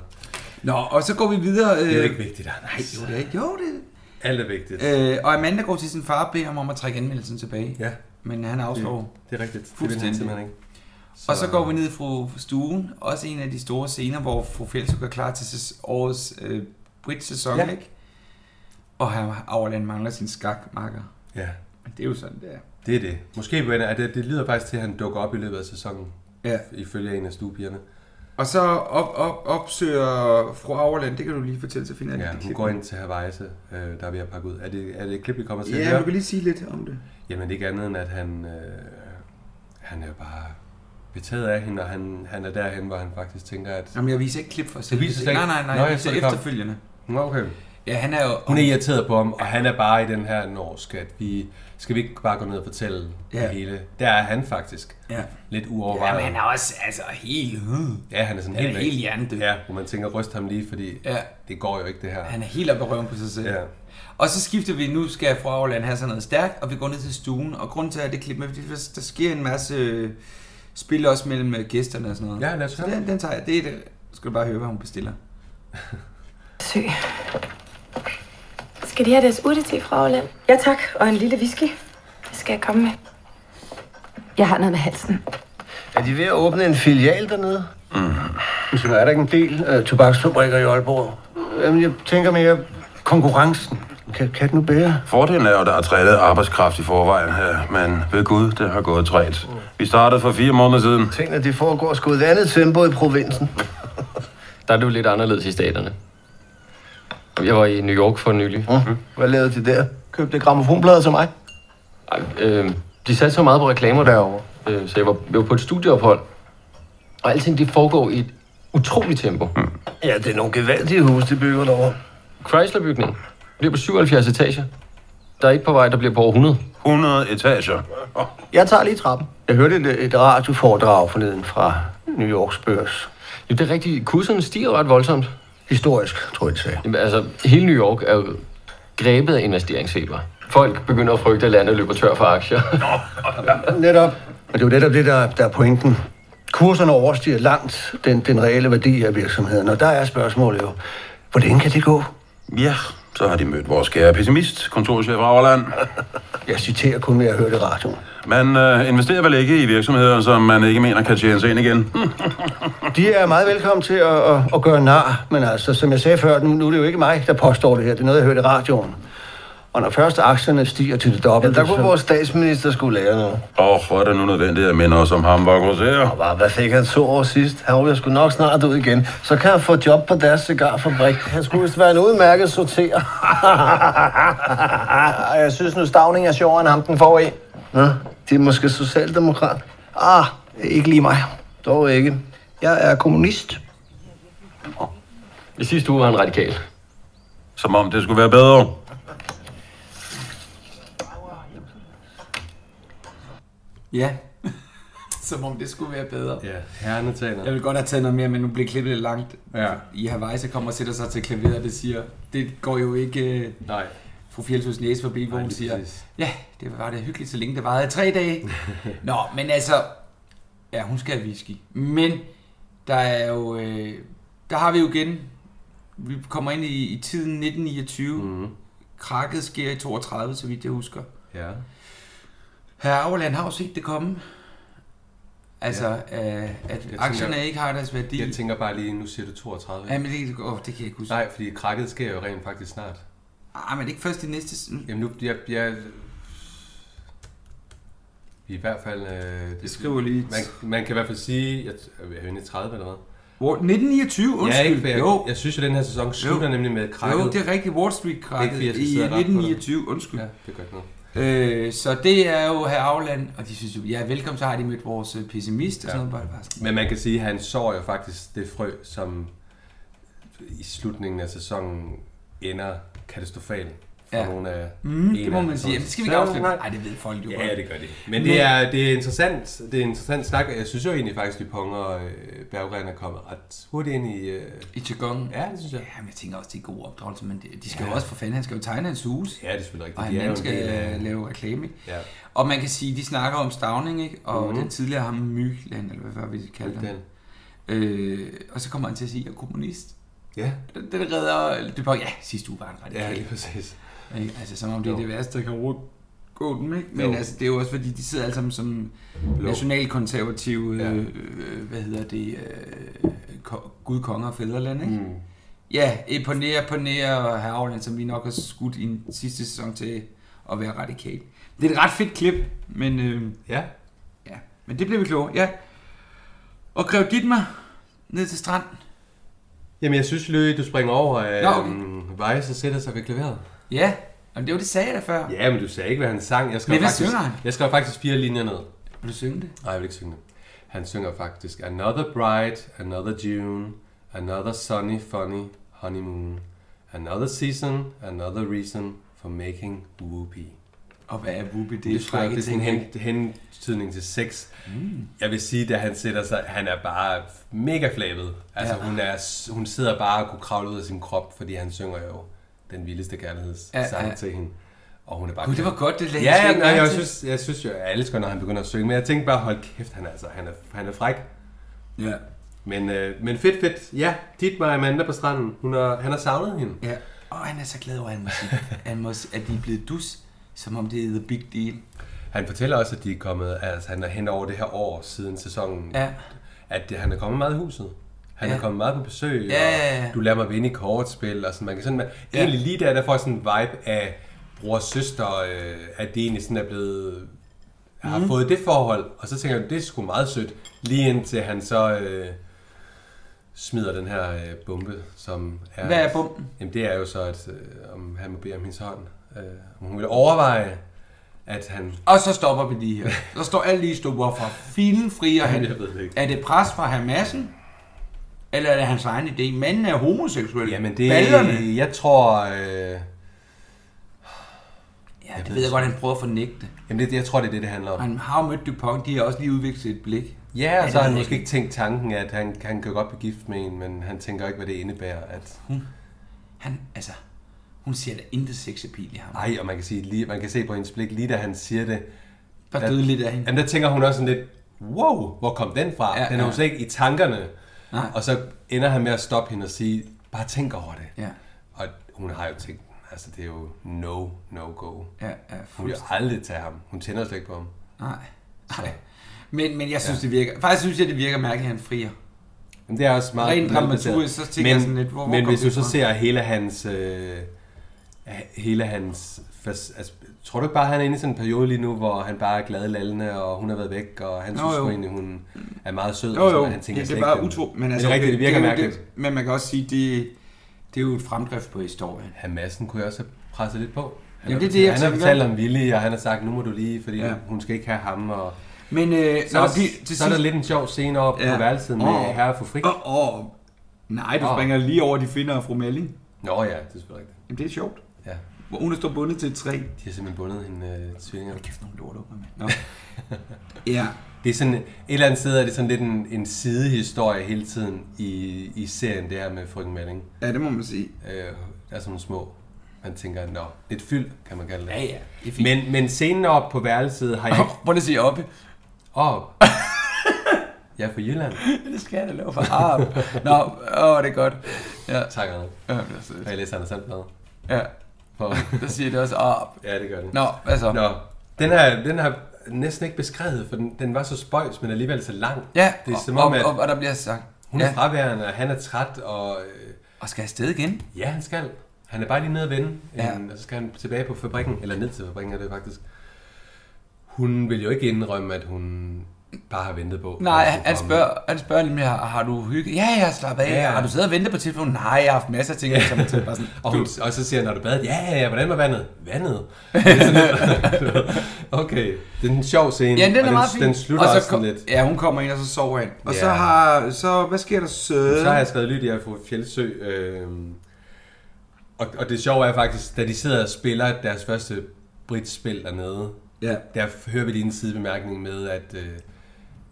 Speaker 3: Nå, og så går vi videre... Øh,
Speaker 2: det er jo ikke vigtigt,
Speaker 3: Nej,
Speaker 2: Anders.
Speaker 3: jo, det er ikke. Jo, det
Speaker 2: Alt er vigtigt.
Speaker 3: Øh, og Amanda går til sin far og beder ham om at trække anmeldelsen tilbage.
Speaker 2: Ja.
Speaker 3: Men han afslår. Mm.
Speaker 2: Det er rigtigt. Det vil han
Speaker 3: Fuldstændig.
Speaker 2: simpelthen ikke.
Speaker 3: Og så går vi ned i fru stuen. Også en af de store scener, hvor fru Fjeldsø gør klar til sæs- årets øh, Brit-sæson,
Speaker 2: Ja.
Speaker 3: ja. ikke? Og her Auerland mangler sin skakmakker.
Speaker 2: Ja,
Speaker 3: Men det er jo sådan, det er.
Speaker 2: det er det. Måske, venner, at det, det lyder faktisk til, at han dukker op i løbet af sæsonen.
Speaker 3: Ja.
Speaker 2: Ifølge en af stuepigerne.
Speaker 3: Og så op, op, opsøger fru Auerland, det kan du lige fortælle, så finder jeg
Speaker 2: Ja,
Speaker 3: det
Speaker 2: hun
Speaker 3: klip.
Speaker 2: går ind til Havajse, øh, der er ved at pakke ud. Er det, er det et klip, vi kommer til at
Speaker 3: Ja,
Speaker 2: høre?
Speaker 3: du kan lige sige lidt om det.
Speaker 2: Jamen, det er ikke andet end, at han, øh, han er bare betaget af hende, og han, han er derhen, hvor han faktisk tænker, at...
Speaker 3: Jamen, jeg viser ikke klip for selv.
Speaker 2: viser slet
Speaker 3: Nej,
Speaker 2: ikke?
Speaker 3: nej, nej,
Speaker 2: Nå,
Speaker 3: jeg
Speaker 2: jeg
Speaker 3: viser
Speaker 2: troede, det kom.
Speaker 3: efterfølgende.
Speaker 2: Nå, okay.
Speaker 3: Ja, han er jo...
Speaker 2: Hun er irriteret på ham, og han er bare i den her, når skat, vi, skal vi ikke bare gå ned og fortælle
Speaker 3: Ja.
Speaker 2: ja. det hele? Der er han faktisk
Speaker 3: Ja.
Speaker 2: lidt
Speaker 3: Jamen,
Speaker 2: uovervejet.
Speaker 3: han er også altså, helt... Hmm.
Speaker 2: ja, han er sådan
Speaker 3: Han
Speaker 2: helt
Speaker 3: er
Speaker 2: væk.
Speaker 3: helt hjernedød.
Speaker 2: Ja, hvor man tænker, ryst ham lige, fordi
Speaker 3: Ja.
Speaker 2: ja. det går jo ikke, det her.
Speaker 3: Han er helt oppe i røven på sig selv.
Speaker 2: Ja.
Speaker 3: Og så skifter vi, nu skal fru Auerland have sådan noget stærkt, og vi går ned til stuen. Og grunden til, at det klip med, fordi der der sker en masse øh, spil også mellem øh, gæsterne og sådan noget.
Speaker 2: Ja, lad os
Speaker 3: så
Speaker 2: høre.
Speaker 3: den, den tager jeg. Det er det. Skal du bare høre, hvad hun bestiller.
Speaker 5: Sø.
Speaker 7: Skal de have deres urtete fra Aarland?
Speaker 5: Ja tak, og en lille whisky.
Speaker 7: Det skal jeg komme med.
Speaker 5: Jeg har noget med halsen.
Speaker 6: Er de ved at åbne en filial dernede? Mm. Så er der ikke en del øh, tobaksfabrikker i Aalborg. Jamen, jeg tænker mere konkurrencen. Kan, kan det nu bedre?
Speaker 11: Fordelen er jo, at der er trænet arbejdskraft i forvejen her, men ved Gud, det har gået træt. Vi startede for fire måneder siden.
Speaker 6: Tingene, de foregår sgu i et andet tempo i provinsen.
Speaker 12: Der er det jo lidt anderledes i staterne. Jeg var i New York for nylig.
Speaker 6: Mm. Hvad lavede de der? Købte gramofonplader til mig?
Speaker 12: Ej, øh, de satte så meget på reklamer derovre, øh, så jeg var, jeg var på et studieophold. Og alting det foregår i et utroligt tempo. Mm.
Speaker 6: Hmm. Ja, det er nogle gevaldige huse, de bygger derovre.
Speaker 12: Chrysler-bygningen bliver på 77 etager. Der er et på vej, der bliver på over 100.
Speaker 11: 100 etager.
Speaker 6: Jeg tager lige trappen. Jeg hørte et, et radioforedrag forneden fra New Yorks børs.
Speaker 12: Jo, det er rigtigt. Kurserne stiger ret voldsomt.
Speaker 6: Historisk, tror jeg, det sagde.
Speaker 12: Jamen, altså, hele New York er jo grebet af investeringsfeber. Folk begynder at frygte, at landet løber tør for
Speaker 3: [LAUGHS]
Speaker 12: aktier.
Speaker 6: Netop. Og det er jo netop det, der, der er pointen. Kurserne overstiger langt den, den reelle værdi af virksomheden, og der er spørgsmålet jo, hvordan kan det gå?
Speaker 11: Ja, så har de mødt vores kære pessimist, kontorchef Auerland.
Speaker 6: Jeg citerer kun, hvad jeg hørte i radioen.
Speaker 11: Man øh, investerer vel ikke i virksomheder, som man ikke mener kan tjene sig ind igen. Hm.
Speaker 6: De er meget velkommen til at, at, at gøre nar, men altså, som jeg sagde før, nu, nu er det jo ikke mig, der påstår det her. Det er noget, jeg hørte i radioen. Og når først aktierne stiger til det dobbelte... Ja, der kunne vores statsminister skulle lære noget.
Speaker 11: Og hvor er det nu nødvendigt at minde os om Hamburg Rosé?
Speaker 6: Hvad, hvad fik han to år sidst? Han ryger sgu nok snart ud igen. Så kan han få job på deres cigarfabrik. Han skulle vist være en udmærket sorterer. jeg synes nu, Stavning er sjovere end ham, den får i. Nå, det er måske socialdemokrat. Ah, ikke lige mig. Dog ikke. Jeg er kommunist.
Speaker 12: I sidste uge var han radikal.
Speaker 11: Som om det skulle være bedre.
Speaker 3: Ja. [LAUGHS] Som om det skulle være bedre.
Speaker 2: Ja, herrene taler.
Speaker 3: Jeg ville godt have taget noget mere, men nu blev klippet lidt langt.
Speaker 2: Ja.
Speaker 3: I Hawaii så kommer og sætter sig til klaveret, og det siger, det går jo ikke øh,
Speaker 2: Nej.
Speaker 3: fru Fjeldsøs næse forbi, hvor
Speaker 2: Nej,
Speaker 3: hun
Speaker 2: lige
Speaker 3: siger,
Speaker 2: præcis.
Speaker 3: ja, det var det hyggeligt, så længe det varede i tre
Speaker 2: [LAUGHS]
Speaker 3: dage. Nå, men altså, ja, hun skal have whisky. Men der er jo, øh, der har vi jo igen, vi kommer ind i, i tiden 1929, mm.
Speaker 2: Mhm.
Speaker 3: krakket sker i 32, så vidt jeg husker.
Speaker 2: Ja.
Speaker 3: Herre Auerland har jo set det komme. Altså, ja. øh, at aktierne ikke har deres værdi.
Speaker 2: Jeg tænker bare lige, nu siger du 32.
Speaker 3: Jamen, det, åh, det kan jeg ikke huske.
Speaker 2: Nej, fordi krakket sker jo rent faktisk snart.
Speaker 3: Ah, men ikke først i næste...
Speaker 2: Jamen nu, jeg, jeg i hvert fald... Øh, det,
Speaker 3: skriver lige-
Speaker 2: Man, man kan i hvert fald sige, at jeg er inde i 30 eller hvad?
Speaker 3: Hvor- 1929,
Speaker 2: Ja,
Speaker 3: undskyld.
Speaker 2: ikke, for jeg,
Speaker 3: Jo.
Speaker 2: jeg synes jo, den her sæson slutter nemlig med krakket.
Speaker 3: Jo, det er rigtigt. Wall Street krakket
Speaker 2: Ikke, fordi jeg skal
Speaker 3: i
Speaker 2: sidde og rette på det.
Speaker 3: 1929, undskyld.
Speaker 2: Ja, det gør ikke noget.
Speaker 3: Øh, så det er jo her Afland, og de synes jo, ja, velkommen, så har de mødt vores øh, pessimist og sådan noget. Bare, bare sådan.
Speaker 2: Men man kan sige, at han sår jo faktisk det frø, som i slutningen af sæsonen ender katastrofalt for
Speaker 3: Ja.
Speaker 2: nogle af
Speaker 3: Mm,
Speaker 2: en
Speaker 3: det må
Speaker 2: af
Speaker 3: man
Speaker 2: sæsonens-
Speaker 3: sige. Jamen, det skal vi ikke
Speaker 2: Så-
Speaker 3: afsløre.
Speaker 2: nej.
Speaker 3: Ej, det ved folk jo
Speaker 2: Ja,
Speaker 3: godt.
Speaker 2: det gør de. Men,
Speaker 3: Men-
Speaker 2: det, er, det, er interessant, det er interessant snak. og Jeg synes jo egentlig faktisk, at Dupont og øh, Berggren er kommet ret hurtigt ind i... Øh,
Speaker 3: I Qigong?
Speaker 2: Ja, det synes jeg.
Speaker 3: Jamen, jeg tænker også, det er god opdragelse, men det, de skal
Speaker 2: Ja.
Speaker 3: ja. jo også for fanden, han skal jo tegne hans hus.
Speaker 2: Ja, det er selvfølgelig rigtigt.
Speaker 3: Og
Speaker 2: De er
Speaker 3: han
Speaker 2: jo
Speaker 3: ja,
Speaker 2: en
Speaker 3: skal
Speaker 2: del af-
Speaker 3: øh, lave reklame, ikke?
Speaker 2: Ja.
Speaker 3: Og man kan sige, de snakker om Stavning, ikke? Og
Speaker 2: Mhm.
Speaker 3: mm. den tidligere ham Mykland, eller hvad var vi kalder ham. Øh, og så kommer han til at sige, at jeg er kommunist.
Speaker 2: Ja.
Speaker 3: Den, den redder... Det var, ja, sidste uge var han radikal.
Speaker 2: Ja, lige præcis.
Speaker 3: Ikke? Altså, som om det er
Speaker 2: Jo.
Speaker 3: det værste, der kan råde gå dem, ikke? Men
Speaker 2: Jo.
Speaker 3: altså, det er jo også, fordi de sidder alle sammen som
Speaker 2: Blå.
Speaker 3: nationalkonservative, ja. øh, hvad hedder det, øh, ko- gud, konger og fædreland, ikke?
Speaker 2: Mm.
Speaker 3: Ja, på nær, på nær Havland, som vi nok har skudt i en sidste sæson til at være radikal. Det er et ret fedt klip, men... Øh,
Speaker 2: ja.
Speaker 3: ja. Men det blev vi kloge, ja. Og Grev Dittmar ned til stranden.
Speaker 2: Jamen, jeg synes, Løe, du springer over øh,
Speaker 3: Nå,
Speaker 2: Nå,
Speaker 3: okay.
Speaker 2: okay. Vejse og sætter sig ved klaveret.
Speaker 3: Ja, Jamen, det var det, sagde jeg da før.
Speaker 2: Ja, men du sagde ikke, hvad han sang. Jeg skrev
Speaker 3: Men hvad
Speaker 2: faktisk,
Speaker 3: synger han?
Speaker 2: Jeg skrev faktisk fire linjer ned.
Speaker 3: Vil du synge det?
Speaker 2: Nej, jeg vil ikke synge det. Han synger faktisk Another bright, another June, another sunny, funny honeymoon, another season, another reason for making whoopee.
Speaker 3: Og hvad er whoopee? Det er
Speaker 2: Det, tror jeg,
Speaker 3: frække
Speaker 2: det er sådan
Speaker 3: ting,
Speaker 2: en hen, hentydning til sex.
Speaker 3: Mm.
Speaker 2: Jeg vil sige, da han sætter sig, han er bare mega flabet. Altså,
Speaker 3: Ja.
Speaker 2: hun, er, s- hun sidder bare og kunne kravle ud af sin krop, fordi han synger jo den vildeste kærlighedssang
Speaker 3: Ja,
Speaker 2: ja,
Speaker 3: ja.
Speaker 2: ja. til hende. Og hun er bare
Speaker 3: Gud, det var godt, det
Speaker 2: ja,
Speaker 3: lagde jeg slet
Speaker 2: ja,
Speaker 3: ikke
Speaker 2: nej,
Speaker 3: mærke
Speaker 2: jeg,
Speaker 3: til.
Speaker 2: synes, jeg synes jo, jeg elsker, når han begynder at synge, men jeg tænkte bare, hold kæft, han er, altså, han er, han er fræk.
Speaker 3: Ja.
Speaker 2: Men, øh, men fedt, fedt. Ja, dit mig Amanda på stranden. Hun er, han har savnet hende.
Speaker 3: Ja, og han er så glad over, at, han må sige,
Speaker 2: [LAUGHS]
Speaker 3: han må, at de er blevet dus, som om det er the big deal.
Speaker 2: Han fortæller også, at de er kommet, altså han er hen over det her år siden sæsonen,
Speaker 3: Ja.
Speaker 2: at det, han er kommet meget i huset. Han
Speaker 3: Ja.
Speaker 2: er kommet meget på besøg,
Speaker 3: Ja, ja, ja.
Speaker 2: og du lader mig vinde i kortspil, og sådan, man kan sådan, man, egentlig lige der, der får jeg sådan en vibe af bror og søster, øh, at det egentlig sådan er blevet, har
Speaker 3: Mhm.
Speaker 2: fået det forhold, og så tænker jeg, det er sgu meget sødt, lige indtil han så øh, smider den her øh, bombe, som er...
Speaker 3: Hvad er bomben?
Speaker 2: Jamen det er jo så, at øh, om han må bede om hendes hånd, øh, om hun vil overveje, at han
Speaker 3: Og så stopper vi
Speaker 2: [LAUGHS]
Speaker 3: lige her. Så står alle lige stopper for filen fri, og han,
Speaker 2: Jeg ved det ikke.
Speaker 3: er det pres fra Hamassen? Eller er det hans egen idé? Manden er homoseksuel.
Speaker 2: Jamen det,
Speaker 3: Ballerne.
Speaker 2: jeg tror... Øh, ja,
Speaker 3: det ved jeg godt, han prøver at fornægte.
Speaker 2: Jamen det, jeg tror, det er det, det handler om.
Speaker 3: Han har jo mødt Dupont, de har også lige udviklet et blik.
Speaker 2: Ja, og
Speaker 3: det
Speaker 2: så har han
Speaker 3: ved jeg
Speaker 2: måske ikke tænkt tanken, at han, han kan godt blive gift med en, men han tænker ikke, hvad det indebærer. At,
Speaker 3: Hun, han, altså, hun ser da intet sexappeal i ham.
Speaker 2: nej, og man kan, sige, lige, man kan se på hendes blik, lige da han siger det...
Speaker 3: Der døde lidt af hende.
Speaker 2: Jamen der tænker hun også sådan lidt, wow, hvor kom den fra?
Speaker 3: Ja,
Speaker 2: Ja, den er
Speaker 3: ja.
Speaker 2: jo slet ikke i tankerne.
Speaker 3: Nej.
Speaker 2: Og så ender han med at stoppe hende og sige, bare tænk over det.
Speaker 3: Ja.
Speaker 2: Og hun har jo tænkt, altså det er jo no, no go.
Speaker 3: Ja, ja,
Speaker 2: hun vil
Speaker 3: fuldstændig.
Speaker 2: aldrig tage ham. Hun tænder slet ikke på ham.
Speaker 3: [LAUGHS] Nej.
Speaker 2: Så.
Speaker 3: Men, men jeg synes, ja. det virker... Faktisk synes jeg, det virker mærkeligt, at han frier.
Speaker 2: Men det er også meget...
Speaker 3: Rent
Speaker 2: malplaceret.
Speaker 3: dramaturgisk, så tænker jeg sådan lidt, hvor- hvor
Speaker 2: Men
Speaker 3: kom
Speaker 2: hvis
Speaker 3: det
Speaker 2: du så
Speaker 3: fra?
Speaker 2: ser hele hans... Øh, hele hans... fas- Altså, tror du ikke bare, han er inde i sådan en periode lige nu, hvor han bare er glad i lallene, og hun har været væk, og han
Speaker 3: Nå,
Speaker 2: synes
Speaker 3: jo.
Speaker 2: jo. egentlig, hun er meget sød.
Speaker 3: Jo,
Speaker 2: og sådan,
Speaker 3: jo,
Speaker 2: og han tænker
Speaker 3: det,
Speaker 2: slet
Speaker 3: det er
Speaker 2: ikke
Speaker 3: bare
Speaker 2: den-
Speaker 3: utro.
Speaker 2: Men det er rigtigt, det virker
Speaker 3: er jo
Speaker 2: mærkeligt.
Speaker 3: Det, men man kan også sige, det, det er jo et fremdrift på historien.
Speaker 2: Hamassen kunne jeg også have presset lidt på. Han,
Speaker 3: Jamen,
Speaker 2: har
Speaker 3: det er det, jeg
Speaker 2: fortalt- han har
Speaker 3: tænker.
Speaker 2: fortalt om Willy, og han har sagt, nu må du lige, fordi
Speaker 3: Ja.
Speaker 2: ja. hun skal ikke have ham. Og...
Speaker 3: Men, øh,
Speaker 2: så, nå,
Speaker 3: nå, vi-
Speaker 2: så,
Speaker 3: til
Speaker 2: er der
Speaker 3: sidst-
Speaker 2: lidt en sjov scene op ja.
Speaker 3: Ja.
Speaker 2: på værelset med
Speaker 3: Åh.
Speaker 2: oh. herre for fri.
Speaker 3: Åh, åh. Nej, du
Speaker 2: Åh.
Speaker 3: springer lige over, de finder fru Melling.
Speaker 2: Nå ja, det er selvfølgelig rigtigt.
Speaker 3: Jamen, det er sjovt.
Speaker 2: Ja.
Speaker 3: Hvor hun står bundet til et træ.
Speaker 2: De har simpelthen bundet hende øh, tvillinger. Hold
Speaker 3: kæft, nogle lort med.
Speaker 2: [LAUGHS]
Speaker 3: Nå. ja.
Speaker 2: Det er sådan, et eller andet sted er det sådan lidt en, en sidehistorie hele tiden i, i serien, det her med frøken Melling.
Speaker 3: Ja, det må man sige.
Speaker 2: Øh, der er sådan nogle små, man tænker, nå, lidt fyld, kan man kalde det.
Speaker 3: Ja, ja, det er fint.
Speaker 2: men, men scenen op på værelset har jeg...
Speaker 3: Prøv lige at sige oppe. [LAUGHS]
Speaker 2: Op. Jeg er fra Jylland.
Speaker 3: det skal jeg da lave for arp. Nå, åh, det er godt. Ja.
Speaker 2: Tak, Anna.
Speaker 3: Ja, det er sødt.
Speaker 2: Og jeg læser Anders Sandblad.
Speaker 3: Ja.
Speaker 2: For...
Speaker 3: [LAUGHS] Der siger det også arp.
Speaker 2: Ja, det gør det.
Speaker 3: Nå, hvad så?
Speaker 2: Nå, den her, den her næsten ikke beskrevet, for den, den var så spøjs, men alligevel så lang.
Speaker 3: Ja,
Speaker 2: det er som
Speaker 3: og-
Speaker 2: om, at
Speaker 3: og- og der bliver sagt,
Speaker 2: Hun er
Speaker 3: ja.
Speaker 2: fraværende, og han er træt, og... Øh,
Speaker 3: og skal afsted igen?
Speaker 2: Ja, han skal. Han er bare lige nede at vende,
Speaker 3: Ja.
Speaker 2: ja. og så skal han tilbage på fabrikken, eller ned til fabrikken er det faktisk. Hun vil jo ikke indrømme, at hun bare har ventet på. at
Speaker 3: Nej,
Speaker 2: han skulle
Speaker 3: han, han
Speaker 2: komme.
Speaker 3: spørger, han spørger nemlig, har, har du hygget? Ja, jeg har slappet af.
Speaker 2: Ja.
Speaker 3: Ja. Har du siddet og ventet på telefonen? Nej, jeg har haft masser af ting, jeg kommer til. Bare sådan,
Speaker 2: Og, hun, og så siger han, har du badet? Ja, ja, ja, hvordan var vandet?
Speaker 3: [LAUGHS]
Speaker 2: Vandet? Det er sådan lidt- [LAUGHS] okay, det er en sjov scene.
Speaker 3: Ja, den er
Speaker 2: og den,
Speaker 3: meget fin.
Speaker 2: Den slutter
Speaker 3: og så
Speaker 2: også sådan lidt.
Speaker 3: Ja, hun kommer ind, og så sover han. Og
Speaker 2: Ja.
Speaker 3: så har... Så, hvad sker der så?
Speaker 2: Så har jeg skrevet Lydia fra Fjeldsø. Øh, og, og det sjove er faktisk, da de sidder og spiller deres første britspil dernede,
Speaker 3: Ja.
Speaker 2: der hører vi lige en sidebemærkning med, at øh,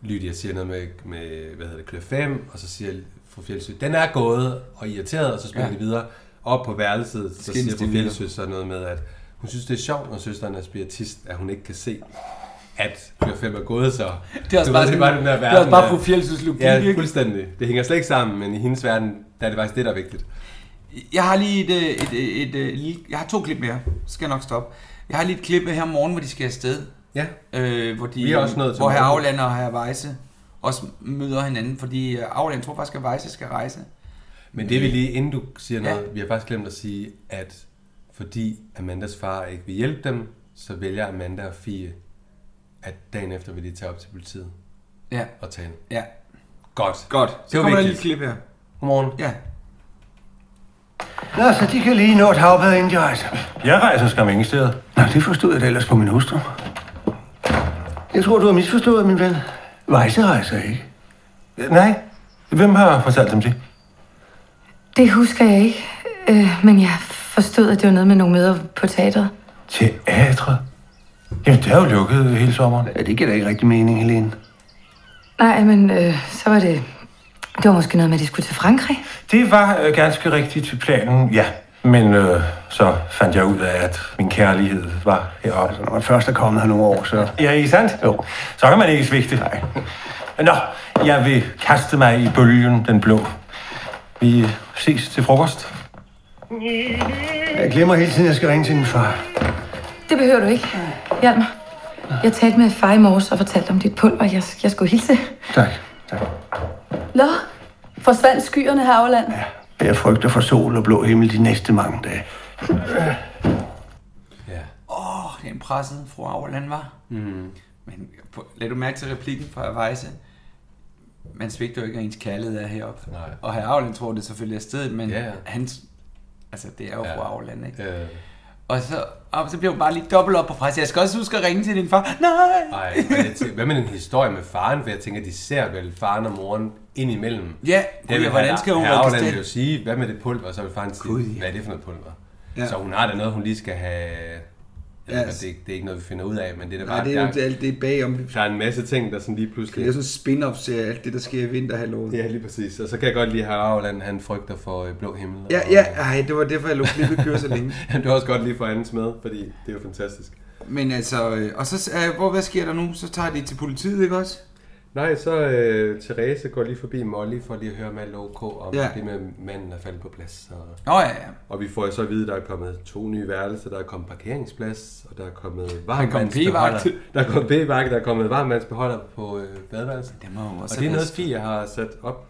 Speaker 2: Lydia siger noget med, med hvad hedder det, klø 5, og så siger fru Fjeldsø, den er gået og irriteret, og så spiller
Speaker 3: Ja.
Speaker 2: ja. de videre. Op på værelset, så
Speaker 3: Skændes
Speaker 2: siger fru
Speaker 3: de videre.
Speaker 2: Fjeldsø så noget med, at hun synes, det er sjovt, når søsteren er spiritist, at hun ikke kan se at klø 5 er gået, så
Speaker 3: Det er også
Speaker 2: Du ved, det
Speaker 3: bare
Speaker 2: er
Speaker 3: sådan-
Speaker 2: bare den der
Speaker 3: det er
Speaker 2: verden.
Speaker 3: også bare
Speaker 2: der-
Speaker 3: fru Fjeldsøs logik,
Speaker 2: Ja,
Speaker 3: ikke?
Speaker 2: fuldstændig. Det hænger slet ikke sammen, men i hendes verden, der er det faktisk det, der er vigtigt.
Speaker 3: Jeg har lige et, øh, et, et, et, øh, lille- jeg har to klip mere, så skal jeg nok stoppe. Jeg har lige et klip her om morgenen, hvor de skal afsted.
Speaker 2: Ja.
Speaker 3: Øh, hvor de,
Speaker 2: Vi er også nået til
Speaker 3: hvor herr
Speaker 2: morgen.
Speaker 3: Aulander og herr Weisse også møder hinanden, fordi øh, Aulander tror faktisk, at Weisse skal rejse.
Speaker 2: Men det vi lige, inden du siger
Speaker 3: Mm. Ja.
Speaker 2: noget, vi har faktisk glemt at sige, at fordi Amandas far ikke vil hjælpe dem, så vælger Amanda og Fie, at dagen efter vil de tage op til politiet
Speaker 3: Ja.
Speaker 2: og tale.
Speaker 3: Ja.
Speaker 2: Godt.
Speaker 3: Godt. Så
Speaker 2: Det var
Speaker 3: kommer der lige et
Speaker 2: vigtigt.
Speaker 3: klip her.
Speaker 2: Godmorgen.
Speaker 3: Ja.
Speaker 6: Nå, så de kan lige nå et havbad, inden de rejser.
Speaker 11: Jeg rejser skam ingen steder.
Speaker 6: Nå, det forstod jeg da ellers på min hustru. Jeg tror, du har misforstået, min ven. Vejse rejser ikke.
Speaker 10: Nej. Hvem har fortalt dem det?
Speaker 13: Det husker jeg ikke, øh, men jeg forstod, at det var noget med nogle møder på teatret.
Speaker 10: Teatret? Jamen, det er jo lukket hele sommeren. Ja, det giver da ikke rigtig mening, Helene.
Speaker 13: Nej, men øh, så var det... Det var måske noget med, at de skulle til Frankrig.
Speaker 10: Det var øh, ganske rigtigt planen, ja. Men øh, så fandt jeg ud af, at min kærlighed var heroppe. Altså, når man først er kommet her nogle år, så... Ja, ikke sandt? Jo. Så kan man ikke svigte. Nej. Nå, jeg vil kaste mig i bølgen, den blå. Vi ses til frokost.
Speaker 6: Jeg glemmer hele tiden, at jeg skal ringe til din far.
Speaker 13: Det behøver du ikke, Hjalmar. Jeg talte med far i morges og fortalte om dit pulver. Jeg, jeg skulle hilse.
Speaker 6: Tak.
Speaker 14: Nå, forsvandt skyerne her, Auland? Ja.
Speaker 6: Jeg frygter for sol og blå himmel de næste mange dage.
Speaker 3: Åh, oh, den pressede fru Auerland var.
Speaker 2: Mm.
Speaker 3: Men på- lad du mærke til replikken fra Weisse. Man svigter jo ikke, at ens kærlighed er heroppe.
Speaker 2: Nej.
Speaker 3: Og herr Auerland tror det selvfølgelig er stedet, men ja. hans... Altså, det er jo ja. fru Auerland, ikke?
Speaker 2: Ja.
Speaker 3: Og så, og så blev hun bare lige dobbelt op på Frejse. Jeg skal også huske at ringe til din far. Nej!
Speaker 2: Ej, og jeg tænker, hvad med den historie med faren? For jeg tænker, de ser vel faren og moren ind imellem.
Speaker 3: Ja, gud, ja, hvordan skal hun
Speaker 2: registrere?
Speaker 3: registrere-
Speaker 2: vil jo sige, hvad med det pulver? Og så vil faren sige, hvad er det for noget pulver?
Speaker 3: Ja.
Speaker 2: Ja. Så hun har da noget, hun lige skal have... Jeg
Speaker 3: Ja,
Speaker 2: yes. det, det er ikke noget, vi finder ud af, men det er da
Speaker 3: Nej,
Speaker 2: bare...
Speaker 3: det er jo
Speaker 2: der-
Speaker 3: alt det bagom.
Speaker 2: Der er en masse ting, der sådan lige pludselig...
Speaker 3: Det er sådan en spin-off-serie, alt det, der sker i vinterhalvåret.
Speaker 2: Ja, lige præcis. Og så kan jeg godt lide, at Auland, han frygter for øh, blå himmel.
Speaker 3: Ja,
Speaker 2: Og-
Speaker 3: ja, ej, det var derfor, jeg lå klippet køre så [LAUGHS] længe.
Speaker 2: Jamen, det er også godt lige for andens med, fordi det er jo fantastisk.
Speaker 3: Men altså, øh, og så, øh, hvor, hvad sker der nu? Så tager de til politiet, ikke også?
Speaker 2: Nej, så øh, Therese går lige forbi Molly for lige at høre med alt OK om
Speaker 3: Ja.
Speaker 2: ja. det med manden er faldet på plads. Og,
Speaker 3: Nå, ja, ja.
Speaker 2: og vi får jo så at vide, at der er kommet to nye værelser, der er kommet parkeringsplads, og der er kommet
Speaker 3: kommet
Speaker 2: varmvandsbeholder.
Speaker 3: p-vagt.
Speaker 2: Der er kommet p-vagt, der er kommet varmvandsbeholder på øh, badeværelset.
Speaker 3: Det må jo også
Speaker 2: og det er
Speaker 3: have
Speaker 2: noget,
Speaker 3: været-
Speaker 2: Fie har sat op.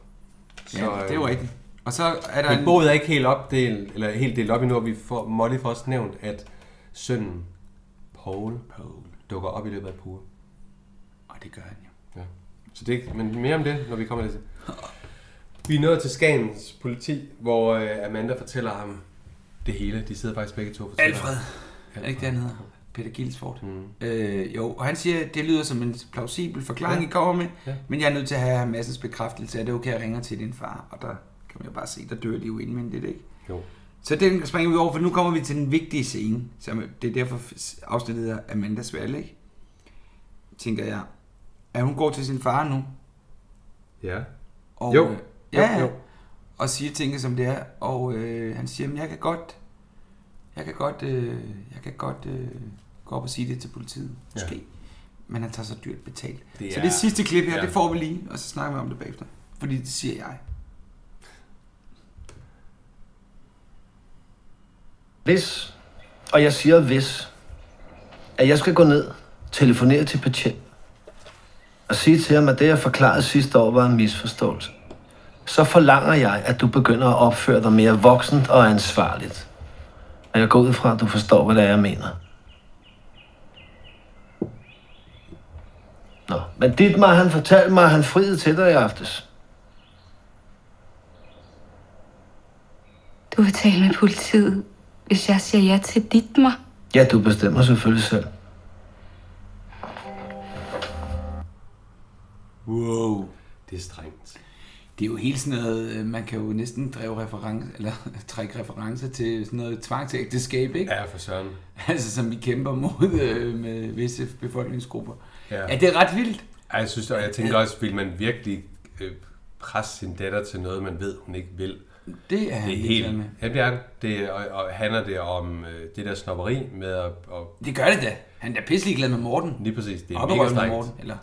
Speaker 2: øh,
Speaker 3: Ja, det er jo rigtigt. Og så er der
Speaker 2: Men
Speaker 3: en-
Speaker 2: boet er ikke helt opdelt, eller helt delt op endnu, og vi får, Molly får også nævnt, at sønnen Paul, Paul. dukker op i løbet af pure.
Speaker 3: Og det gør han
Speaker 2: jo. Ja. Så det, er- men mere om det, når vi kommer lidt til. Vi er nået til Skagens politi, hvor øh, Amanda fortæller ham det hele. De sidder faktisk begge to og fortæller.
Speaker 3: Alfred. Er det ikke det, han hedder? Peter Gilsford. Mm. Øh, jo, og han siger, at det lyder som en plausibel forklaring, ja.
Speaker 2: Ja.
Speaker 3: I kommer med, ja.
Speaker 2: Ja.
Speaker 3: men jeg er nødt til at have massens bekræftelse af det, er okay, jeg ringer til din far, og der kan man jo bare se, der dør de jo indvendigt, ikke?
Speaker 2: Jo.
Speaker 3: Så den springer vi over, for nu kommer vi til den vigtige scene, som det er derfor afsnittet hedder Amandas valg, ikke? Tænker jeg. At hun går til sin far nu,
Speaker 2: Ja.
Speaker 3: og,
Speaker 2: Jo.
Speaker 3: Øh, ja,
Speaker 2: Jo,
Speaker 3: jo.
Speaker 2: jo.
Speaker 3: Og siger tingene, som det er. Og øh, han siger, at jeg kan godt, jeg kan godt, øh, jeg kan godt øh, gå op og sige det til politiet.
Speaker 2: Ja.
Speaker 3: Måske. Men han tager så dyrt betalt.
Speaker 2: Det
Speaker 3: så
Speaker 2: er-
Speaker 3: det sidste klip her,
Speaker 2: ja.
Speaker 3: det får vi lige, og så snakker vi om det bagefter. Fordi det siger jeg.
Speaker 6: Hvis, og jeg siger hvis, at jeg skal gå ned
Speaker 15: telefonere til patienten og sige til ham, at det, jeg forklarede sidste år, var en misforståelse. Så forlanger jeg, at du begynder at opføre dig mere voksent og ansvarligt. Og jeg går ud fra, at du forstår, hvad det er, jeg mener. Nå, men Dietmar, han fortalte mig, at han friede til dig i aftes.
Speaker 16: Du vil tale med politiet, hvis jeg siger ja til dit mig.
Speaker 15: Ja, du bestemmer selvfølgelig selv.
Speaker 3: Wow.
Speaker 2: Det er strengt.
Speaker 3: Det er jo helt sådan noget, øh, man kan jo næsten drive reference, eller [LAUGHS] trække referencer til sådan noget tvang til ægteskab, ikke?
Speaker 2: Ja, for søren.
Speaker 3: [LAUGHS] Altså, som vi kæmper mod øh, med visse befolkningsgrupper.
Speaker 2: Ja.
Speaker 3: Ja, det er ret vildt.
Speaker 2: Ja, jeg synes, og jeg tænker også, vil man virkelig øh, presse sin datter til noget, man ved, hun ikke vil?
Speaker 3: Det er han
Speaker 2: det er
Speaker 3: ligeglad
Speaker 2: helt,
Speaker 3: med.
Speaker 2: Ja, det er han. det, og, og handler det om øh, det der snopperi med at... Og,
Speaker 3: Det gør det da. Han er pisselig glad med Morten.
Speaker 2: Lige præcis. Det er
Speaker 3: Op i
Speaker 2: mega
Speaker 3: røven med
Speaker 2: strengt.
Speaker 3: Morten, eller?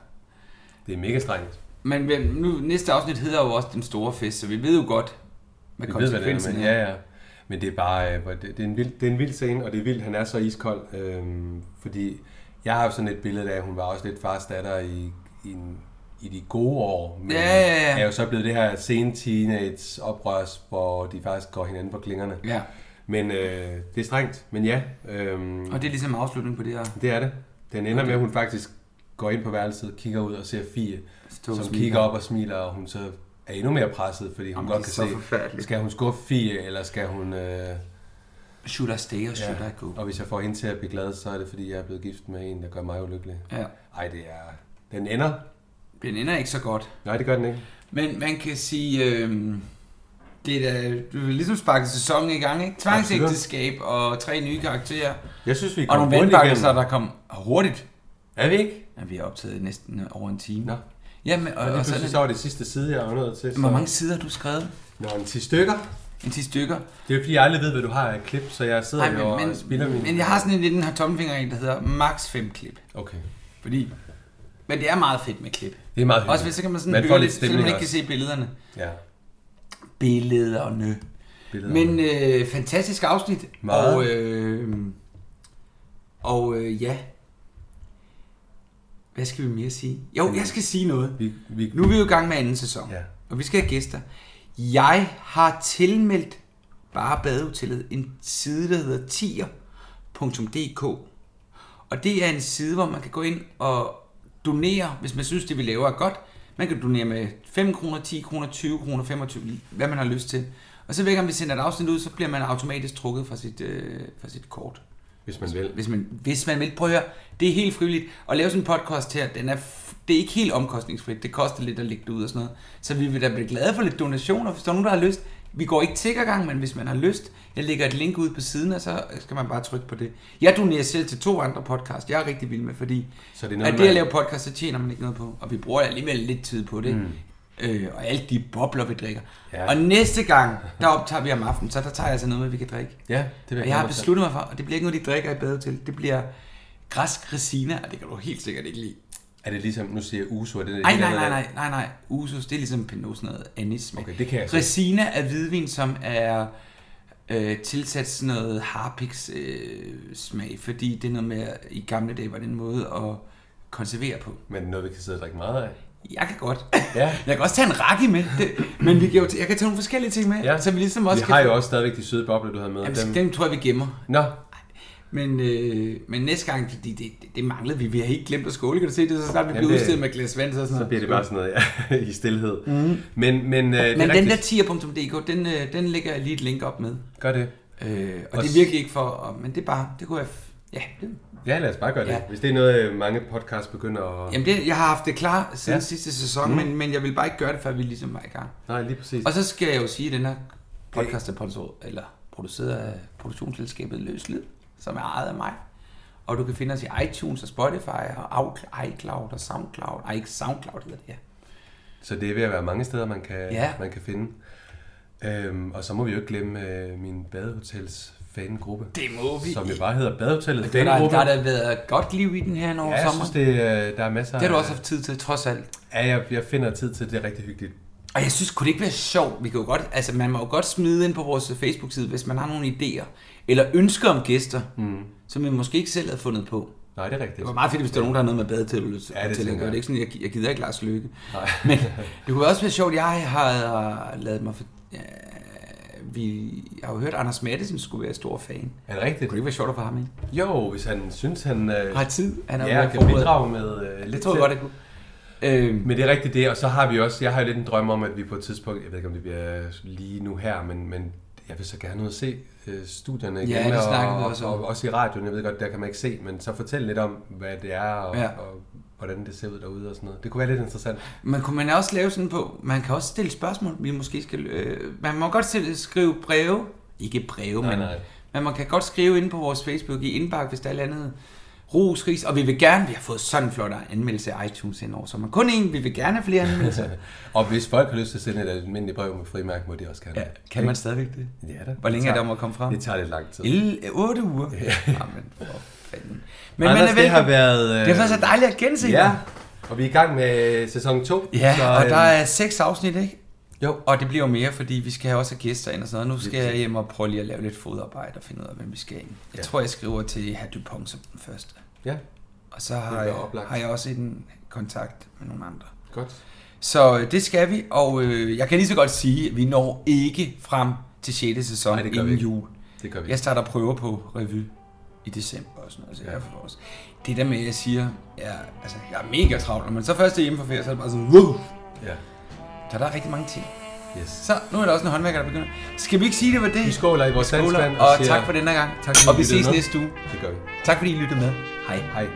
Speaker 2: Det er mega strengt.
Speaker 3: Men hvem- nu, næste afsnit hedder jo også Den Store Fest, så vi ved jo godt, hvad
Speaker 2: Vi ved, hvad det er,
Speaker 3: konsekvensen
Speaker 2: men, ja, ja. Men det er bare, øh, hvor det, det, er en vild, det er en vild scene, og det er vildt, han er så iskold. Øhm, fordi jeg har jo sådan et billede af, at hun var også lidt fars datter i, i, en- i de gode år. Men
Speaker 3: Ja, ja, ja.
Speaker 2: er jo så blevet det her sen teenage oprørs, hvor de faktisk går hinanden på klingerne.
Speaker 3: Ja.
Speaker 2: Men øh, det er strengt, men ja. Øhm,
Speaker 3: Og det er ligesom afslutningen på det her.
Speaker 2: det er det. Den ender
Speaker 3: Okay.
Speaker 2: med, at hun faktisk går ind på værelset, kigger ud og ser Fie,
Speaker 3: Stå og
Speaker 2: som
Speaker 3: smiler.
Speaker 2: kigger op og smiler, og hun så er endnu mere presset, fordi hun
Speaker 3: Jamen,
Speaker 2: godt
Speaker 3: det
Speaker 2: kan
Speaker 3: er så
Speaker 2: se,
Speaker 3: forfærdeligt.
Speaker 2: skal hun skuffe Fie, eller skal hun... Øh...
Speaker 3: Should I stay or should I go?
Speaker 2: Og hvis jeg får hende til at blive glad, så er det, fordi jeg er blevet gift med en, der gør mig ulykkelig.
Speaker 3: Ja.
Speaker 2: Ej, det er... Den ender.
Speaker 3: Den ender ikke så godt.
Speaker 2: Nej, det gør den ikke.
Speaker 3: Men man kan sige, øh, det er da, du vil ligesom sparke sæsonen i gang, ikke? Tvangsægteskab og tre nye karakterer.
Speaker 2: Jeg synes, vi
Speaker 3: Og
Speaker 2: kom
Speaker 3: nogle
Speaker 2: hurtigt
Speaker 3: vandbakkelser,
Speaker 2: igennem.
Speaker 3: der kom hurtigt.
Speaker 2: Er vi ikke?
Speaker 3: Ja, vi er optaget næsten over en time. Nå.
Speaker 2: Jamen,
Speaker 3: Jamen,
Speaker 2: og,
Speaker 3: og-
Speaker 2: og,
Speaker 3: og
Speaker 2: og
Speaker 3: så er
Speaker 2: så,
Speaker 3: det-
Speaker 2: så var det sidste side, jeg var nået til. Så...
Speaker 3: Hvor mange sider har du skrevet?
Speaker 2: Nå, en 10 stykker.
Speaker 3: En 10 stykker?
Speaker 2: Det er jo fordi, jeg aldrig ved, hvad du har af klip, så jeg sidder
Speaker 3: Nej,
Speaker 2: Ej, men, og
Speaker 3: men,
Speaker 2: spilder
Speaker 3: men,
Speaker 2: min...
Speaker 3: men jeg har sådan en lille tommelfinger en, der hedder max 5 klip.
Speaker 2: Okay.
Speaker 3: Fordi, men det er meget fedt med klip.
Speaker 2: Det er meget hyggeligt.
Speaker 3: Også hvis så kan man sådan
Speaker 2: Man får
Speaker 3: høre
Speaker 2: lidt
Speaker 3: lidt, selvom man
Speaker 2: stemning
Speaker 3: ikke kan
Speaker 2: også.
Speaker 3: se billederne.
Speaker 2: Ja.
Speaker 3: Billederne.
Speaker 2: Billederne.
Speaker 3: Men øh, fantastisk afsnit.
Speaker 2: Meget.
Speaker 3: Og, øh, og øh, ja. Hvad skal vi mere sige? Jo, jeg skal sige noget.
Speaker 2: Vi, vi,
Speaker 3: nu er vi jo i gang med anden sæson.
Speaker 2: Ja.
Speaker 3: Og vi skal have gæster. Jeg har tilmeldt bare badehotellet en side, der hedder tier.dk. Og det er en side, hvor man kan gå ind og donere, hvis man synes, det vi laver er godt. Man kan donere med 5 kroner, 10 kroner, 20 kroner, 25, lige hvad man har lyst til. Og så hver gang vi sender et afsnit ud, så bliver man automatisk trukket fra sit, øh, fra sit kort.
Speaker 2: Hvis man vil.
Speaker 3: Hvis man, hvis man vil. Prøv at høre, det er helt frivilligt. At lave sådan en podcast her, den er, f- det er ikke helt omkostningsfrit. Det koster lidt at lægge det ud og sådan noget. Så vi vil da blive glade for lidt donationer, hvis der er nogen, der har lyst. Vi går ikke tiggergang, men hvis man har lyst, jeg lægger et link ud på siden, og så skal man bare trykke på det. Jeg donerer selv til to andre podcast, jeg er rigtig vild med, fordi
Speaker 2: Så det er
Speaker 3: det er
Speaker 2: noget,
Speaker 3: at det at
Speaker 2: man-
Speaker 3: lave podcast, så tjener man ikke noget på. Og vi bruger alligevel lidt tid på det.
Speaker 2: Mm.
Speaker 3: Mm. Øh, og alle de bobler, vi drikker.
Speaker 2: Ja.
Speaker 3: Ja. Og næste gang, der optager vi om aftenen, så der tager jeg altså noget med, vi kan drikke.
Speaker 2: Ja, det vil jeg
Speaker 3: jeg, jeg
Speaker 2: glæde
Speaker 3: har
Speaker 2: mig til.
Speaker 3: besluttet mig for, og det bliver ikke noget, de drikker i bade til. Det bliver græsk resina, og det kan du helt sikkert ikke lide.
Speaker 2: Er det ligesom, nu siger jeg uso, er det
Speaker 3: Nej,
Speaker 2: helt
Speaker 3: nej,
Speaker 2: andet
Speaker 3: nej,
Speaker 2: land?
Speaker 3: nej, nej, nej. Usus, det er ligesom pinot, sådan noget anis.
Speaker 2: Okay, det kan jeg så ikke.
Speaker 3: Resina er hvidvin, som er øh, tilsat sådan noget harpiks øh, smag, fordi det er noget med, at i gamle dage var det en måde at konservere på.
Speaker 2: Men noget, vi kan sidde og drikke meget af.
Speaker 3: Jeg kan godt.
Speaker 2: Ja.
Speaker 3: [LAUGHS] Jeg kan også tage en rakke med, det, men vi kan jo t- jeg kan tage nogle forskellige ting med, ja. så vi ligesom også
Speaker 2: Vi
Speaker 3: kan
Speaker 2: har jo også stadigvæk de søde bobler, du havde med.
Speaker 3: Jamen, dem... dem tror jeg, vi gemmer.
Speaker 2: Nå.
Speaker 3: Men, øh, men næste gang, fordi det, det, det manglede vi, vi har helt glemt at skåle, kan du se det, så snart vi
Speaker 2: Jamen,
Speaker 3: bliver
Speaker 2: det-
Speaker 3: udstillet med et glas vand, så, er sådan
Speaker 2: Så bliver det bare sådan noget, ja, [LAUGHS] i stillhed.
Speaker 3: Mhm.
Speaker 2: Men, men, øh, det er
Speaker 3: Men den der
Speaker 2: rigtigt.
Speaker 3: tier.dk, den, øh, den lægger jeg lige et link op med.
Speaker 2: Gør det.
Speaker 3: Øh, og,
Speaker 2: Og
Speaker 3: og det
Speaker 2: s-
Speaker 3: er virkelig ikke for, og, men det er bare, det kunne jeg, f- ja. Det,
Speaker 2: Ja, lad os bare gøre det. Ja.
Speaker 3: Ja.
Speaker 2: Hvis det er noget, øh, mange podcasts begynder at...
Speaker 3: jamen det, jeg har haft det klar siden
Speaker 2: Ja.
Speaker 3: ja. sidste sæson,
Speaker 2: Mm.
Speaker 3: mm. men, men jeg vil bare ikke gøre det, før vi ligesom var i gang.
Speaker 2: Nej, lige præcis.
Speaker 3: Og så skal jeg jo sige, at den her podcast er produceret, eller produceret af produktionsselskabet Løslid, som er ejet af mig. Og du kan finde os i iTunes og Spotify og Outl- iCloud og SoundCloud. Ej, ikke SoundCloud hedder det, ja.
Speaker 2: Så det er ved at være mange steder, man kan, ja.
Speaker 3: Ja.
Speaker 2: man kan finde. Øhm, og så må vi jo ikke glemme øh, min badehotels fangruppe.
Speaker 3: Det må vi
Speaker 2: Som jo
Speaker 3: ikke.
Speaker 2: bare hedder Badehotellet
Speaker 3: Der, der,
Speaker 2: Fangruppe.
Speaker 3: der har da været godt liv i den her over
Speaker 2: Ja, jeg
Speaker 3: sommer.
Speaker 2: synes, det, øh, der er masser
Speaker 3: Det har du
Speaker 2: af-
Speaker 3: også haft tid til, trods alt.
Speaker 2: Ja, jeg, jeg finder tid til, det er rigtig hyggeligt.
Speaker 3: Og jeg synes, kunne det ikke være sjovt? Vi kan jo godt, altså, man må jo godt smide ind på vores Facebook-side, hvis man har nogle idéer, eller ønsker om gæster, mm. som vi måske ikke selv havde fundet på.
Speaker 2: Nej, det er rigtigt.
Speaker 3: Det var meget fedt, hvis der er nogen, der har noget med badetilbud.
Speaker 2: Ja, det
Speaker 3: til at
Speaker 2: tænker
Speaker 3: gøre.
Speaker 2: jeg.
Speaker 3: Det er ikke sådan, jeg, jeg gider ikke Lars Lykke. Men det kunne også være sjovt, jeg har øh, lavet mig for... Ja, vi har jo hørt, at Anders Mattesen skulle være stor fan.
Speaker 2: Er det rigtigt?
Speaker 3: Kunne det ikke være sjovt at få ham ind?
Speaker 2: Jo, hvis han synes, han øh,
Speaker 3: Har tid. Han er jo ved
Speaker 2: ja,
Speaker 3: at
Speaker 2: kan
Speaker 3: forberede.
Speaker 2: bidrage med øh,
Speaker 3: Det
Speaker 2: lidt
Speaker 3: troede
Speaker 2: til.
Speaker 3: jeg godt, jeg kunne. Øh,
Speaker 2: men det er rigtigt det, og så har vi også, jeg har jo lidt en drøm om, at vi på et tidspunkt, jeg ved ikke om det bliver lige nu her, men, men jeg vil så gerne ud og se øh, studierne
Speaker 3: Ja,
Speaker 2: igen,
Speaker 3: det
Speaker 2: og,
Speaker 3: snakkede vi også
Speaker 2: og,
Speaker 3: om.
Speaker 2: og, også i radioen, jeg ved godt, der kan man ikke se, men så fortæl lidt om, hvad det er, og,
Speaker 3: Ja.
Speaker 2: ja. og hvordan det ser ud derude og sådan noget. Det kunne være lidt interessant. [LAUGHS]
Speaker 3: Men kunne man også lave sådan på, man kan også stille spørgsmål, vi måske skal, øh, man må godt stille, skrive breve, ikke breve,
Speaker 2: Nej,
Speaker 3: men,
Speaker 2: nej.
Speaker 3: men man kan godt skrive ind på vores Facebook i indbakke, hvis der er et eller andet ros, ris, og vi vil gerne, vi har fået sådan en flot anmeldelse af iTunes indover, så man kun en, vi vil gerne have flere
Speaker 2: [LAUGHS]
Speaker 3: anmeldelser.
Speaker 2: og hvis folk har lyst til at sende et almindeligt brev med frimærke, må de også gerne. Ja,
Speaker 3: kan man stadigvæk det?
Speaker 2: Ja da.
Speaker 3: Hvor længe er der om at komme frem?
Speaker 2: Det tager lidt lang tid.
Speaker 3: El- 8 uger. Jamen, for
Speaker 2: [LAUGHS]
Speaker 3: fanden. Men
Speaker 2: Anders,
Speaker 3: man er
Speaker 2: det har
Speaker 3: velkommen.
Speaker 2: været... øh,
Speaker 3: Det har været så dejligt at gense
Speaker 2: Ja,
Speaker 3: dig.
Speaker 2: og vi er i gang med sæson 2.
Speaker 3: Ja,
Speaker 2: så,
Speaker 3: så, og
Speaker 2: øh,
Speaker 3: der er seks afsnit, ikke?
Speaker 2: Jo.
Speaker 3: Og det bliver jo mere, fordi vi skal have også have gæster ind og sådan noget. Nu skal jeg hjem og prøve lige at lave lidt fodarbejde og finde ud af, hvem vi skal ind. Jeg
Speaker 2: Ja.
Speaker 3: tror, jeg skriver til herr Dupont som den første.
Speaker 2: Ja.
Speaker 3: Og så
Speaker 2: Det
Speaker 3: har
Speaker 2: bliver
Speaker 3: jeg,
Speaker 2: oplagt.
Speaker 3: har jeg også en kontakt med nogle andre.
Speaker 2: Godt.
Speaker 3: Så øh, det skal vi, og øh, jeg kan lige så godt sige, at vi når ikke frem til 6. sæson
Speaker 2: Nej, det gør vi
Speaker 3: inden
Speaker 2: ikke.
Speaker 3: jul.
Speaker 2: Det gør vi
Speaker 3: Jeg starter prøver på revy i december og sådan noget, så jeg får også. Det der med, at jeg siger, jeg, altså, jeg er mega travl, når man så først er hjemme fra ferie, så er det bare sådan, wow!
Speaker 2: Ja.
Speaker 3: Så der er rigtig mange ting.
Speaker 2: Yes.
Speaker 3: Så nu er der også en håndværker, der begynder. Skal vi ikke sige, det var det? Vi
Speaker 2: skåler i vores danskvand og
Speaker 3: og,
Speaker 2: siger-
Speaker 3: tak for denne gang.
Speaker 2: Tak, fordi
Speaker 3: og vi
Speaker 2: I lyttede
Speaker 3: ses
Speaker 2: med.
Speaker 3: næste uge.
Speaker 2: Det gør vi.
Speaker 3: Tak fordi I lyttede med. Hej.
Speaker 2: Hej.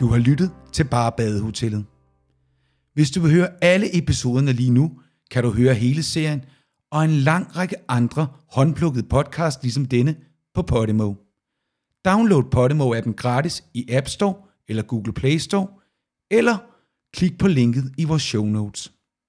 Speaker 1: Du har lyttet til Bare Badehotellet. Hvis du vil høre alle episoderne lige nu, kan du høre hele serien og en lang række andre håndplukkede podcasts ligesom denne på Podimo. Download Podimo-appen gratis i App Store eller Google Play Store, eller klik på linket i vores show notes.